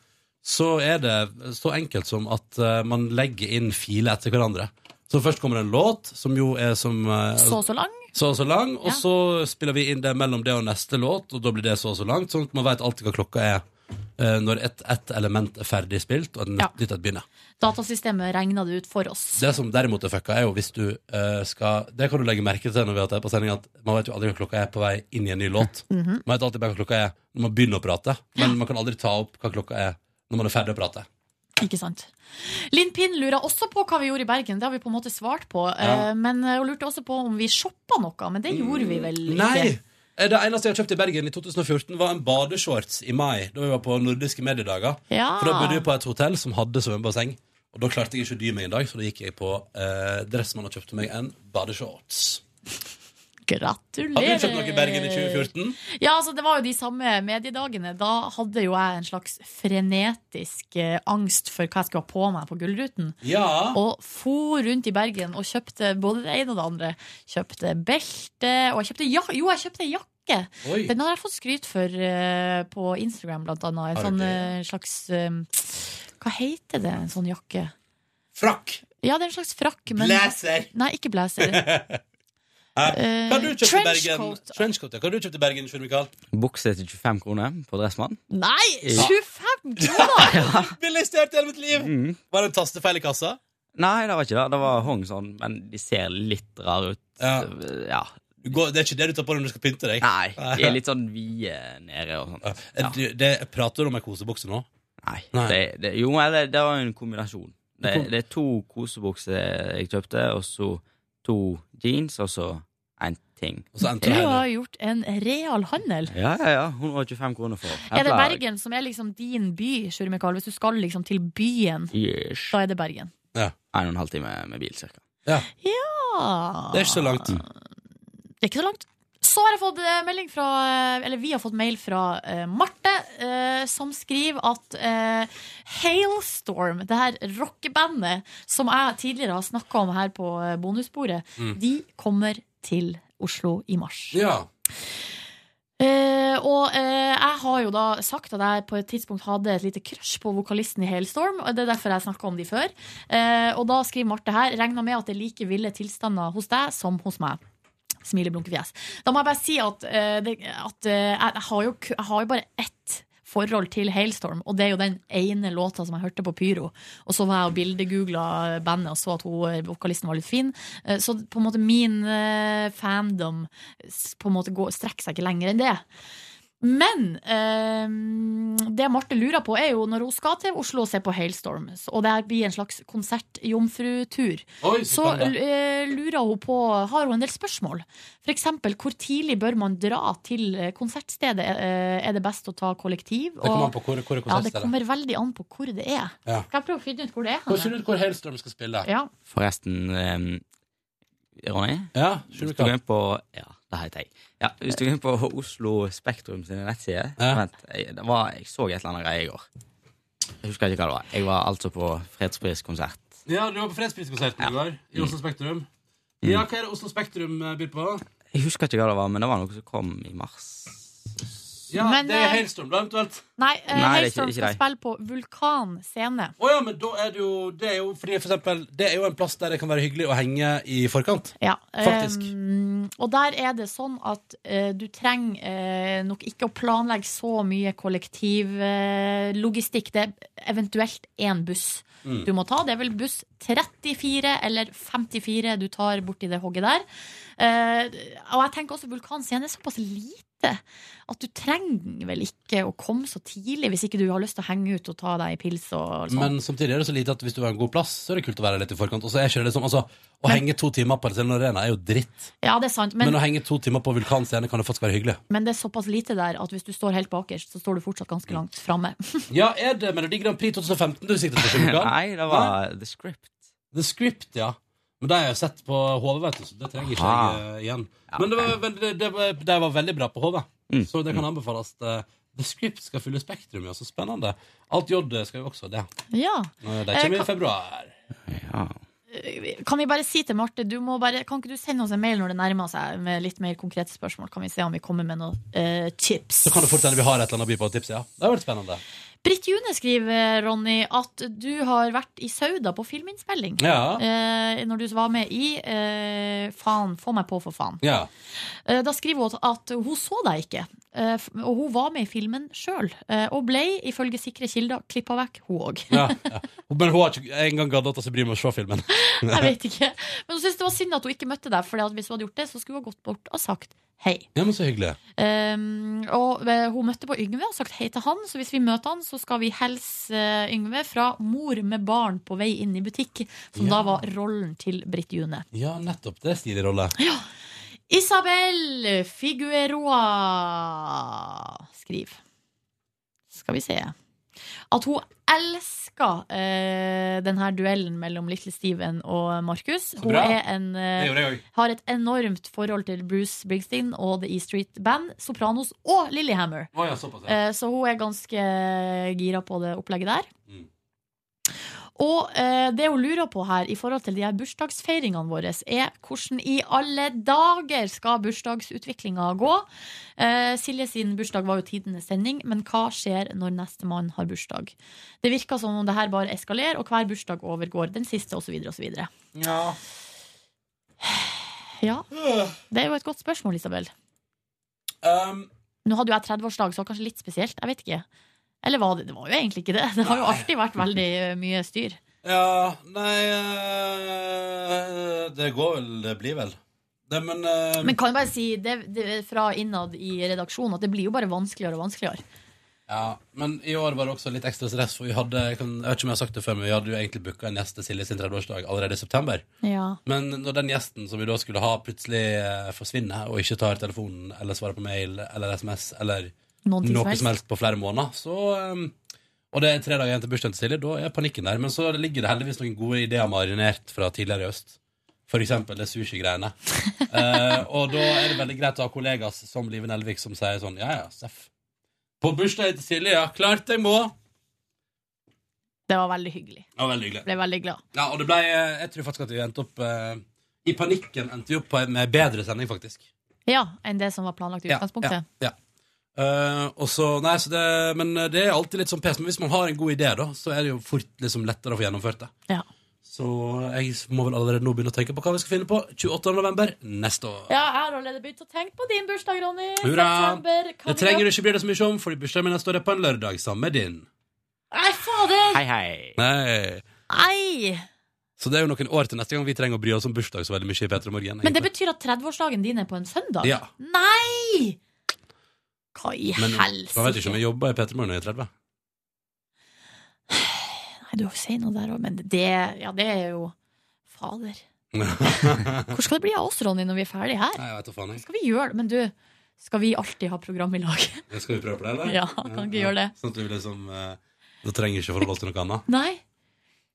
Speaker 1: så er det så enkelt som at eh, man legger inn filer etter hverandre. Så først kommer en låt, som jo er som eh,
Speaker 2: så og så lang?
Speaker 1: så og så lang, og så spiller vi inn det mellom det og neste låt, og da blir det så og så langt, sånn at man vet alltid hva klokka er eh, når et, et element er ferdig spilt, og et nytt, nytt et begynner.
Speaker 2: Datasystemet regna det ut for oss.
Speaker 1: Det som derimot er fucka, er jo hvis du eh, skal Det kan du legge merke til når vi har hatt det på sending, at man vet jo aldri hva klokka er på vei inn i en ny låt.
Speaker 2: (laughs) Mhm.
Speaker 1: Man vet alltid bare hva klokka er når man begynner å prate, men man kan aldri ta opp hva klokka er når man er ferdig å prate.
Speaker 2: Ikke sant. Linn Pinn lurer også på hva vi gjorde i Bergen. Det har vi på en måte svart på.
Speaker 1: Ja.
Speaker 2: Eh, Men eh, hun lurte også på om vi shoppa noe, men det gjorde vi vel ikke.
Speaker 1: Nei! Eh, Det eneste jeg har kjøpt i Bergen i 2014, var en badeshorts i mai, da vi var på nordiske mediedager.
Speaker 2: Ja.
Speaker 1: For da bodde vi på et hotell som hadde svømmebasseng. Og da klarte jeg ikke å dy meg en dag, så da gikk jeg på eh, Dressmann og kjøpte meg en badeshorts. Har du kjøpt noe i Bergen i
Speaker 2: Gratulerer!
Speaker 1: 2014?
Speaker 2: Ja, altså Det var jo de samme mediedagene. Da hadde jo jeg en slags frenetisk eh, angst for hva jeg skulle ha på meg på Gullruten.
Speaker 1: Ja.
Speaker 2: Og for rundt i Bergen og kjøpte både det ene og det andre. Kjøpte belte, og jeg kjøpte ja, jo, jeg kjøpte jakke.
Speaker 11: Oi.
Speaker 2: Den har jeg fått skryt for eh, på Instagram, blant annet. En
Speaker 11: Har du
Speaker 2: sånn
Speaker 11: det?
Speaker 2: eh, slags eh, Hva heter det, en sånn jakke?
Speaker 1: Frakk!
Speaker 2: Ja, det er en slags frakk. Men...
Speaker 1: Blazer.
Speaker 2: Nei, ikke blazer.
Speaker 1: (laughs) Eh, Hva har du kjøpt i Bergen?
Speaker 2: trenchcoat.
Speaker 1: Trenchcoat, ja. Hva har du kjøpt i Bergen, Sjur Mikael?
Speaker 10: Bukse til 25 kroner på Dressmann.
Speaker 2: Nei!
Speaker 10: Ja.
Speaker 2: 25 kroner!
Speaker 1: Billigst i hele mitt liv!
Speaker 10: Mm.
Speaker 1: Var det en tastefeil i kassa?
Speaker 10: Nei, det var ikke det. Det var hong sånn, men de ser litt rare ut.
Speaker 1: Ja.
Speaker 10: ja.
Speaker 1: Du går, det er ikke det du tar på deg når du skal pynte deg?
Speaker 10: Nei, de er litt sånn vide nede og sånt.
Speaker 1: Ja. Du, det, prater du om ei kosebukse nå?
Speaker 10: Nei. Det, det, jo, eller det var en kombinasjon. Det, det er to kosebukser jeg kjøpte, og så to jeans, og så en ting.
Speaker 2: Du har gjort en real handel.
Speaker 10: Ja, ja, ja. 125 kroner for.
Speaker 2: Er det Bergen som er liksom din by, Sjure Mikael? Hvis du skal liksom til byen,
Speaker 10: Yes.
Speaker 2: da er det Bergen.
Speaker 10: En og en halv time med bil, cirka.
Speaker 2: Ja
Speaker 1: Det er ikke så langt.
Speaker 2: Det er ikke så langt. Så har jeg fått eh, melding fra eh, Eller vi har fått mail fra eh, Marte, eh, som skriver at eh, Hailstorm, det her rockebandet som jeg tidligere har snakka om her på eh, bonusbordet,
Speaker 11: Mm.
Speaker 2: de kommer til Oslo i mars.
Speaker 1: Ja.
Speaker 2: Eh, og eh, jeg har jo da sagt at jeg på et tidspunkt hadde et lite crush på vokalisten i Hailstorm. Og det er derfor jeg snakka om de før. Eh, og da skriver Marte her regna med at det er like ville tilstander hos deg som hos meg. Smileblunkefjes. Da må jeg bare si at, eh, det, at eh, jeg, jeg, har jo, ku- jeg har jo bare ett forhold til Hailstorm, og det er jo den ene låta som jeg hørte på Pyro. Og så var jeg og bildegoogla bandet og så at hun, eh, vokalisten var litt fin. Eh, Så på en måte min eh, fandom s- på en måte går, strekker seg ikke lenger enn det. Men eh, det Marte lurer på, er jo når hun skal til Oslo og se på Hailstorm, s- og det her blir en slags konsertjomfrutur,
Speaker 11: Oi, så
Speaker 2: så
Speaker 11: spennende.
Speaker 2: eh, lurer hun på Har hun en del spørsmål? For eksempel, hvor tidlig bør man dra til eh, konsertstedet? Eh, Er det best å ta kollektiv?
Speaker 1: Det kommer an på hvor, hvor er
Speaker 2: ja, det
Speaker 1: konsertstedet.
Speaker 2: kommer veldig an på hvor det er.
Speaker 1: Ja.
Speaker 2: Skal jeg prøve å finne ut hvor det er?
Speaker 1: Hvor finner du ut hvor Hailstorm skal spille?
Speaker 2: Ja.
Speaker 10: Forresten, ehm, Ronny
Speaker 1: Ja,
Speaker 10: Hvis du går inn på Ja, det heter jeg. Ja, hvis du går inn på Oslo Spektrum sine nettsider Vent, jeg, det var, jeg så et eller annet greie i går. Jeg husker ikke hva det var. Jeg var altså på fredspriskonsert.
Speaker 1: Ja, du var på Fredspriskonserten i går, i Oslo Spektrum. Ja, hva er det Oslo Spektrum eh, byr på?
Speaker 10: Jeg husker ikke hva det var, men det var noe som kom i mars.
Speaker 1: Ja,
Speaker 2: Men,
Speaker 1: det er
Speaker 2: eh,
Speaker 1: Hailstorm, da, eventuelt.
Speaker 2: Nei, eh,
Speaker 10: Nei, det er ikke-
Speaker 2: Hailstorm
Speaker 10: ikke
Speaker 2: skal
Speaker 10: deg.
Speaker 2: spille på Vulkan scene.
Speaker 1: Å ja, men da er det jo Det er jo fordi for eksempel Det er jo en plass der det kan være hyggelig å henge i forkant.
Speaker 2: Ja,
Speaker 1: Faktisk.
Speaker 2: ehm, og der er det sånn at eh, du trenger eh, nok ikke å planlegge så mye kollektivlogistikk. det er eventuelt én buss
Speaker 11: Mm.
Speaker 2: du må ta. Det er vel buss 34 eller 54 du tar borti det hogget der. Eh, og jeg tenker også vulkanscenen er såpass lite at du trenger vel ikke å komme så tidlig hvis ikke du har lyst til å henge ut og ta deg en pils og sånn.
Speaker 1: Men samtidig er det så lite at hvis du har en god plass, så er det kult å være litt i forkant. Og så er ikke det liksom, altså, Å henge to timer på Arsenal Arena er jo dritt.
Speaker 2: ja, det er sant.
Speaker 1: Men, å henge to timer på vulkanscene kan jo faktisk være hyggelig.
Speaker 2: Men det er såpass lite der at hvis du står helt bakerst, så står du fortsatt ganske
Speaker 1: Mm.
Speaker 2: langt framme.
Speaker 1: Ja, er det Melodi Grand Prix 2015 du sikter til? (laughs) Sjunga?
Speaker 10: Nei, det var The Script.
Speaker 1: The Script, ja. Men det har jeg jo sett på HV, vet du, så det trenger ikke
Speaker 10: Aha.
Speaker 1: jeg eh, igjen. Men det var, vel- det, det, var, de var veldig bra på HV, så det kan anbefales. eh, The Script skal fylle Spektrum, ja. Så spennende. Alt J skal jo også det.
Speaker 2: Ja.
Speaker 1: Eh, Det
Speaker 2: Eh,
Speaker 1: kommer
Speaker 2: kan-
Speaker 1: i februar.
Speaker 2: Kan vi bare si til Marte, du må bare, kan ikke du sende oss en mail når det nærmer seg, med litt mer konkrete spørsmål? Kan vi se om vi kommer med noen eh, tips?
Speaker 1: Så kan det fort hende vi har et eller annet by på tipset, ja. Det har vært spennende.
Speaker 2: Britt June skriver, eh, Ronny, at du har vært i Sauda på filminnspilling.
Speaker 1: Ja.
Speaker 2: Eh, når du var med i eh, Faen, få meg på for faen.
Speaker 1: Ja.
Speaker 2: Eh, Da skriver hun at at hun så deg ikke, eh, f- og hun var med i filmen sjøl. Og ble, ifølge sikre kilder, klippa vekk, hun
Speaker 1: (laughs)
Speaker 2: òg.
Speaker 1: Ja, ja. Men hun har ikke engang gadd å ta seg bryet med å se filmen.
Speaker 2: Jeg vet ikke. Men hun syntes det var synd at hun ikke møtte deg, for hvis hun hadde gjort det, så skulle hun ha gått bort og sagt hei.
Speaker 1: Ja, men så hyggelig.
Speaker 2: Um, og eh, hun møtte på Yngve og sagt hei til han, så hvis vi møter han, så skal vi helse eh, Yngve fra Mor med barn på vei inn i butikk, som da
Speaker 1: Ja.
Speaker 2: var rollen til Britt June.
Speaker 1: Ja, nettopp. Det er stilig rolle.
Speaker 2: Isabel Figueroa skriver. Skal vi se. at hun elsker eh, den her duellen mellom Little Steven og Markus. Hun
Speaker 11: bra.
Speaker 2: er en, eh,
Speaker 11: Det gjorde jeg også.
Speaker 2: har et enormt forhold til Bruce Springsteen og The E Street Band, Sopranos og Lillehammer.
Speaker 1: Å ja, såpass, ja.
Speaker 2: Eh, så hun er ganske eh, gira på det opplegget der.
Speaker 1: Mm.
Speaker 2: Og eh, det hun lurer på her i forhold til de her bursdagsfeiringene våre, er hvordan i alle dager skal bursdagsutviklinga gå? Eh, Silje sin bursdag var jo tidenes sending, men hva skjer når nestemann har bursdag? Det virker som om det her bare eskalerer, og hver bursdag overgår den siste, osv. osv.
Speaker 6: Ja.
Speaker 2: ja. Det er jo et godt spørsmål, Isabel.
Speaker 1: Um,
Speaker 2: Nå hadde jo jeg 30-årsdag, så det var kanskje litt spesielt. Jeg vet ikke. Eller var det Det var jo egentlig ikke det. (laughs) Det har jo alltid vært veldig eh, mye styr.
Speaker 1: Ja, nei eh, Det går vel, det blir vel. Det, men eh,
Speaker 2: Men kan jeg bare si det, det fra innad i redaksjonen at det blir jo bare vanskeligere og vanskeligere.
Speaker 1: Ja, men i år var det også litt ekstra stress, for vi hadde jeg, kan, jeg vet ikke om jeg har sagt det før, men vi hadde jo egentlig booka en gjest til Silje sin 30-årsdag allerede i september.
Speaker 2: Ja.
Speaker 1: Men når den gjesten som vi da skulle ha, plutselig eh, forsvinner og ikke tar telefonen eller svarer på mail eller SMS eller
Speaker 2: Noen ting som
Speaker 1: noe som
Speaker 2: helst.
Speaker 1: helst på flere måneder, så eh, Og det er tre dager igjen til bursdagen til Silje, da er panikken der. Men så ligger det heldigvis noen gode ideer marinert fra tidligere i høst. For eksempel det sushi-greiene.
Speaker 2: (laughs)
Speaker 1: Eh, og da er det veldig greit å ha kollegaer som Live Nelvik som sier sånn Ja, ja, seff. På bursdagen til Silje, ja. Klart jeg må.
Speaker 2: Det var veldig hyggelig.
Speaker 1: Det var veldig hyggelig.
Speaker 2: Jeg ble veldig glad.
Speaker 1: Ja, og det ble, eh, jeg tror faktisk at vi endte opp eh, I panikken endte vi opp på en med bedre sending, faktisk.
Speaker 2: Ja, enn det som var planlagt i
Speaker 1: Ja,
Speaker 2: utgangspunktet.
Speaker 1: Ja, ja. Eh, og så, nei, så det, men det er alltid litt sånn pes. Men hvis man har en god idé, da, så er det jo fort liksom, lettere å få gjennomført det.
Speaker 2: Ja.
Speaker 1: Så jeg må vel allerede nå begynne å tenke på hva vi skal finne på 28. november neste år.
Speaker 2: Ja, jeg har allerede begynt å tenke på din bursdag, Ronny.
Speaker 1: Hurra!
Speaker 2: September. Kan
Speaker 1: Det trenger du ikke bry deg så mye om, fordi bursdagen min neste år er på en lørdag sammen med din.
Speaker 2: Nei, fader!
Speaker 1: hei. Nei.
Speaker 2: Nei!
Speaker 1: Så det er jo noen år til neste gang vi trenger å bry oss om bursdag så veldig mye i Petra Morgen.
Speaker 2: Men det betyr at 30-årsdagen din er på en søndag?
Speaker 1: Ja.
Speaker 2: Nei! Hva i
Speaker 1: Men
Speaker 2: helsike?
Speaker 1: Man vet ikke om jeg jobber i Petra Morgen når jeg er (laughs) 30.
Speaker 2: Nei, du sier noe der òg, men det Ja, det er jo Fader. Hvor skal det bli av oss, Ronny, når vi er ferdig her?
Speaker 1: Nei, jeg vet da faen, jeg.
Speaker 2: Skal vi gjøre det? Men du, skal vi alltid ha program i lag? (laughs)
Speaker 1: Skal vi prøve på det, eller?
Speaker 2: Ja, kan ikke gjøre det.
Speaker 1: Sånn at vi liksom eh, Da trenger vi ikke forholde oss til noe annet.
Speaker 2: Nei?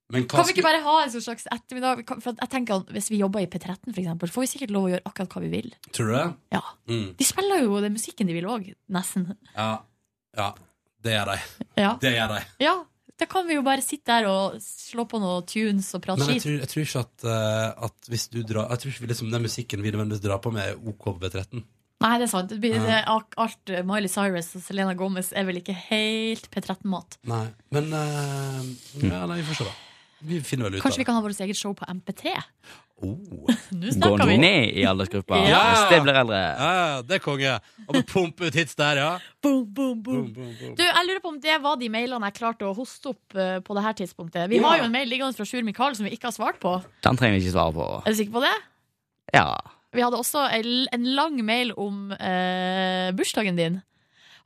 Speaker 1: Men hva
Speaker 2: Kan vi
Speaker 1: skulle-
Speaker 2: ikke bare ha en sånn slags ettermiddag? For jeg tenker at Hvis vi jobber i P13, for eksempel, får vi sikkert lov å gjøre akkurat hva vi vil.
Speaker 1: Tror du det?
Speaker 2: Ja.
Speaker 1: Mm.
Speaker 2: De spiller jo den musikken de vil òg, nesten.
Speaker 1: Ja. ja. Det gjør de.
Speaker 2: Ja.
Speaker 1: Det gjør de.
Speaker 2: (laughs) Ja, da kan vi jo bare sitte der og slå på noen tunes og prate
Speaker 1: Men jeg
Speaker 2: skit.
Speaker 1: tror, jeg tror ikke at, eh, at hvis du drar Jeg tror ikke vi liksom, den musikken vi nødvendigvis drar på med, er OK på B13.
Speaker 2: Nei, det er sant. Det blir,
Speaker 1: Ja.
Speaker 2: det, er ak- alt eh, Miley Cyrus og Selena Gomez er vel ikke helt P13-mat.
Speaker 1: Nei. Men eh, ja, nei, vi får se, da. Vi finner vel ut
Speaker 2: Kanskje
Speaker 1: av
Speaker 2: vi
Speaker 1: det. Oh.
Speaker 2: kan ha vårt eget show på MP3? Nå
Speaker 10: Gå
Speaker 2: snakker
Speaker 10: nå
Speaker 2: vi!
Speaker 10: ned i aldersgruppa.
Speaker 2: Ja.
Speaker 10: Hvis det blir eldre.
Speaker 1: Ja, ja, det er konge. Og pumpe ut hits der, ja.
Speaker 2: Boom, boom, boom. Du, jeg lurer på om det var de mailene jeg klarte å hoste opp eh, på det her tidspunktet. Vi
Speaker 10: Ja.
Speaker 2: har jo en mail liggende fra Sjur Mikael som vi ikke har svart på.
Speaker 10: Den trenger vi ikke svare på.
Speaker 2: Er du sikker på det?
Speaker 10: Ja.
Speaker 2: Vi hadde også en en lang mail om eh, bursdagen din.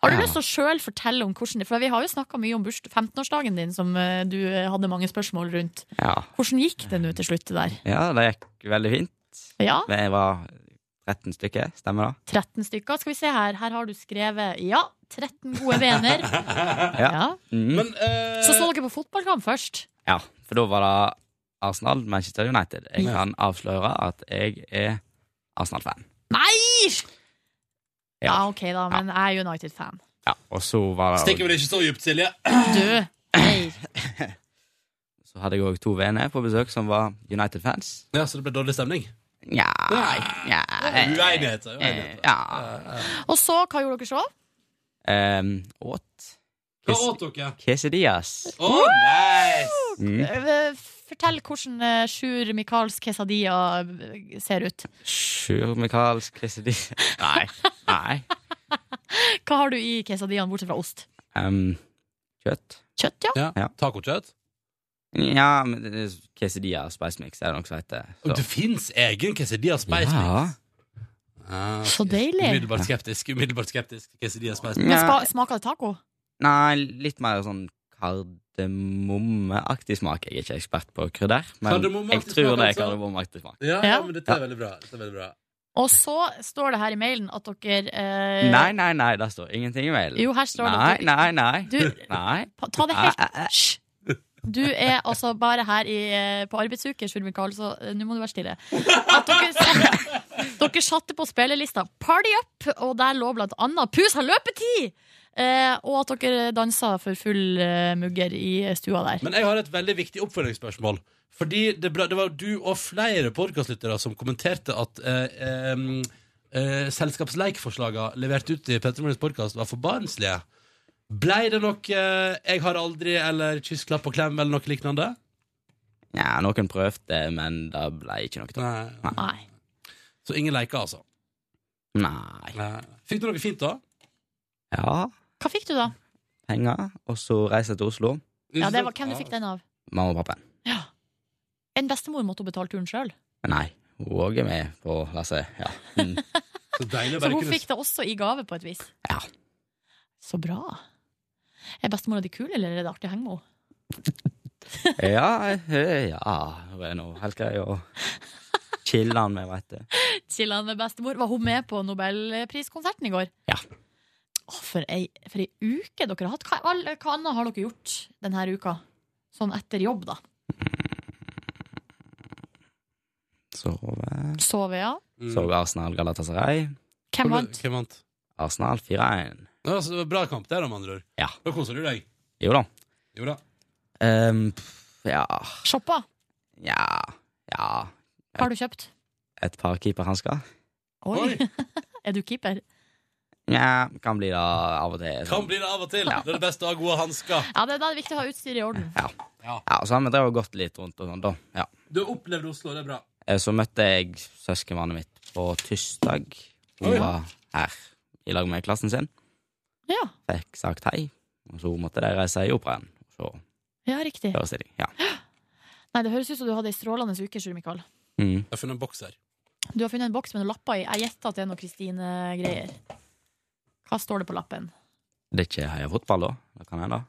Speaker 2: Har du
Speaker 10: Ja.
Speaker 2: lyst til å sjøl fortelle om hvordan det For vi har jo snakka mye om bursd- 15-årsdagen din, som eh, du eh, hadde mange spørsmål rundt.
Speaker 10: Ja.
Speaker 2: Hvordan gikk det nå til slutt det der?
Speaker 10: ja, det gikk veldig fint.
Speaker 2: Ja.
Speaker 10: Men Jeg var 13 stykker, stemmer det?
Speaker 2: 13 stykker. Skal vi se her. Her har du skrevet ja, 13 gode venner.
Speaker 10: (laughs) Ja.
Speaker 2: Ja.
Speaker 10: Mm.
Speaker 1: eh,
Speaker 2: Så så dere på fotballkamp først.
Speaker 10: ja. For da var det Arsenal, Manchester United. Jeg kan avsløre at jeg er Arsenal-fan.
Speaker 2: Nei!
Speaker 10: Ja.
Speaker 2: Ja, Ah, OK, da, men jeg er United-fan.
Speaker 10: Ja, og så var det
Speaker 1: Stikker vel ikke så dypt, Silje.
Speaker 2: Du,
Speaker 10: (clears throat)
Speaker 2: hei.
Speaker 10: Så hadde jeg òg to venner på besøk som var United-fans.
Speaker 1: Ja, Så det ble dårlig stemning?
Speaker 10: Nja ja.
Speaker 1: Uenigheter. uenigheter.
Speaker 10: Ja.
Speaker 2: Og så, hva gjorde dere så?
Speaker 10: Um, åt
Speaker 1: Hva åt dere?
Speaker 10: Quesadillas.
Speaker 1: Å, nice!
Speaker 10: Mm.
Speaker 2: Eh, Fortell hvordan eh, Sjur Michaels quesadilla eh, ser ut.
Speaker 10: Sjurmikalsk quesadilla Nei. Nei.
Speaker 2: (laughs) Hva har du i quesadillaen, bortsett fra ost?
Speaker 10: Um, kjøtt.
Speaker 2: Kjøtt, ja.
Speaker 10: ja.
Speaker 1: Tacokjøtt?
Speaker 10: Ja, men det er quesadilla og spice mix er det noe som heter. (laughs)
Speaker 1: Og det fins egen quesadilla spice mix.
Speaker 10: Ja.
Speaker 2: Så deilig.
Speaker 1: Umiddelbart skeptisk. umiddelbart skeptisk Quesadilla spice
Speaker 10: Mm.
Speaker 1: mix.
Speaker 2: Men spa, smaker det taco?
Speaker 10: Nei, litt mer sånn kardemommeaktig smak. Jeg er ikke ekspert på krydder, men
Speaker 1: Kardemommeaktig
Speaker 10: jeg tror
Speaker 1: smak,
Speaker 10: det er
Speaker 1: altså?
Speaker 10: kardemommeaktig smak.
Speaker 1: Ja, ja, men dette er veldig bra. Dette er veldig bra.
Speaker 2: Og så står det her i mailen at dere eh,
Speaker 10: Nei, nei, nei, der står ingenting i mailen.
Speaker 2: Jo, her står det
Speaker 10: nei,
Speaker 2: at du-
Speaker 10: Nei, nei,
Speaker 2: Du-
Speaker 10: nei.
Speaker 2: Pa- Ta det helt Hysj! Du er altså bare her i, eh, på arbeidsuke, Sjur Mikael, så eh, nå må du være stille. At dere, satte, dere satte på spillelista Party Up, og der lå blant annet Pus har løpetid! Eh, og at dere dansa for full eh, mugger i stua der.
Speaker 1: Men jeg har et veldig viktig oppfølgingsspørsmål. Fordi det, ble, det var du og flere podkastlyttere som kommenterte at eh, eh, eh, selskapsleikforslagene levert ut i Petter Morgens podkast var for barnslige. Blei det nok eh, 'Jeg har aldri' eller 'Kyss, klapp og klem' eller noe lignende?
Speaker 10: Ja, noen prøvde, men det ble ikke noe av.
Speaker 1: Nei. Så ingen leker, altså?
Speaker 10: Nei.
Speaker 1: Fikk du noe fint, da?
Speaker 10: Ja,
Speaker 2: Hva fikk du, da?
Speaker 10: penger, og så reiste jeg til Oslo.
Speaker 2: Ja, det var, hvem du fikk den av?
Speaker 10: Mamma og pappa.
Speaker 2: Ja. En bestemor måtte hun betale turen sjøl.
Speaker 10: Nei, hun òg er med på lasset. Ja.
Speaker 2: (laughs)
Speaker 10: Mm.
Speaker 1: Så deilig
Speaker 2: Så hun fikk det også i gave, på et vis.
Speaker 10: Ja.
Speaker 2: Så bra. Er bestemora di kul, eller er det artig å henge med henne?
Speaker 10: Ja, eh, ja Hun er nå helt grei og chiller'n med, veit du.
Speaker 2: Chillan med bestemor. Var hun med på nobelpriskonserten i går?
Speaker 10: Ja.
Speaker 2: Å, for ei, for ei uke dere har hatt. Hva, all- hva annet har dere gjort denne uka? Sånn etter jobb, da.
Speaker 10: Sove.
Speaker 2: Sove, ja.
Speaker 1: Mm.
Speaker 10: Så Arsenal Galatasaray.
Speaker 2: Hvem vant?
Speaker 1: Hvem vant?
Speaker 10: Arsenal 4-1.
Speaker 1: Ja, så det var Bra kamp der, om andre ord.
Speaker 10: Ja.
Speaker 1: Da koser du deg.
Speaker 10: Jo da.
Speaker 1: Jo da.
Speaker 10: Ehm, pff, ja
Speaker 2: Shoppa?
Speaker 10: Ja. Ja.
Speaker 2: Hva har du kjøpt?
Speaker 10: Et par keeperhansker.
Speaker 2: Oi! (laughs) er du keeper?
Speaker 10: Nja, kan bli det av og til.
Speaker 1: Kan bli det av og til. Det er det beste å ha gode hansker.
Speaker 2: Ja, det, da er det viktig å ha utstyret i orden.
Speaker 10: Ja, så har vi drevet og gått litt rundt og sånn, da. Ja.
Speaker 1: Du har opplevd Oslo, det er bra.
Speaker 10: Eh, Så møtte jeg søskenbarnet mitt på tirsdag. Hun
Speaker 1: Oi.
Speaker 10: var her i lag med klassen sin.
Speaker 2: Ja.
Speaker 10: Fikk sagt hei, og så måtte de reise i operaen. Så
Speaker 2: Ja, riktig.
Speaker 10: forestilling. Ja.
Speaker 2: (gasps) Nei, det høres ut som du hadde ei strålende uke, Sjur Mikael.
Speaker 10: Mm.
Speaker 1: Jeg har funnet en boks her.
Speaker 2: Du har funnet en boks med noen lapper i. Jeg gjetter at det er noe Kristine-greier. Hva står det på lappen?
Speaker 10: Det er ikke heia fotball, da? Det kan hende.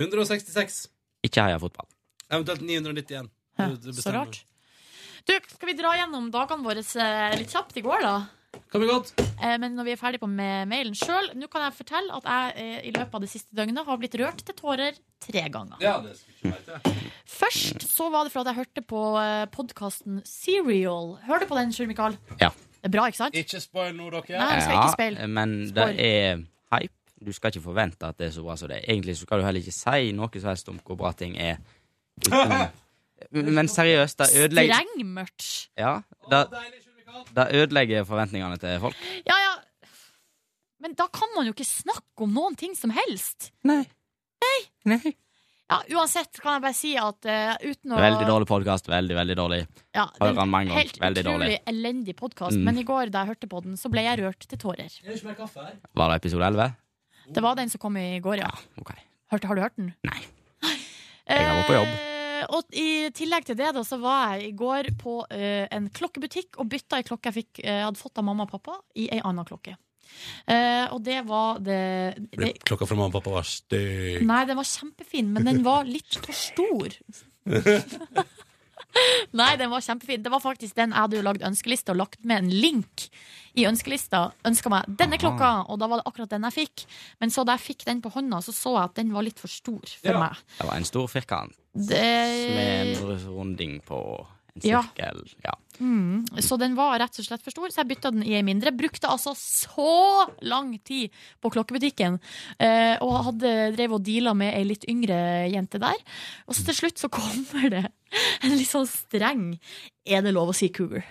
Speaker 1: 166.
Speaker 10: Ikke heia fotball.
Speaker 1: Eventuelt 991.
Speaker 2: Ja,
Speaker 1: Du- du
Speaker 2: så
Speaker 1: bestemmer.
Speaker 2: rart. Du, skal vi dra gjennom dagene våre eh, litt kjapt i går, da?
Speaker 1: Kan vi godt.
Speaker 2: Eh, men når vi er ferdig på med mailen sjøl, nå kan jeg fortelle at jeg eh, i løpet av det siste døgnet har blitt rørt til tårer tre ganger.
Speaker 1: Ja, det skulle ikke vært det.
Speaker 2: Først så var det fordi jeg hørte på eh, podkasten Serial. Hører du på den, Sjur Mikael?
Speaker 10: Ja.
Speaker 2: Det er bra, ikke sant?
Speaker 1: Ikke spoil nå, dere.
Speaker 2: Nei, vi skal ikke speil.
Speaker 10: men det
Speaker 2: Spoil.
Speaker 10: er hype. Du skal ikke forvente at det er så bra som det er. Egentlig så skal du heller ikke si noe som helst om hvor bra ting
Speaker 1: (laughs)
Speaker 10: er. Uten- Men seriøst, det ødelegger
Speaker 2: Streng merch.
Speaker 10: Ja, det, det ødelegger forventningene til folk.
Speaker 2: Ja, ja. Men da kan man jo ikke snakke om noen ting som helst.
Speaker 10: Nei.
Speaker 2: Nei.
Speaker 10: Nei.
Speaker 2: Ja, uansett kan jeg bare si at eh, uten å
Speaker 10: Veldig dårlig podkast. Veldig, veldig dårlig.
Speaker 2: Ja, det er
Speaker 10: Hører han mange ganger.
Speaker 2: Helt
Speaker 10: Veldig dårlig.
Speaker 2: utrolig elendig podkast,
Speaker 10: Mm.
Speaker 2: men i går da jeg hørte på den, så ble jeg rørt til tårer.
Speaker 10: Var det episode 11?
Speaker 2: Det var den som kom i går, ja. Hørte, har du hørt den?
Speaker 10: Nei. Jeg har vært på jobb.
Speaker 2: Eh, og i tillegg til det da, så var jeg i går på eh, en klokkebutikk og bytta ei klokke jeg fikk, eh, hadde fått av mamma og pappa, i ei anna klokke. Eh, og det var det, det
Speaker 1: Klokka fra mamma og pappa var stygg.
Speaker 2: Nei, den var kjempefin, men den var litt for stor. (laughs) Nei, den var kjempefin. Det var faktisk den jeg hadde jo lagd ønskeliste og lagt med en link i ønskelista. Ønska meg denne klokka, og da var det akkurat den jeg fikk. Men så da jeg fikk den på hånda, så så jeg at den var litt for stor for
Speaker 10: Ja.
Speaker 2: meg.
Speaker 10: Det var en stor firkant med
Speaker 2: Det...
Speaker 10: en runding på en
Speaker 2: Eh. Ja.
Speaker 10: sirkel. Ja.
Speaker 2: Mm, så den var rett og slett for stor, så jeg bytta den i ei mindre. Brukte altså så lang tid på klokkebutikken, eh, og hadde, drev og deala med ei litt yngre jente der. Og så til slutt så kommer det en litt sånn streng Er det lov å si cougar?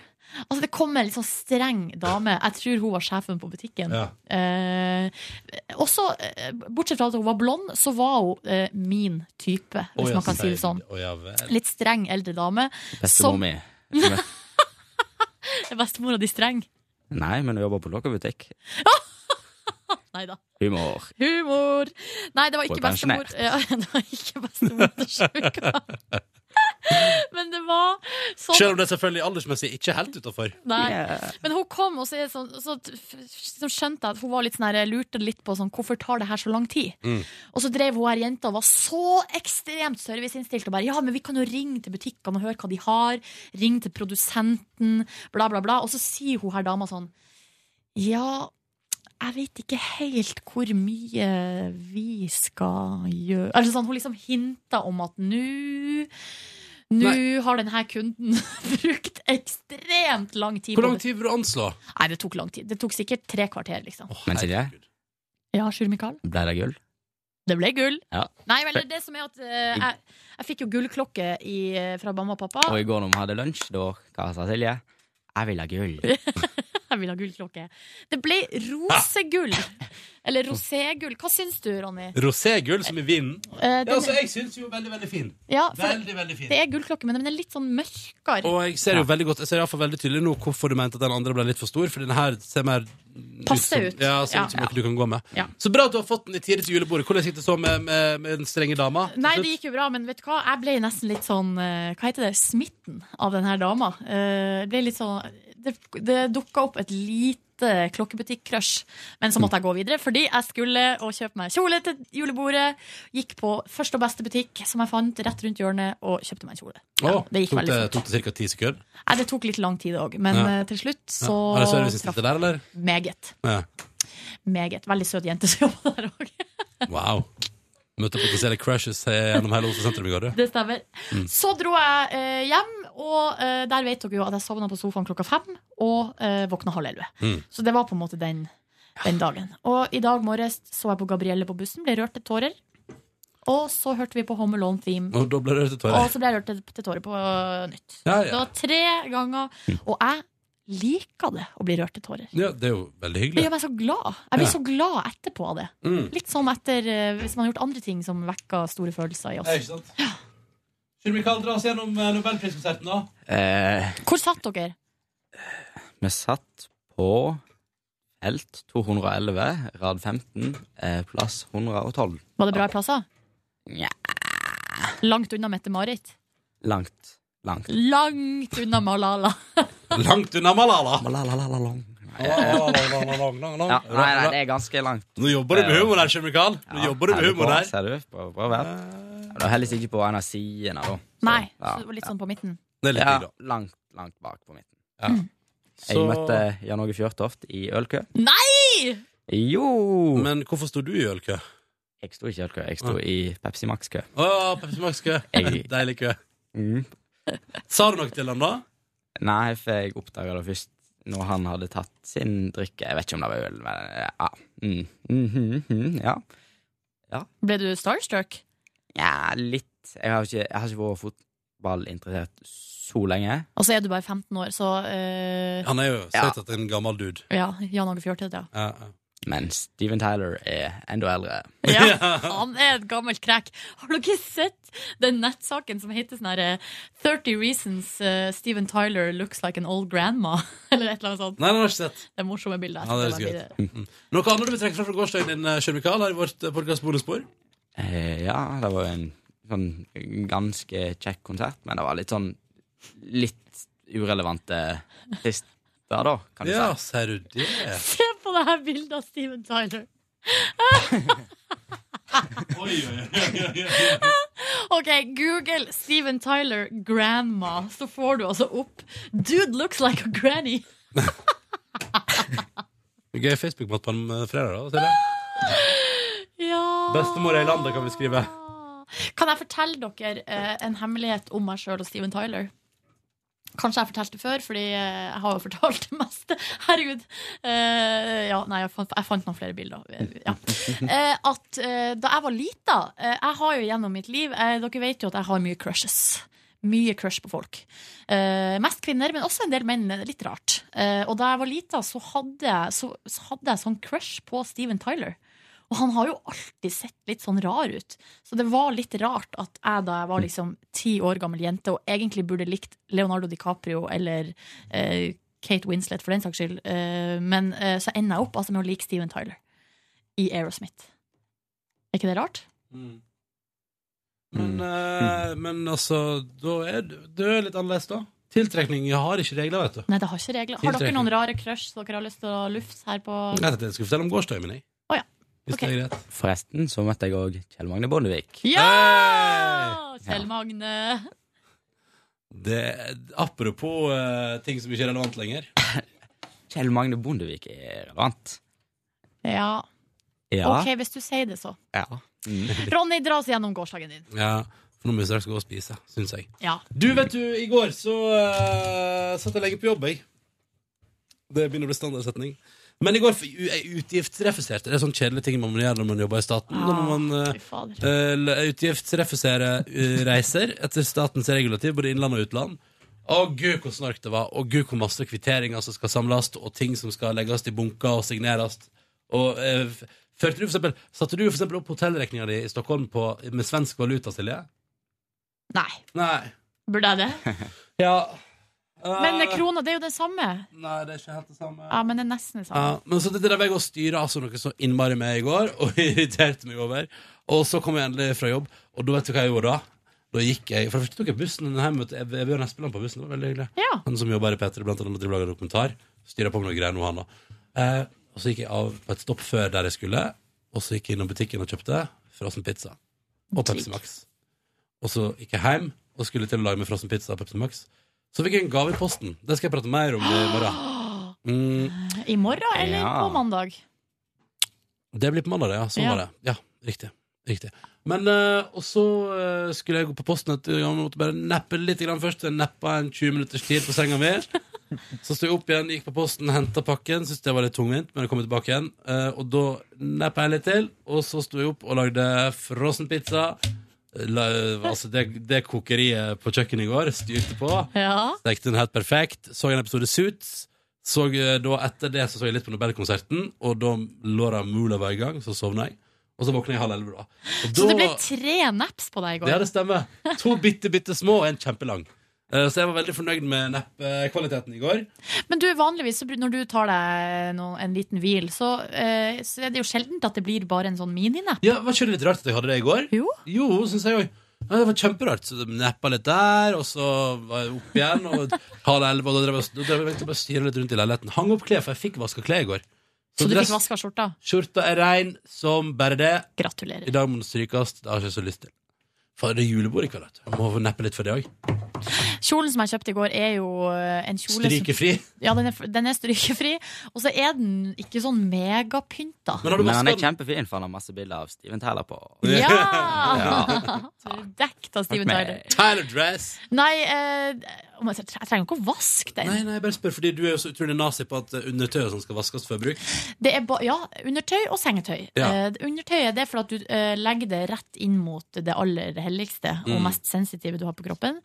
Speaker 2: Altså Det kommer en litt sånn streng dame. Jeg tror hun var sjefen på butikken.
Speaker 11: Ja.
Speaker 2: Eh, også, eh, bortsett fra at hun var blond, så var hun eh, min type, hvis
Speaker 1: Å, ja,
Speaker 2: man kan si det
Speaker 1: sier
Speaker 2: sånn.
Speaker 1: du. Å, ja vel.
Speaker 2: Litt streng eldre dame.
Speaker 10: Bestemor
Speaker 2: som-
Speaker 10: mi.
Speaker 2: (laughs) Bestemora di streng?
Speaker 10: Nei, men hun jobber på lokkebutikk.
Speaker 2: Nei da.
Speaker 10: Humor.
Speaker 2: Humor! Nei, det var ikke (laughs)
Speaker 10: Hun er pensjonert.
Speaker 2: bestemor. Ja, det var ikke bestemor til sjuka. Men det var sånn
Speaker 1: Selv om det selvfølgelig aldersmessig ikke er helt utafor.
Speaker 2: Nei. Men hun kom, og så, er det sånn, så, så skjønte jeg at hun var litt sånn her, lurte litt på sånn, hvorfor tar det her så lang tid.
Speaker 1: Mm.
Speaker 2: Og så drev hun her jenta og var så ekstremt serviceinnstilt og bare ja, men vi kan jo ringe til butikkene og høre hva de har. Ring til produsenten, bla, bla, bla. Og så sier hun her dama sånn ja, jeg vet ikke helt hvor mye vi skal gjøre altså sånn, Hun liksom hinta om at nå Nå har denne kunden (laughs) brukt ekstremt lang tid
Speaker 1: Hvor lang
Speaker 2: på det.
Speaker 1: tid vil du anslå?
Speaker 2: Nei, det tok lang tid. Det tok sikkert tre kvarter, liksom.
Speaker 10: Men Silje,
Speaker 2: Ja, Sjur Mikael?
Speaker 10: ble det gull?
Speaker 2: Det ble gull.
Speaker 10: Ja.
Speaker 2: Nei, vel, det er det som er at eh, jeg, jeg fikk jo gullklokke i, eh, fra mamma og pappa.
Speaker 10: Og i går når vi hadde lunsj, da hva sa Silje? Jeg vil ha gull.
Speaker 2: (laughs) Jeg vil ha gullklokke. Det ble rosegull. Eller roségull. Hva syns du, Ronny?
Speaker 1: Roségull, som i vinden.
Speaker 2: Eh,
Speaker 1: Ja,
Speaker 2: den- Altså,
Speaker 1: altså, jeg syns jo veldig, veldig fin.
Speaker 2: Ja, for
Speaker 1: veldig, veldig fin.
Speaker 2: Det er gullklokke, men den er litt sånn mørkere.
Speaker 1: Og jeg ser jo veldig godt Jeg ser i hvert fall veldig tydelig nå hvorfor du mente at den andre ble litt for stor, for den her ser mer som-
Speaker 2: Passer ut.
Speaker 1: Ja, ser
Speaker 2: Ja.
Speaker 1: ut som noe du kan gå med.
Speaker 2: Ja.
Speaker 1: Så bra at du har fått den i tide til julebordet. Hvordan gikk det så med, med, med den strenge dama?
Speaker 2: Nei, det gikk jo bra, men vet du hva? Jeg ble nesten litt sånn eh, Hva heter det? Smitten av den her dama. Eh, Jeg ble litt sånn Det, det dukka opp et lite klokkebutikk-crush, men så måtte jeg gå videre fordi jeg skulle og kjøpe meg kjole til julebordet. Gikk på første og beste butikk som jeg fant rett rundt hjørnet, og kjøpte meg en kjole.
Speaker 1: Å,
Speaker 2: det gikk
Speaker 1: tok
Speaker 2: veldig
Speaker 1: det, tok det ca. ti sekunder?
Speaker 2: Nei, det tok litt lang tid òg, men
Speaker 1: Ja.
Speaker 2: eh, til slutt så
Speaker 1: ja. Har det serviceinstinkt der, eller?
Speaker 2: Meget.
Speaker 1: Ja.
Speaker 2: Meget. Veldig søt jente som jobber der òg.
Speaker 1: Wow. Møtte potensielle crushes eh, gjennom hele Oslo sentrum i går, du.
Speaker 2: Det stemmer.
Speaker 1: Mm.
Speaker 2: Så dro jeg eh, hjem, og eh, der vet dere jo at jeg sovna på sofaen klokka fem og eh, våkna halv elleve.
Speaker 11: Mm.
Speaker 2: Så det var på en måte den, den dagen. Og i dag morges så jeg på Gabrielle på bussen, ble rørt til tårer. Og så hørte vi på Home Alone Theme.
Speaker 1: Og da ble det rødt i
Speaker 2: Og
Speaker 1: tårer.
Speaker 2: så ble jeg rørt til, til tårer på eh, nytt.
Speaker 1: Ja,
Speaker 2: Det
Speaker 1: ja.
Speaker 2: var tre ganger. Og jeg liker det å bli rørt til tårer.
Speaker 1: ja, det er jo veldig
Speaker 2: Det
Speaker 1: hyggelig.
Speaker 2: gjør meg så glad. Jeg blir
Speaker 1: Ja.
Speaker 2: så glad etterpå av det.
Speaker 1: Mm.
Speaker 2: Litt sånn etter eh, hvis man har gjort andre ting som vekker store følelser i
Speaker 1: Ja,
Speaker 2: oss.
Speaker 1: ikke sant? Skulle vi kalle oss gjennom eh, nobelpriskonserten, da?
Speaker 10: Eh,
Speaker 2: Hvor satt dere?
Speaker 10: vi satt på felt 211, rad 15, eh, plass 112.
Speaker 2: Var det bra plasser?
Speaker 10: Nja,
Speaker 2: Langt unna Mette-Marit.
Speaker 10: langt, langt.
Speaker 2: Langt unna Malala.
Speaker 1: Langt unna Malala.
Speaker 10: Ja, nei, nei, det er ganske langt.
Speaker 1: Nå jobber du med humor her, Sjømikal. Nå jobber du med humor her.
Speaker 10: Ser du? Bra, bra vel. Jeg ble heldigvis ikke på en av sidene, da.
Speaker 2: Nei,
Speaker 10: ja,
Speaker 2: så det var litt sånn på midten.
Speaker 1: Det er litt digg, da.
Speaker 10: ja, langt, langt bak på midten.
Speaker 2: Mm.
Speaker 10: Jeg
Speaker 1: Så-
Speaker 10: møtte Jan Åge Fjørtoft i ølkø.
Speaker 2: Nei!
Speaker 10: Jo!
Speaker 1: Men hvorfor sto du i ølkø?
Speaker 10: Jeg sto ikke i ølkø, jeg sto i Pepsi Max-kø.
Speaker 1: Å, Pepsi Max-kø.
Speaker 10: Jeg-
Speaker 1: (laughs)
Speaker 10: Mm.
Speaker 1: Deilig kø. Sa du noe til han da?
Speaker 10: Nei, for jeg oppdaga det først når han hadde tatt sin drikke. Jeg vet ikke om det var øl, men ja. Mm. Mhm, mhm, ja.
Speaker 2: Ble du starstruck?
Speaker 10: ja, litt. Jeg har ikke, jeg har ikke vært fotballinteressert så lenge.
Speaker 2: Og så er du bare 15 år, så eh,
Speaker 1: Han er jo søt at en gammel dude.
Speaker 2: Ja, Jan Åge Fjørtoft, ja.
Speaker 10: Men Steven Tyler er enda eldre.
Speaker 2: ja.
Speaker 1: (laughs)
Speaker 2: Han er et gammelt krekk. Har dere sett den nettsaken som heter sånn her eh, 30 Reasons eh, Steven Tyler Looks Like An Old Grandma? (laughs) Eller et eller annet sånt.
Speaker 1: Nei, den har jeg ikke sett.
Speaker 2: Det er morsomme bilder.
Speaker 1: Ja, det er
Speaker 2: Jeg skal
Speaker 1: så
Speaker 2: bare
Speaker 1: gøy. Mm. Noe annet du vil trekke fra fra gårsdagen din, Sjømikal, her i vårt podkast bonusspor?
Speaker 10: Eh, ja, det var en sånn ganske kjekk konsert, men det var litt sånn litt urelevante artister, da, kan du
Speaker 1: Ja,
Speaker 10: si.
Speaker 1: ser du det?
Speaker 2: Se på det her bildet av Steven Tyler. OK, Google Steven Tyler grandma, så får du altså opp Dude looks like a granny.
Speaker 1: Gøy Facebook-mat på en eh, fredag, da. ser jeg.
Speaker 2: Ja.
Speaker 1: Bestemor er i landet, kan vi skrive.
Speaker 2: Kan jeg fortelle dere eh, en hemmelighet om meg sjøl og Steven Tyler? Kanskje jeg fortalte det før, fordi eh, jeg har jo fortalt det meste. (laughs) Herregud. Eh, ja, nei, jeg fant, jeg fant noen flere bilder. Eh, Ja. Eh, at eh, da jeg var lita eh, Jeg har jo gjennom mitt liv eh, Dere vet jo at jeg har mye crushes. Mye crush på folk. Eh, mest kvinner, men også en del menn. Det er Litt rart. Eh, og da jeg var lita, så hadde, jeg- så, så hadde jeg sånn crush på Steven Tyler. Og han har jo alltid sett litt sånn rar ut. Så det var litt rart at jeg da jeg var liksom ti år gammel jente og egentlig burde likt Leonardo DiCaprio eller eh, Kate Winslet for den saks skyld, eh, men eh, så ender jeg opp altså, med å like
Speaker 10: Mm.
Speaker 2: Steven Tyler i Aerosmith. Er ikke det rart?
Speaker 1: Men, eh, men altså, da er du, du er litt annerledes, da. Tiltrekning har ikke regler, vet du.
Speaker 2: Nei, det har ikke regler. Har dere noen rare crush som dere har lyst til å lufte her på
Speaker 1: Jeg tenkte jeg skulle fortelle om gårsdagen min, jeg.
Speaker 2: Å ja.
Speaker 1: Hvis
Speaker 2: Ok.
Speaker 1: det er greit.
Speaker 10: Forresten så møtte jeg òg Kjell Magne Bondevik.
Speaker 2: Ja! Kjell Magne.
Speaker 1: Det, apropos eh, ting som ikke er relevant lenger.
Speaker 10: Kjell Magne Bondevik er relevant.
Speaker 2: Ja.
Speaker 10: Ja.
Speaker 2: OK, hvis du sier det, så.
Speaker 10: Ja.
Speaker 2: Ronny, dra oss gjennom gårsdagen din.
Speaker 1: ja. For nå må vi straks gå og spise, syns jeg.
Speaker 2: Ja.
Speaker 1: Du, vet du, i går så eh, satt jeg lenge på jobb, jeg. Det begynner å bli standardsetning. Men i går f- u- jeg utgiftsrefuserte. Det er sånn kjedelige ting man må gjøre når man jobber i staten. Da må man eh, eh, l- utgiftsrefusere eh, reiser etter statens regulativ, både innland og utland. Å gud, hvor snork det var, og gud, hvor masse kvitteringer som skal samles, og ting som skal legges i bunker og signeres. Og eh, f- førte du for eksempel, Satte du for eksempel opp hotellregninga di i Stockholm på, med svensk valuta, Silje?
Speaker 2: Nei.
Speaker 1: Nei.
Speaker 2: Burde jeg det?
Speaker 1: Ja.
Speaker 2: Men
Speaker 1: Eh,
Speaker 2: krona, det er jo det samme.
Speaker 1: Nei, det er ikke helt det samme.
Speaker 2: Ja, men det er nesten det samme.
Speaker 1: Ja, men så det drev jeg og styra altså noe så innmari med i går, (laughs) og irriterte meg over. Og så kom jeg endelig fra jobb, og da vet du hva jeg gjorde da? Da gikk jeg, For det første tok jeg bussen hjem til Ev- Bjørn Espeland på bussen. Det var veldig hyggelig. Han som jobber i P3, blant annet driver og lager dokumentar. Styrer på med noe greier nå, han da. Eh, og så gikk jeg av på et stopp før der jeg skulle, og så gikk jeg innom butikken og kjøpte frossen pizza. Og Pepsi Max. Og så gikk jeg hjem og skulle til å lage meg frossen pizza og Pepsi Max. Så fikk jeg en gave i posten. Det skal jeg prate mer om i
Speaker 2: (gasps)
Speaker 1: morgen. Mm.
Speaker 2: I morgen eller
Speaker 1: Ja.
Speaker 2: på mandag?
Speaker 1: Det blir på mandag, det, ja. Sånn
Speaker 2: Ja.
Speaker 1: var det. Ja, riktig. riktig. Men, eh, og så eh, skulle jeg gå på posten etter gang, måtte bare neppe litt grann først. Jeg neppa en 20 minutters tid på senga mi. Så sto jeg opp igjen, gikk på posten, henta pakken. Syntes det var litt tungvint, men jeg kom tilbake igjen. Eh, og da neppa jeg litt til, og så sto jeg opp og lagde frossenpizza. La, altså det, det kokeriet på kjøkkenet i går styrte på.
Speaker 2: Ja.
Speaker 1: Stekte den helt perfekt. Så en episode Suits. Så eh, da Etter det så, så jeg litt på Nobelkonserten, og da lå det mula var i gang. Så sovna jeg. Og så våkna jeg halv elleve, da. Og
Speaker 2: Så
Speaker 1: da-
Speaker 2: det ble tre naps på deg i går?
Speaker 1: Ja, det stemmer. To bitte, bitte små og en kjempelang. Eh, Så jeg var veldig fornøyd med neppekvaliteten i går.
Speaker 2: Men du, vanligvis så br- når du tar deg no, en liten hvil, så, eh, så er det jo sjeldent at det blir bare en sånn mininap.
Speaker 1: Ja, Var ikke det litt rart at jeg hadde det i går?
Speaker 2: Jo,
Speaker 1: jo synes jeg også. Ja, det var kjemperart. Så neppa litt der, og så var jeg opp igjen. Og halv elleve, og da drev jeg- da drev jeg egentlig bare og styra litt rundt i leiligheten. Hang opp klær, for jeg fikk vaska klær i går.
Speaker 2: Så du
Speaker 1: dress-
Speaker 2: fikk vaska skjorta?
Speaker 1: Skjorta er rein som bare det.
Speaker 2: Gratulerer.
Speaker 1: I dag må den strykes. Det har jeg ikke så lyst til. For det er julebord i kveld. vet du. Jeg Må neppe litt for det òg.
Speaker 2: Kjolen som jeg kjøpte i går, er jo eh, en kjole som-
Speaker 1: Strykefri.
Speaker 2: Ja, den er, den er strykefri. Og så er den ikke sånn megapynta.
Speaker 10: Men, han er kjempefin, for han har masse bilder av Steven Tyler på.
Speaker 1: (laughs)
Speaker 2: Ja!
Speaker 10: Ja.
Speaker 2: (laughs) Så er du Dekt av Steven
Speaker 10: Takk
Speaker 2: Tyler.
Speaker 10: meg.
Speaker 1: Tyler Dress.
Speaker 2: Nei, eh, om jeg jeg trenger ikke å vaske den.
Speaker 1: Nei, nei, jeg bare spør, fordi du er jo så utrolig nazi på at eh, undertøy og sånn skal vaskes før bruk.
Speaker 2: Det er ba ja, undertøy og sengetøy.
Speaker 1: Ja.
Speaker 2: Eh, det- undertøyet det er for at du eh, legger det rett inn mot det aller helligste og
Speaker 11: Mm.
Speaker 2: mest sensitive du har på kroppen.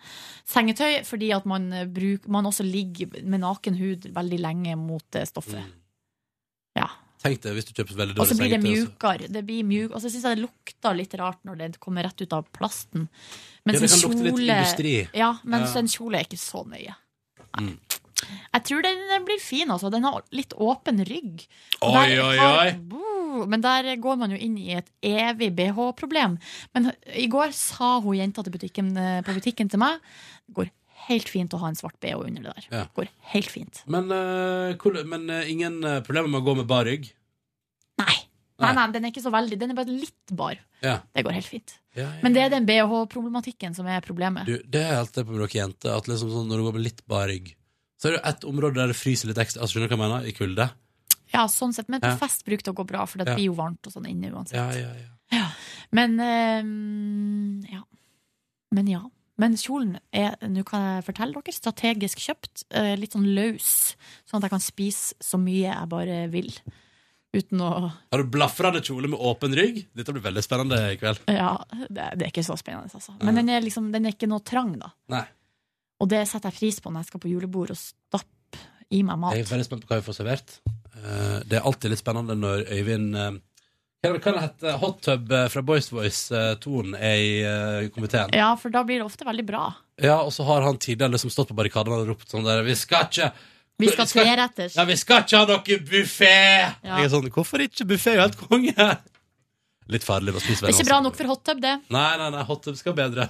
Speaker 2: Sengetøy fordi at man, eh, bruk, man også ligger med naken hud veldig lenge mot det stoffet.
Speaker 1: Mm.
Speaker 2: Ja.
Speaker 1: Tenk deg hvis du kjøper veldig
Speaker 2: Og så
Speaker 1: dårlig
Speaker 2: blir det
Speaker 1: sengetøy. så-
Speaker 2: mjukere. Det blir mjuk, og så syns jeg det lukter litt rart når det kommer rett ut av plasten.
Speaker 1: Ja,
Speaker 2: Mens
Speaker 1: det
Speaker 2: en
Speaker 1: kan lukte litt
Speaker 2: kjole-
Speaker 1: industri.
Speaker 2: Ja, mens
Speaker 1: Ja.
Speaker 2: en kjole er ikke så nøye.
Speaker 1: Mm.
Speaker 2: Jeg tror den den blir fin, altså. Den har litt åpen rygg. Og
Speaker 1: Oi,
Speaker 2: der
Speaker 1: oi,
Speaker 2: har-
Speaker 1: oi.
Speaker 2: Boo! Men der går man jo inn i et evig BH-problem. Men i går sa hun jenta til butikken, eh, på butikken til meg det går helt fint å ha en svart BH under det der.
Speaker 1: Ja.
Speaker 2: Går helt fint.
Speaker 1: Men, eh, hvor, men eh, ingen eh, problemer med å gå med bar rygg?
Speaker 2: Nei, nei, den er ikke så veldig. Den er bare litt bar.
Speaker 1: Ja.
Speaker 2: Det går helt fint.
Speaker 1: Ja, ja.
Speaker 2: Men det er den BH-problematikken som er problemet.
Speaker 1: Du, det er helt det på dere jenter, at liksom sånn, når du går med litt bar rygg, så er det jo ett område der det fryser litt ekstra. Altså, skjønner du hva jeg mener? I kulde.
Speaker 2: Ja, sånn sett. Men på
Speaker 1: Ja.
Speaker 2: fest bruker det å gå bra, for det
Speaker 1: Ja.
Speaker 2: blir jo varmt og sånn inne uansett.
Speaker 1: Ja, ja, ja.
Speaker 2: Men eh, ja. Men ja. Men kjolen er, nå kan jeg fortelle dere, strategisk kjøpt. eh, litt sånn løs, sånn at jeg kan spise så mye jeg bare vil. Uten å
Speaker 1: Har du blafrende kjole med åpen rygg? Dette blir veldig spennende i kveld.
Speaker 2: Ja, det, det er ikke så spennende, altså. Men den er liksom, den er ikke noe trang, da.
Speaker 1: Nei.
Speaker 2: Og det setter jeg pris på når jeg skal på julebord og stappe i meg mat.
Speaker 1: Jeg er veldig spent på hva vi får servert. Eh, det er alltid litt spennende når Øyvind eh, Hva er det- hva er det heter Hot Tub eh, fra Boys Voice eh, Tonen er i eh, komiteen.
Speaker 2: Ja, for da blir det ofte veldig bra.
Speaker 1: Ja, og så har han tidligere liksom stått på barrikadene og ropt sånn der Vi skal ikke
Speaker 2: Vi skal tre retters.
Speaker 1: Ja, vi skal ikke ha noe buffé!
Speaker 2: Ja.
Speaker 1: Jeg er sånn Hvorfor ikke? Buffé er jo helt konge! Litt farlig å spise
Speaker 2: Det er ikke bra nok for hot tub, det.
Speaker 1: Nei, nei, nei, Hot Tub skal bedre.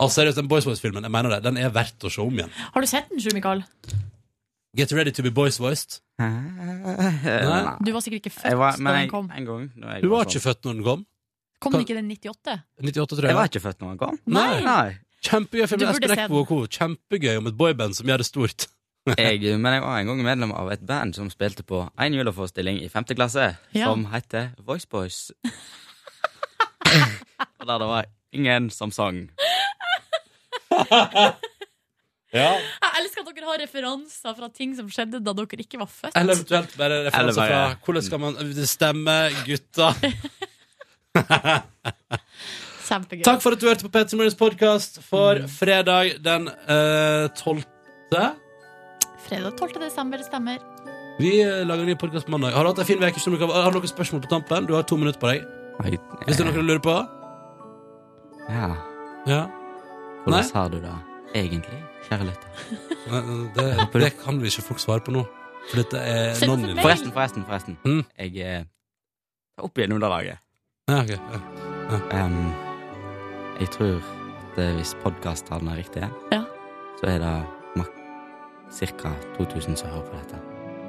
Speaker 1: Altså, seriøst, den Boys Voice-filmen, jeg mener det, den er verdt å se om igjen.
Speaker 2: Har du sett den, Sjur Mikael?
Speaker 1: Get ready to be boys voiced.
Speaker 5: Eh,
Speaker 1: Nei.
Speaker 2: Du var sikkert ikke født
Speaker 10: Jeg var- men
Speaker 2: da den
Speaker 10: jeg-
Speaker 2: kom.
Speaker 10: en gang, da jeg
Speaker 1: Du var
Speaker 10: sånn.
Speaker 1: ikke født når den kom?
Speaker 2: Kom den ikke i den 98?
Speaker 1: 98, tror jeg.
Speaker 10: Jeg var ikke født når den kom.
Speaker 1: Nei.
Speaker 10: Nei.
Speaker 1: Kjempegøy film.
Speaker 2: Du burde
Speaker 1: Espen
Speaker 2: se
Speaker 1: Eckbo og co. Kjempegøy om et boyband som gjør det stort.
Speaker 10: (laughs) Jeg, men jeg var en gang medlem av et band som spilte på en juleforestilling i femte klasse,
Speaker 2: Ja.
Speaker 10: som heter Voice (laughs) Boys. Og der det var ingen som sang.
Speaker 1: Ja.
Speaker 2: Jeg elsker at dere har referanser fra ting som skjedde da dere ikke var født.
Speaker 1: (laughs) Eller eventuelt bare
Speaker 10: Eller
Speaker 1: referanser fra
Speaker 10: bare-
Speaker 1: Hvordan skal man stemme gutta?
Speaker 2: Kjempegøy.
Speaker 1: Takk for at du hørte på Petter Morgens podkast for
Speaker 10: Mm.
Speaker 1: fredag den eh, 12.
Speaker 2: Fredag 12. desember, det stemmer.
Speaker 1: Vi eh, lager en ny podkast på mandag. Har du hatt en fin uke? Snorre? Har du noen spørsmål på tampen? Du har to minutter på deg.
Speaker 10: Jeg-
Speaker 1: Hvis det er noe du lurer på?
Speaker 10: Ja.
Speaker 1: Ja. Nei?
Speaker 10: Hvordan har du det egentlig, kjære lytter?
Speaker 1: Nei, eh, Det, det kan vi ikke folk svare på nå. For dette er
Speaker 2: Send det for
Speaker 1: non
Speaker 2: meg.
Speaker 10: Forresten, forresten, forresten.
Speaker 1: Mm.
Speaker 10: Jeg eh, tar opp igjen underlaget.
Speaker 1: Ja, ok, ja.
Speaker 10: Em, jeg tror at eh, hvis podkasttallene er riktige,
Speaker 2: Ja.
Speaker 10: så er det mak ca. 2000 som hører på dette.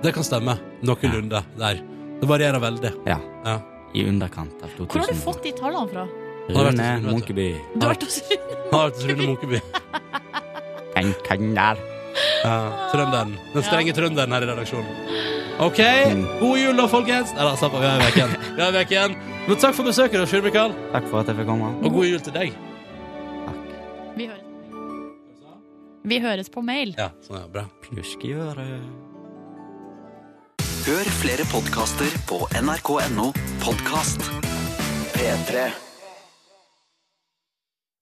Speaker 1: Det kan stemme. Noenlunde der. Det varierer veldig. (laughs)
Speaker 10: Ja.
Speaker 1: Ja.
Speaker 10: I underkant av 2000.
Speaker 2: Hvor har du fått de tallene fra?
Speaker 1: Har
Speaker 10: Rune
Speaker 1: vært hos Rune, vet du.
Speaker 10: Munkeby.
Speaker 2: Du har vært hos Rune.
Speaker 1: Har vært hos Rune (laughs) Munkeby.
Speaker 10: Den kan der.
Speaker 1: Ja, Mm. trønderen. Den strenge trønderen her i redaksjonen. OK, god jul da, folkens. Nei da, slapp av, vi er vekk igjen. Vi er vekk igjen. Men takk for besøket, da, Sjur Mikael.
Speaker 10: Takk for at jeg fikk komme.
Speaker 1: Og god jul til deg.
Speaker 2: (laughs) Vi høres. Vi høres på mail.
Speaker 1: Ja, sånn er det bra.
Speaker 10: Pjuskgjøre.
Speaker 11: Hør flere podkaster på nrk.no podkast. P3.